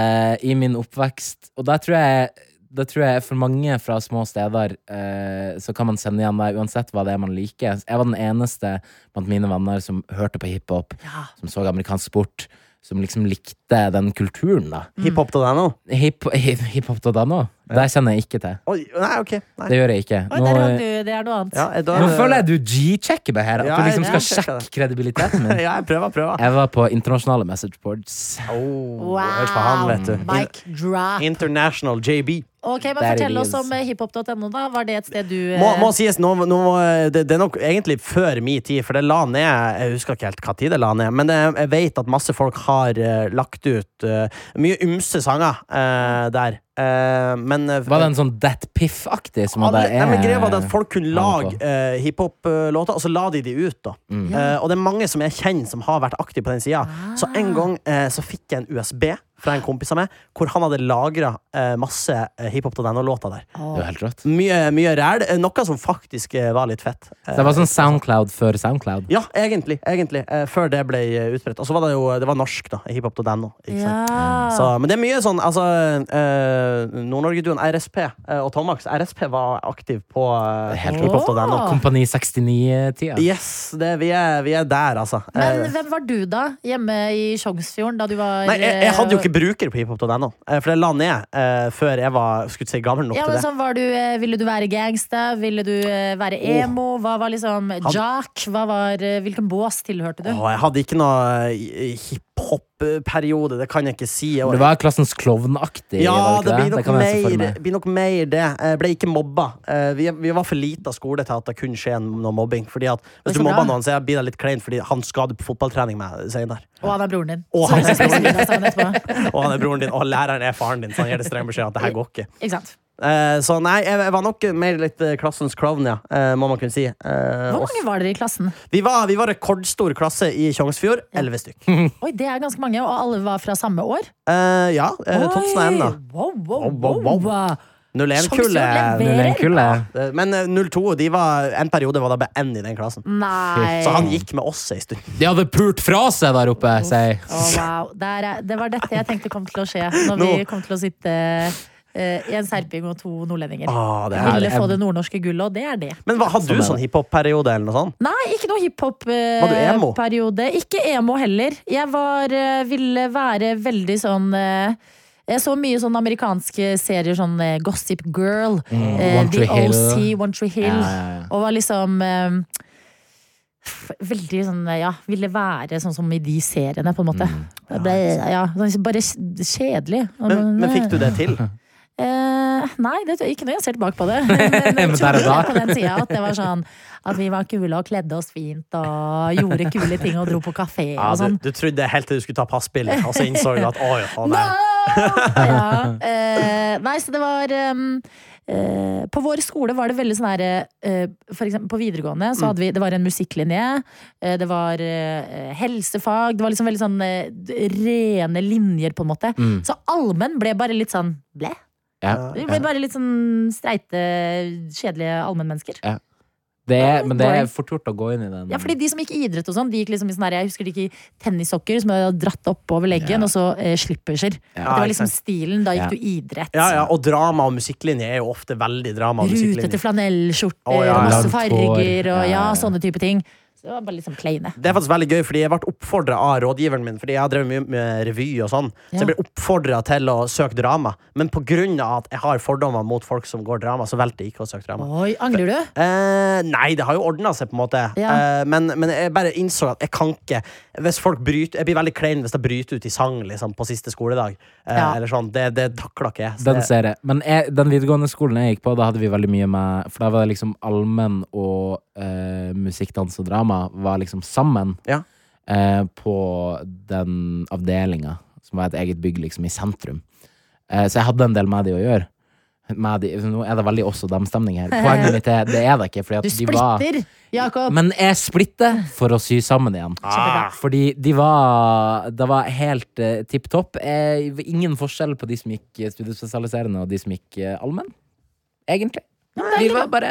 Speaker 3: i min oppvekst, og der tror jeg da tror jeg for mange fra små steder eh, så kan man sende igjen deg uansett hva det er man liker. Jeg var den eneste blant mine venner som hørte på hiphop, som så amerikansk sport, som liksom likte den kulturen, da.
Speaker 2: Hiphop til deg nå?
Speaker 3: Hip- hip- Hiphop til deg nå? Der kjenner jeg ikke til.
Speaker 2: Oi, nei, ok. Nei.
Speaker 3: Det gjør jeg ikke.
Speaker 6: Oi, der hang du, det er noe annet.
Speaker 2: Ja, eh, da,
Speaker 3: nå føler jeg du G-sjekker meg her, at
Speaker 2: Ja,
Speaker 3: du liksom
Speaker 2: jeg-
Speaker 3: skal sjekke
Speaker 2: jeg
Speaker 3: kredibiliteten min.
Speaker 2: *laughs* ja, jeg prøver, prøver.
Speaker 3: Jeg var på internasjonale message boards.
Speaker 2: Oh,
Speaker 6: Wow,
Speaker 2: Hør på han, vet du.
Speaker 6: Mic drop.
Speaker 2: International JB.
Speaker 6: Ok, men
Speaker 3: Der
Speaker 6: Fortell
Speaker 3: ligger
Speaker 6: oss om eh, hiphop.no. da Var det et sted du eh,
Speaker 2: Må, må sies, nå, nå, må- det, det er nok egentlig før min tid, for det la ned Jeg husker ikke helt hva tid det la ned, men jeg, jeg vet at masse folk har eh, lagt ut eh, mye ymse sanger eh, der. Eh, men eh,
Speaker 3: Var det en sånn That Piff-aktig? som
Speaker 2: alle,
Speaker 3: hadde
Speaker 2: nei, men greia var det at folk kunne
Speaker 3: Ja,
Speaker 2: lage eh, hiphop-låter, og så la de de ut, da.
Speaker 3: Mm.
Speaker 2: Eh, og det er mange som jeg kjenner som har vært aktive på den sida. Så en gang eh, så fikk jeg en USB fra en kompis av meg, hvor han hadde lagra masse eh, hiphop til denne låta der.
Speaker 3: Det var helt rått.
Speaker 2: Mye, mye ræl. eh, Noe som faktisk eh, var litt fett. Eh,
Speaker 3: Så det var sånn Soundcloud før Soundcloud.
Speaker 2: ja, egentlig. egentlig eh, før det ble eh, utbredt. Og så var det jo det var norsk, da. Hiphop til denne. Ikke sant? Så,
Speaker 6: eh, Ja.
Speaker 2: men det er mye sånn altså, eh, Nord-Norge-duoen RSP eh, og Tom Max RSP var aktiv på eh,
Speaker 3: Helt
Speaker 2: hiphop til denne.
Speaker 6: Åh.
Speaker 3: Kompani 69-tida.
Speaker 2: Yes, det, vi, er, vi er der, altså.
Speaker 6: Men
Speaker 2: Eh,
Speaker 6: hvem var du, da? Hjemme i Tjongsfjorden? Da du var
Speaker 2: Nei, jeg, jeg hadde jo
Speaker 6: eh,
Speaker 2: ikke bruker på hiphop.no, eh, for det la ned eh, før jeg var skulle ikke si, gammel nok
Speaker 6: ja,
Speaker 2: til
Speaker 6: men
Speaker 2: det.
Speaker 6: sånn var du, eh, Ville du være gangsta? Ville du eh, være emo? Hva var liksom jock? Hva var, eh, hvilken bås tilhørte du?
Speaker 2: Åh, jeg hadde ikke noe eh, hiphop-periode, det kan jeg ikke si. Og-
Speaker 3: Det var klassens klovnaktig.
Speaker 2: ja, det
Speaker 3: var ikke
Speaker 2: blir nok,
Speaker 3: kan jeg se for
Speaker 2: mer,
Speaker 3: meg.
Speaker 2: blir nok mer det. Jeg ble ikke mobba. Eh, Vi, vi var for lita skole til at det kunne skje noe mobbing. Fordi at
Speaker 6: Men
Speaker 2: Hvis du
Speaker 6: så
Speaker 2: mobber
Speaker 6: bra.
Speaker 2: noen, så blir det litt kleint, fordi han skader på fotballtrening med senere.
Speaker 6: Og han er broren din.
Speaker 2: Og
Speaker 6: Så
Speaker 2: han
Speaker 6: dere
Speaker 2: er
Speaker 6: skal spise
Speaker 2: broren din.
Speaker 6: middag sammen etterpå.
Speaker 2: Og han er broren din, og læreren er faren din, så han gir deg streng beskjed om at det her går ikke.
Speaker 6: Ikke sant?
Speaker 2: Eh, Så nei, jeg jeg var nok mer litt eh, klassens klovn, ja. eh, Må man kunne si. Eh,
Speaker 6: Hvor
Speaker 2: og-
Speaker 6: mange var dere i klassen?
Speaker 2: Vi var, vi var rekordstor klasse i Tjongsfjord. Elleve stykk.
Speaker 6: Oi, Det er ganske mange, og alle var fra samme år?
Speaker 2: Eh, ja, eh, Totsen er en, da.
Speaker 6: Wow, wow,
Speaker 2: Wow, wow,
Speaker 6: wow. Tjongsfjorden
Speaker 3: Det
Speaker 2: 01-kullet.
Speaker 6: leverer.
Speaker 3: er en kul, eh.
Speaker 2: Men eh, 02, de var, en periode var det bare én i den klassen.
Speaker 6: Nei.
Speaker 2: Så han gikk med oss ei stund.
Speaker 3: De hadde pult fra seg der oppe, sier jeg.
Speaker 6: Å, wow. Der er, det var dette jeg tenkte kom til
Speaker 2: *laughs*
Speaker 6: å skje når
Speaker 2: Nå.
Speaker 6: vi kom til å sitte eh, i en serping og to nordlendinger.
Speaker 2: Ah, det
Speaker 6: Jeg
Speaker 2: er herlig.
Speaker 6: ville få det nordnorske gullet, og det er det.
Speaker 2: Men hva, hadde du sånn hiphop-periode eller noe sånt?
Speaker 6: Nei, ikke noe
Speaker 2: Var du emo?
Speaker 6: hiphop-periode. ikke emo heller. Jeg var, eh, ville være veldig sånn eh, jeg så mye sånn amerikanske serier, sånn eh, Gossip Girl, eh,
Speaker 3: Mm, One
Speaker 6: The
Speaker 3: Tree Hill.
Speaker 6: OC, One Tree Hill.
Speaker 3: Ja, ja, ja.
Speaker 6: Og var liksom eh, f- Veldig sånn, eh, ja Ville være sånn som i de seriene, på en måte.
Speaker 3: Mm.
Speaker 6: Det Ble, ja, sånn bare kj- kjedelig.
Speaker 2: Men, men fikk du det til?
Speaker 6: Eh, nei, det, ikke når jeg ser tilbake på det. Men jeg
Speaker 3: Men der
Speaker 6: tror
Speaker 3: og da.
Speaker 6: på den tida at det var sånn at vi var kule og kledde oss fint og gjorde kule ting og dro på kafé
Speaker 2: Ja,
Speaker 6: og
Speaker 2: du,
Speaker 6: sånn.
Speaker 2: du trodde helt til du skulle ta passbildet, og så innså du at å, ja, å nei.
Speaker 6: Ja, eh, nei, så det var ehm, eh, På vår skole var det veldig sånn her eh, For eksempel på videregående så hadde vi Det var en musikklinje, eh, det var eh, helsefag Det var liksom veldig sånn eh, d- rene linjer, på en måte.
Speaker 3: Mm.
Speaker 6: Så allmenn ble bare litt sånn ble.
Speaker 3: Ja.
Speaker 6: Vi ble bare litt sånn streite, kjedelige allmennmennesker.
Speaker 3: Ja. Det er, men det
Speaker 6: boring.
Speaker 3: er fort gjort å gå inn i den.
Speaker 6: Ja, fordi De som gikk i idrett, og sånn De gikk liksom i sånn her, jeg husker de gikk i tennissokker som var dratt opp over leggen, og så eh, slipperser.
Speaker 2: Ja,
Speaker 6: det var
Speaker 2: ikke
Speaker 6: liksom
Speaker 2: sant.
Speaker 6: stilen. Da gikk
Speaker 2: Ja.
Speaker 6: du i idrett.
Speaker 2: Ja, ja, og drama og musikklinje er jo ofte veldig drama og
Speaker 6: Rutete
Speaker 2: musikklinje.
Speaker 6: flanellskjorter
Speaker 2: Å, ja,
Speaker 6: og masse
Speaker 2: langt hår.
Speaker 6: farger og ja,
Speaker 2: Ja, ja.
Speaker 6: sånne type ting. Så det var bare litt sånn plaine.
Speaker 2: Det er faktisk veldig gøy, fordi jeg ble oppfordra av rådgiveren min, fordi jeg har drevet mye med revy og sånn, så jeg ble oppfordra til å søke drama, men på grunn av at jeg har fordommer mot folk som går drama, så valgte jeg ikke å søke drama.
Speaker 6: Oi, angrer du?
Speaker 2: Eh, nei, det har jo ordna seg, på en måte.
Speaker 6: Ja.
Speaker 2: Eh, men, men jeg bare innså at jeg kan ikke Hvis folk bryter Jeg blir veldig klein hvis de bryter ut i sang liksom, på siste skoledag. Eh,
Speaker 3: Ja.
Speaker 2: Eller sånn, Det, det takler ikke jeg. Så
Speaker 3: Den
Speaker 2: det-
Speaker 3: ser jeg. Men jeg, den videregående skolen jeg gikk på, da hadde vi veldig mye med For da var det liksom allmenn og eh, musikk, dans og drama var liksom sammen eh, på den avdelinga som var et eget bygg liksom i sentrum. Eh, så jeg hadde en del med de å gjøre. Med de, nå er det veldig oss og dem-stemning
Speaker 6: *laughs*
Speaker 3: her. Poenget mitt er det er det ikke. Fordi at
Speaker 6: Du
Speaker 3: de var,
Speaker 6: splitter, Jakob.
Speaker 3: Men jeg splitter for å sy sammen igjen.
Speaker 2: Ah.
Speaker 6: Kjempebra.
Speaker 3: Fordi de var Det var helt uh, tipp topp. Eh, ingen forskjell på de som gikk eh, studiespesialiserende, og de som gikk eh, allmenn. Egentlig. Vi var bare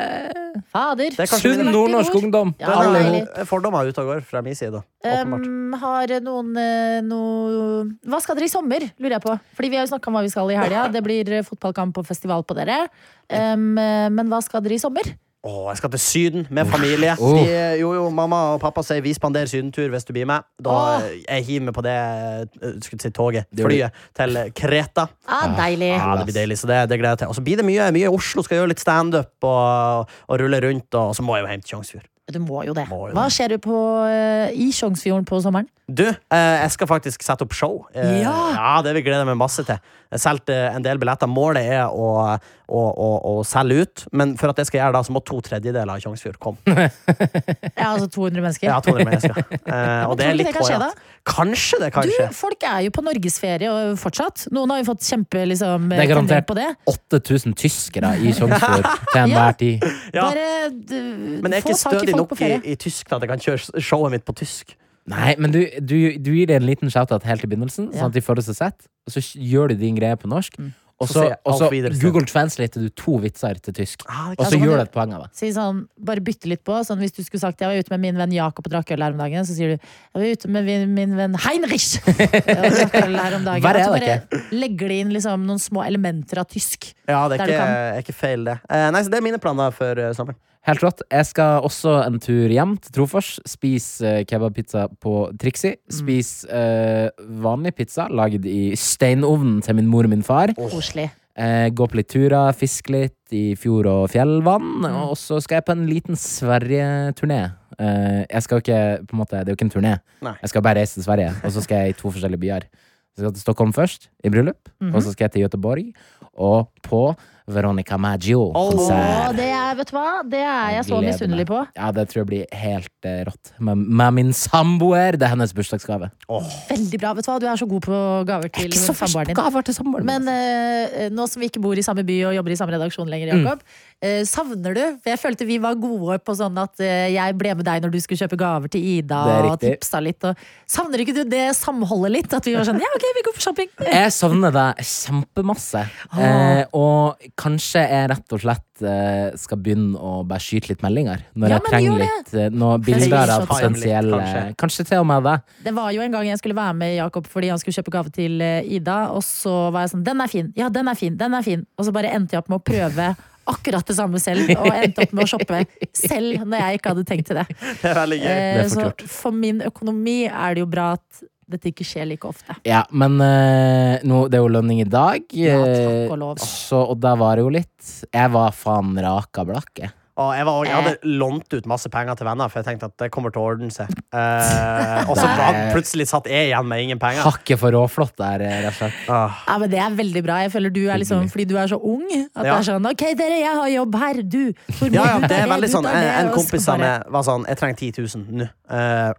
Speaker 6: Fader.
Speaker 2: Det er kanskje
Speaker 3: sunn
Speaker 2: mine-
Speaker 3: nordnorsk ungdom.
Speaker 2: Den
Speaker 3: alle
Speaker 2: er
Speaker 3: ihop.
Speaker 2: Fordommer ute og går fra min side. Åpenbart.
Speaker 6: Um, har noen eh, noe Hva skal dere i sommer, lurer jeg på? Fordi vi har jo snakka om hva vi skal i helga. Det blir eh, fotballkamp og festival på dere. Um, eh, men hva skal dere i sommer?
Speaker 2: Å, jeg skal til Syden med familie.
Speaker 3: Oh.
Speaker 2: De, jo, jo, mamma og pappa sier vi spanderer sydentur hvis du blir med. Da
Speaker 6: Åh.
Speaker 2: eh, jeg hiver meg på det eh, skulle si toget,
Speaker 3: gjør det.
Speaker 2: flyet, til Kreta.
Speaker 6: Ah, deilig.
Speaker 2: Ja, det blir deilig, så det, det gleder jeg til. Og så blir det mye, mye i Oslo. Skal gjøre litt standup og, og rulle rundt. Og, så må jeg jo hjem til Tjongsfjord.
Speaker 6: Du må jo det.
Speaker 2: Må jo
Speaker 6: Hva skjer du på, eh, i Tjongsfjorden på sommeren?
Speaker 2: Du, eh, jeg skal faktisk sette opp show. Eh,
Speaker 6: Ja.
Speaker 2: Det vil jeg glede meg masse til. Jeg solgte eh, en del billetter. Målet er å, å, å, å selge ut, men for at det skal gjøre det, så må to tredjedeler av Tjongsfjord komme.
Speaker 6: Ja, altså 200 mennesker.
Speaker 2: Ja, 200
Speaker 6: *laughs*
Speaker 2: mennesker. Eh, og det
Speaker 6: tror
Speaker 2: er
Speaker 6: du
Speaker 2: litt
Speaker 6: det kan skje,
Speaker 2: hårete. Kanskje det kan
Speaker 6: Du,
Speaker 2: skje.
Speaker 6: folk er jo på norgesferie og fortsatt. Noen har jo fått kjempe liksom,
Speaker 3: Det er
Speaker 6: tendens
Speaker 3: garantert
Speaker 6: på det.
Speaker 3: 8000 tyskere
Speaker 2: *laughs*
Speaker 3: i Tjongsfjord til
Speaker 6: Ja.
Speaker 3: enhver tid.
Speaker 2: Ja.
Speaker 6: Bare eh, d-
Speaker 2: Men jeg er ikke
Speaker 6: få tak i
Speaker 2: stødig
Speaker 6: folk
Speaker 2: nok
Speaker 6: på
Speaker 2: i,
Speaker 6: ferie.
Speaker 2: i tysk til at jeg kan kjøre showet mitt på tysk.
Speaker 3: Nei, men du, du, du gir det en liten shout-out helt i begynnelsen,
Speaker 6: Ja.
Speaker 3: sånn at de føler seg sett. Og så gjør du din greie på norsk. Og
Speaker 2: Mm. Så
Speaker 3: så,
Speaker 2: sier jeg
Speaker 3: og
Speaker 2: alt
Speaker 3: så
Speaker 2: videre i stedet.
Speaker 3: Google translater du to vitser til tysk.
Speaker 2: Ah,
Speaker 3: Og
Speaker 2: ikke
Speaker 3: så
Speaker 2: sant.
Speaker 3: gjør du et poeng av det.
Speaker 6: Si sånn, bare bytte litt på. Sånn, hvis du skulle sagt jeg var ute med min venn Jakob og drakk øl her om dagen, så sier du jeg var ute med min, min venn
Speaker 3: *laughs*
Speaker 6: Heinrich og drakk øl her om dagen.
Speaker 3: Verre er
Speaker 6: Og så
Speaker 3: det
Speaker 6: bare legger de inn liksom, noen små elementer av tysk.
Speaker 2: Ja, det er
Speaker 6: Der du
Speaker 2: ikke,
Speaker 6: kan.
Speaker 2: er ikke feil, det. Eh, nei, så det er mine planer for eh, sommeren.
Speaker 3: Helt rått. Jeg skal også en tur hjem til Trofors. Spise eh, kebabpizza på Trixie. Spise eh, vanlig pizza lagd i steinovnen til min mor og min far.
Speaker 6: Koselig.
Speaker 3: Eh, gå på litt turer, fiske litt i fjord- og fjellvann. Og så skal jeg på en liten Sverige-turné. Eh, jeg skal jo ikke, på en måte, Det er jo ikke en turné.
Speaker 2: Nei.
Speaker 3: Jeg skal bare reise til Sverige, og så skal jeg i to forskjellige byer. Jeg skal til Stockholm først, i bryllup. Og så skal jeg til Göteborg, og på Veronica Maggio-konsert.
Speaker 6: Å, det er, vet du hva? Det er jeg så
Speaker 3: Gleder
Speaker 6: misunnelig
Speaker 3: meg.
Speaker 6: på.
Speaker 3: Ja, det tror jeg blir helt eh, rått. Med, med min samboer. Det er hennes bursdagsgave.
Speaker 6: Veldig bra. Vet du hva? Du er så god på gaver til
Speaker 3: Ikke så verst
Speaker 6: samboeren din.
Speaker 3: gaver til samboeren min.
Speaker 6: Men eh, nå som vi ikke bor i samme by og jobber i samme redaksjon lenger,
Speaker 3: Mm.
Speaker 6: Jakob, eh, savner du? For jeg følte vi var gode på sånn at eh, jeg ble med deg når du skulle kjøpe gaver til Ida.
Speaker 3: Det er
Speaker 6: Og
Speaker 3: riktig.
Speaker 6: tipsa litt og Savner ikke du det samholdet litt? At vi var sånn ja, ok, vi går på
Speaker 3: *laughs*
Speaker 6: shopping.
Speaker 3: Jeg savner deg kjempemasse.
Speaker 6: eh, Åh.
Speaker 3: Eh, og kanskje jeg rett og slett eh, skal begynne å bare skyte litt meldinger. Når
Speaker 6: Ja,
Speaker 3: jeg
Speaker 6: men
Speaker 3: trenger
Speaker 6: gjør det.
Speaker 3: litt eh, noen
Speaker 6: Jeg skal
Speaker 3: bilder av
Speaker 6: vise
Speaker 2: at-
Speaker 3: potensielle
Speaker 2: Kanskje.
Speaker 3: Kanskje til og med det.
Speaker 6: Det var jo en gang jeg skulle være med Jakob fordi han skulle kjøpe gave til eh, Ida, og så var jeg sånn Den er fin, ja, den er fin, den er fin. Og så bare endte jeg opp med å prøve akkurat det samme selv, og endte opp med å shoppe selv når jeg ikke hadde tenkt til det.
Speaker 2: Det er *laughs* veldig gøy.
Speaker 6: Eh,
Speaker 3: Det er
Speaker 6: så
Speaker 3: fort
Speaker 6: for min økonomi er det jo bra at dette ikke skjer like ofte.
Speaker 3: Ja, men eh, nå, det er jo lønning i dag.
Speaker 6: Ja, takk
Speaker 3: eh,
Speaker 6: og lov.
Speaker 3: Så, og der var det jo litt. Jeg var faen raka blakk, jeg.
Speaker 2: Og jeg, var, jeg
Speaker 6: Eh.
Speaker 2: hadde lånt ut masse penger til venner, for jeg tenkte at det kommer til å ordne seg. Eh, og så var- plutselig satt jeg igjen med ingen penger.
Speaker 3: Hakket for råflott der, eh, rett og slett.
Speaker 2: Ah,
Speaker 6: Ja, men Det er veldig bra. Jeg føler du er liksom, Fordi du er så ung. At det
Speaker 2: Ja.
Speaker 6: er sånn OK, dere, jeg har jobb her. Du. Hvor må
Speaker 2: ja, ja,
Speaker 6: du ta
Speaker 2: det er veldig
Speaker 6: du
Speaker 2: sånn.
Speaker 6: tar
Speaker 2: En, en
Speaker 6: og så
Speaker 2: kompis av
Speaker 6: bare-
Speaker 2: meg var sånn Jeg trenger 10 000 nå. Eh,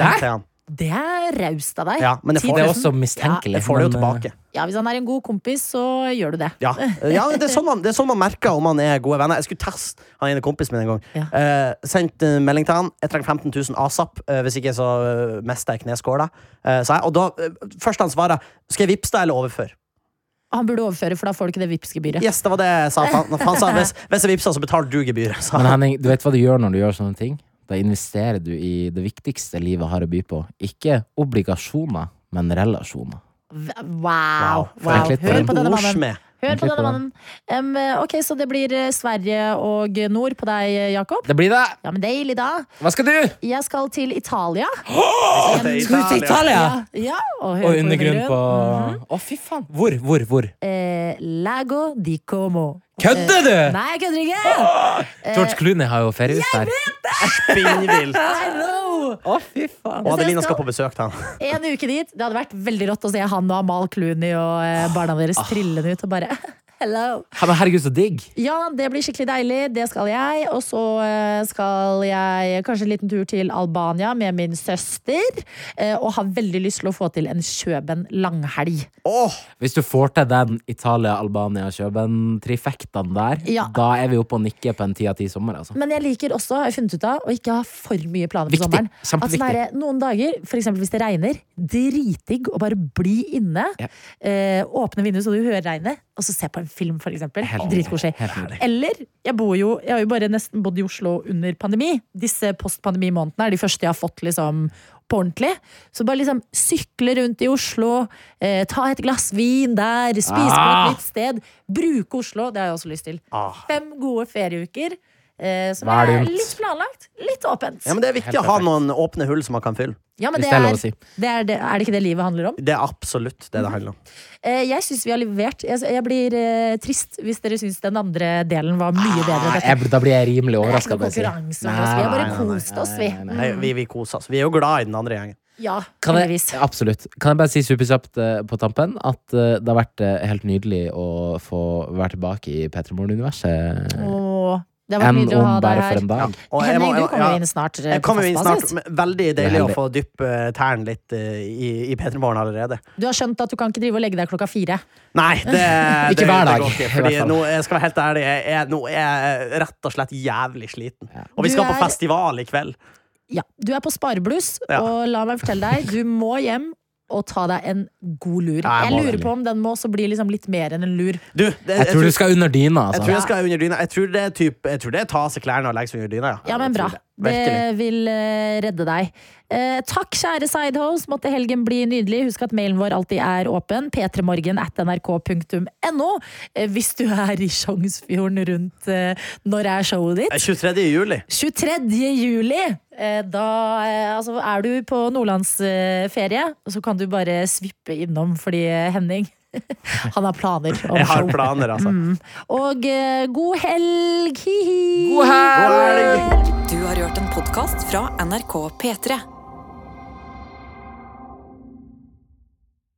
Speaker 2: rett til han.
Speaker 6: Det er raust av deg.
Speaker 2: Ja, men jeg får-
Speaker 6: 10 000.
Speaker 3: Det er også mistenkelig.
Speaker 2: Jeg får det jo
Speaker 3: men, eh,
Speaker 6: *laughs*
Speaker 2: tilbake.
Speaker 6: Ja, Hvis han er en god kompis, så gjør du det.
Speaker 2: Ja, ja det, er sånn man, det er sånn man merker om man er gode venner. Jeg skulle teste han ene kompisen min en gang.
Speaker 6: Ja.
Speaker 2: Eh, Sendte en melding til han. Jeg trenger 15 000 asap. eh, hvis ikke, så eh, mister jeg kneskåla. Eh, sa jeg. og da, eh, først han svarer Skal jeg vippse deg eller overføre?
Speaker 6: Han burde overføre, for da får du ikke det Vipps-gebyret.
Speaker 2: Yes, det var det jeg sa.
Speaker 6: *laughs*
Speaker 2: Han, han sa hvis, hvis jeg vipser, så betaler du gebyret. sa
Speaker 3: Men
Speaker 2: han.
Speaker 3: Henning, du vet hva du gjør når du gjør sånne ting? Da investerer du i det viktigste livet har å by på. Ikke obligasjoner, men relasjoner.
Speaker 6: Wow. wow.
Speaker 3: Tenk litt på
Speaker 6: Hør
Speaker 3: den.
Speaker 6: på denne mannen.
Speaker 2: Ordsmed.
Speaker 6: Hør
Speaker 3: Tenk
Speaker 6: på
Speaker 3: litt
Speaker 6: denne
Speaker 3: på
Speaker 6: mannen. Em, ok, Så det blir eh, Sverige og nord på deg, Jakob?
Speaker 3: Det blir det!
Speaker 6: Ja, men Deilig, da.
Speaker 3: Hva skal du?
Speaker 6: Jeg skal til Italia.
Speaker 3: Skal du til Italia?
Speaker 6: Ja, og,
Speaker 3: Og
Speaker 6: høre på
Speaker 3: undergrunn på Å,
Speaker 6: Mhm.
Speaker 3: fy faen! Hvor, hvor, hvor?
Speaker 6: Eh, Lago di Como.
Speaker 3: Kødder du?!
Speaker 6: eh, Nei, jeg kødder ikke!
Speaker 3: George Clooney har jo feriehus der.
Speaker 2: Spinnvilt.
Speaker 6: *laughs* I know!
Speaker 3: Å, fy faen!
Speaker 2: Og Adelina skal på besøk
Speaker 6: *laughs*
Speaker 2: til han.
Speaker 6: En uke dit. Det hadde vært veldig rått å se han og Amal Clooney og eh, barna
Speaker 3: Ah.
Speaker 6: deres trillende ut og bare *laughs* Hello.
Speaker 3: Ja, Men herregud, så digg!
Speaker 6: Ja, det blir skikkelig deilig. Det skal jeg. Og så eh, skal jeg kanskje en liten tur til Albania med min søster. eh, Og har veldig lyst til å få til en Kjøben langhelg.
Speaker 2: Åh,
Speaker 3: Hvis du får til den Italia-Albania-Kjøben-trifektaen der,
Speaker 6: Ja.
Speaker 3: da er vi oppe og nikker på en ti av ti sommer, altså.
Speaker 6: Men jeg liker også har jeg funnet ut av, å ikke ha for mye planer for
Speaker 3: Viktig.
Speaker 6: sommeren. At
Speaker 3: Kjempeviktig.
Speaker 6: sånn her, Noen dager, f.eks. hvis det regner, dritdigg å bare bli inne.
Speaker 3: Ja.
Speaker 6: Eh, åpne vinduet så du hører regnet, og så se på en film, f.eks.
Speaker 3: Helt nydelig.
Speaker 6: Dritkoselig.
Speaker 3: Helt nydelig.
Speaker 6: Eller jeg, bor jo, jeg har jo bare nesten bodd i Oslo under pandemi. Disse postpandemimånedene er de første jeg har fått liksom på ordentlig. Så bare liksom sykle rundt i Oslo, eh, ta et glass vin der, spise på
Speaker 3: Ah!
Speaker 6: et nytt sted. Bruke Oslo, det har jeg også lyst til.
Speaker 2: Ah.
Speaker 6: Fem gode ferieuker. Eh, som
Speaker 3: Hva er
Speaker 6: er
Speaker 3: dumt?
Speaker 6: litt planlagt, litt åpent.
Speaker 2: Ja, men det er viktig
Speaker 3: Helt
Speaker 2: å ha
Speaker 3: perfekt.
Speaker 2: noen åpne hull som man kan fylle.
Speaker 6: Ja, men
Speaker 3: Hvis det
Speaker 6: det
Speaker 3: er
Speaker 6: er,
Speaker 3: lov å si.
Speaker 6: det er, det, er det ikke det livet handler om?
Speaker 2: Det er absolutt det det handler om.
Speaker 6: Eh, jeg syns vi har levert. Jeg, jeg blir eh, trist hvis dere syns den andre delen var mye bedre.
Speaker 3: Ah,
Speaker 6: enn dette.
Speaker 3: jeg, da blir jeg rimelig overraska.
Speaker 6: Det er ikke noe konkurranse mellom oss. Vi har bare kost oss, vi.
Speaker 3: Mm.
Speaker 2: Nei, vi, vi koser oss. Vi er jo glad i den andre gjengen.
Speaker 6: Ja,
Speaker 3: Kan jeg,
Speaker 6: heldigvis.
Speaker 3: absolutt. Kan jeg bare si superkjapt eh, på tampen at eh, det har vært eh, helt nydelig å få være tilbake i P3 Morgen-universet.
Speaker 6: Åh, det har vært
Speaker 3: Enn
Speaker 6: nydelig å
Speaker 3: om
Speaker 6: ha deg
Speaker 3: bare for
Speaker 6: her.
Speaker 3: en dag.
Speaker 2: Og jeg
Speaker 6: Henning,
Speaker 2: må- jeg
Speaker 6: du
Speaker 2: må-
Speaker 6: kommer jo
Speaker 2: ja.
Speaker 6: inn snart. eh,
Speaker 2: Jeg
Speaker 6: på
Speaker 2: kommer jo inn
Speaker 6: fast
Speaker 2: snart.
Speaker 6: basis.
Speaker 2: men Veldig deilig å
Speaker 3: Veldig.
Speaker 2: få dyppe tærne litt eh, i, i P3 Morgen allerede.
Speaker 6: Du har skjønt at du kan ikke drive og legge deg klokka fire.
Speaker 2: Nei, det, det,
Speaker 3: Ikke hver dag,
Speaker 2: Det går ikke,
Speaker 3: i
Speaker 2: fordi
Speaker 3: hvert fall.
Speaker 2: nå, jeg skal være helt ærlig, jeg er, nå er jeg rett og slett jævlig sliten. Og vi
Speaker 6: Du
Speaker 2: skal på
Speaker 6: er-
Speaker 2: festival i kveld.
Speaker 6: Ja, du er på sparebluss,
Speaker 2: Ja.
Speaker 6: og la meg fortelle deg, du må hjem. Og ta deg en god lur.
Speaker 2: Ja, jeg
Speaker 6: jeg
Speaker 2: må
Speaker 6: lurer
Speaker 3: det.
Speaker 6: på om den må også bli liksom litt mer enn en lur.
Speaker 2: Du, det, jeg,
Speaker 3: Jeg tror du skal under dyna,
Speaker 2: jeg tror
Speaker 3: altså.
Speaker 2: jeg skal under dyna. Jeg tror det er, typ, jeg tror det er ta av seg klærne og legge seg under dyna.
Speaker 6: Ja, men
Speaker 2: Jeg
Speaker 6: bra.
Speaker 2: tror det. Virkelig.
Speaker 6: Det vil eh, redde deg. Eh, takk, kjære Sidehouse. Måtte helgen bli nydelig. Husk at mailen vår alltid er åpen. p3morgen at nrk.no. Eh, hvis du er i Sjongsfjorden rundt eh, Når er showet
Speaker 2: Det
Speaker 6: ditt?
Speaker 2: er Eh, 23. juli.
Speaker 6: 23. juli! Eh, da eh, altså, er du på nordlandsferie, og så kan du bare svippe innom fordi eh, Henning *laughs* han har planer om
Speaker 2: Jeg har
Speaker 6: show.
Speaker 2: planer, altså.
Speaker 6: Mm. Og eh, god helg! Hi-hi!
Speaker 2: God helg!
Speaker 1: Du har hørt en podkast fra NRK P3.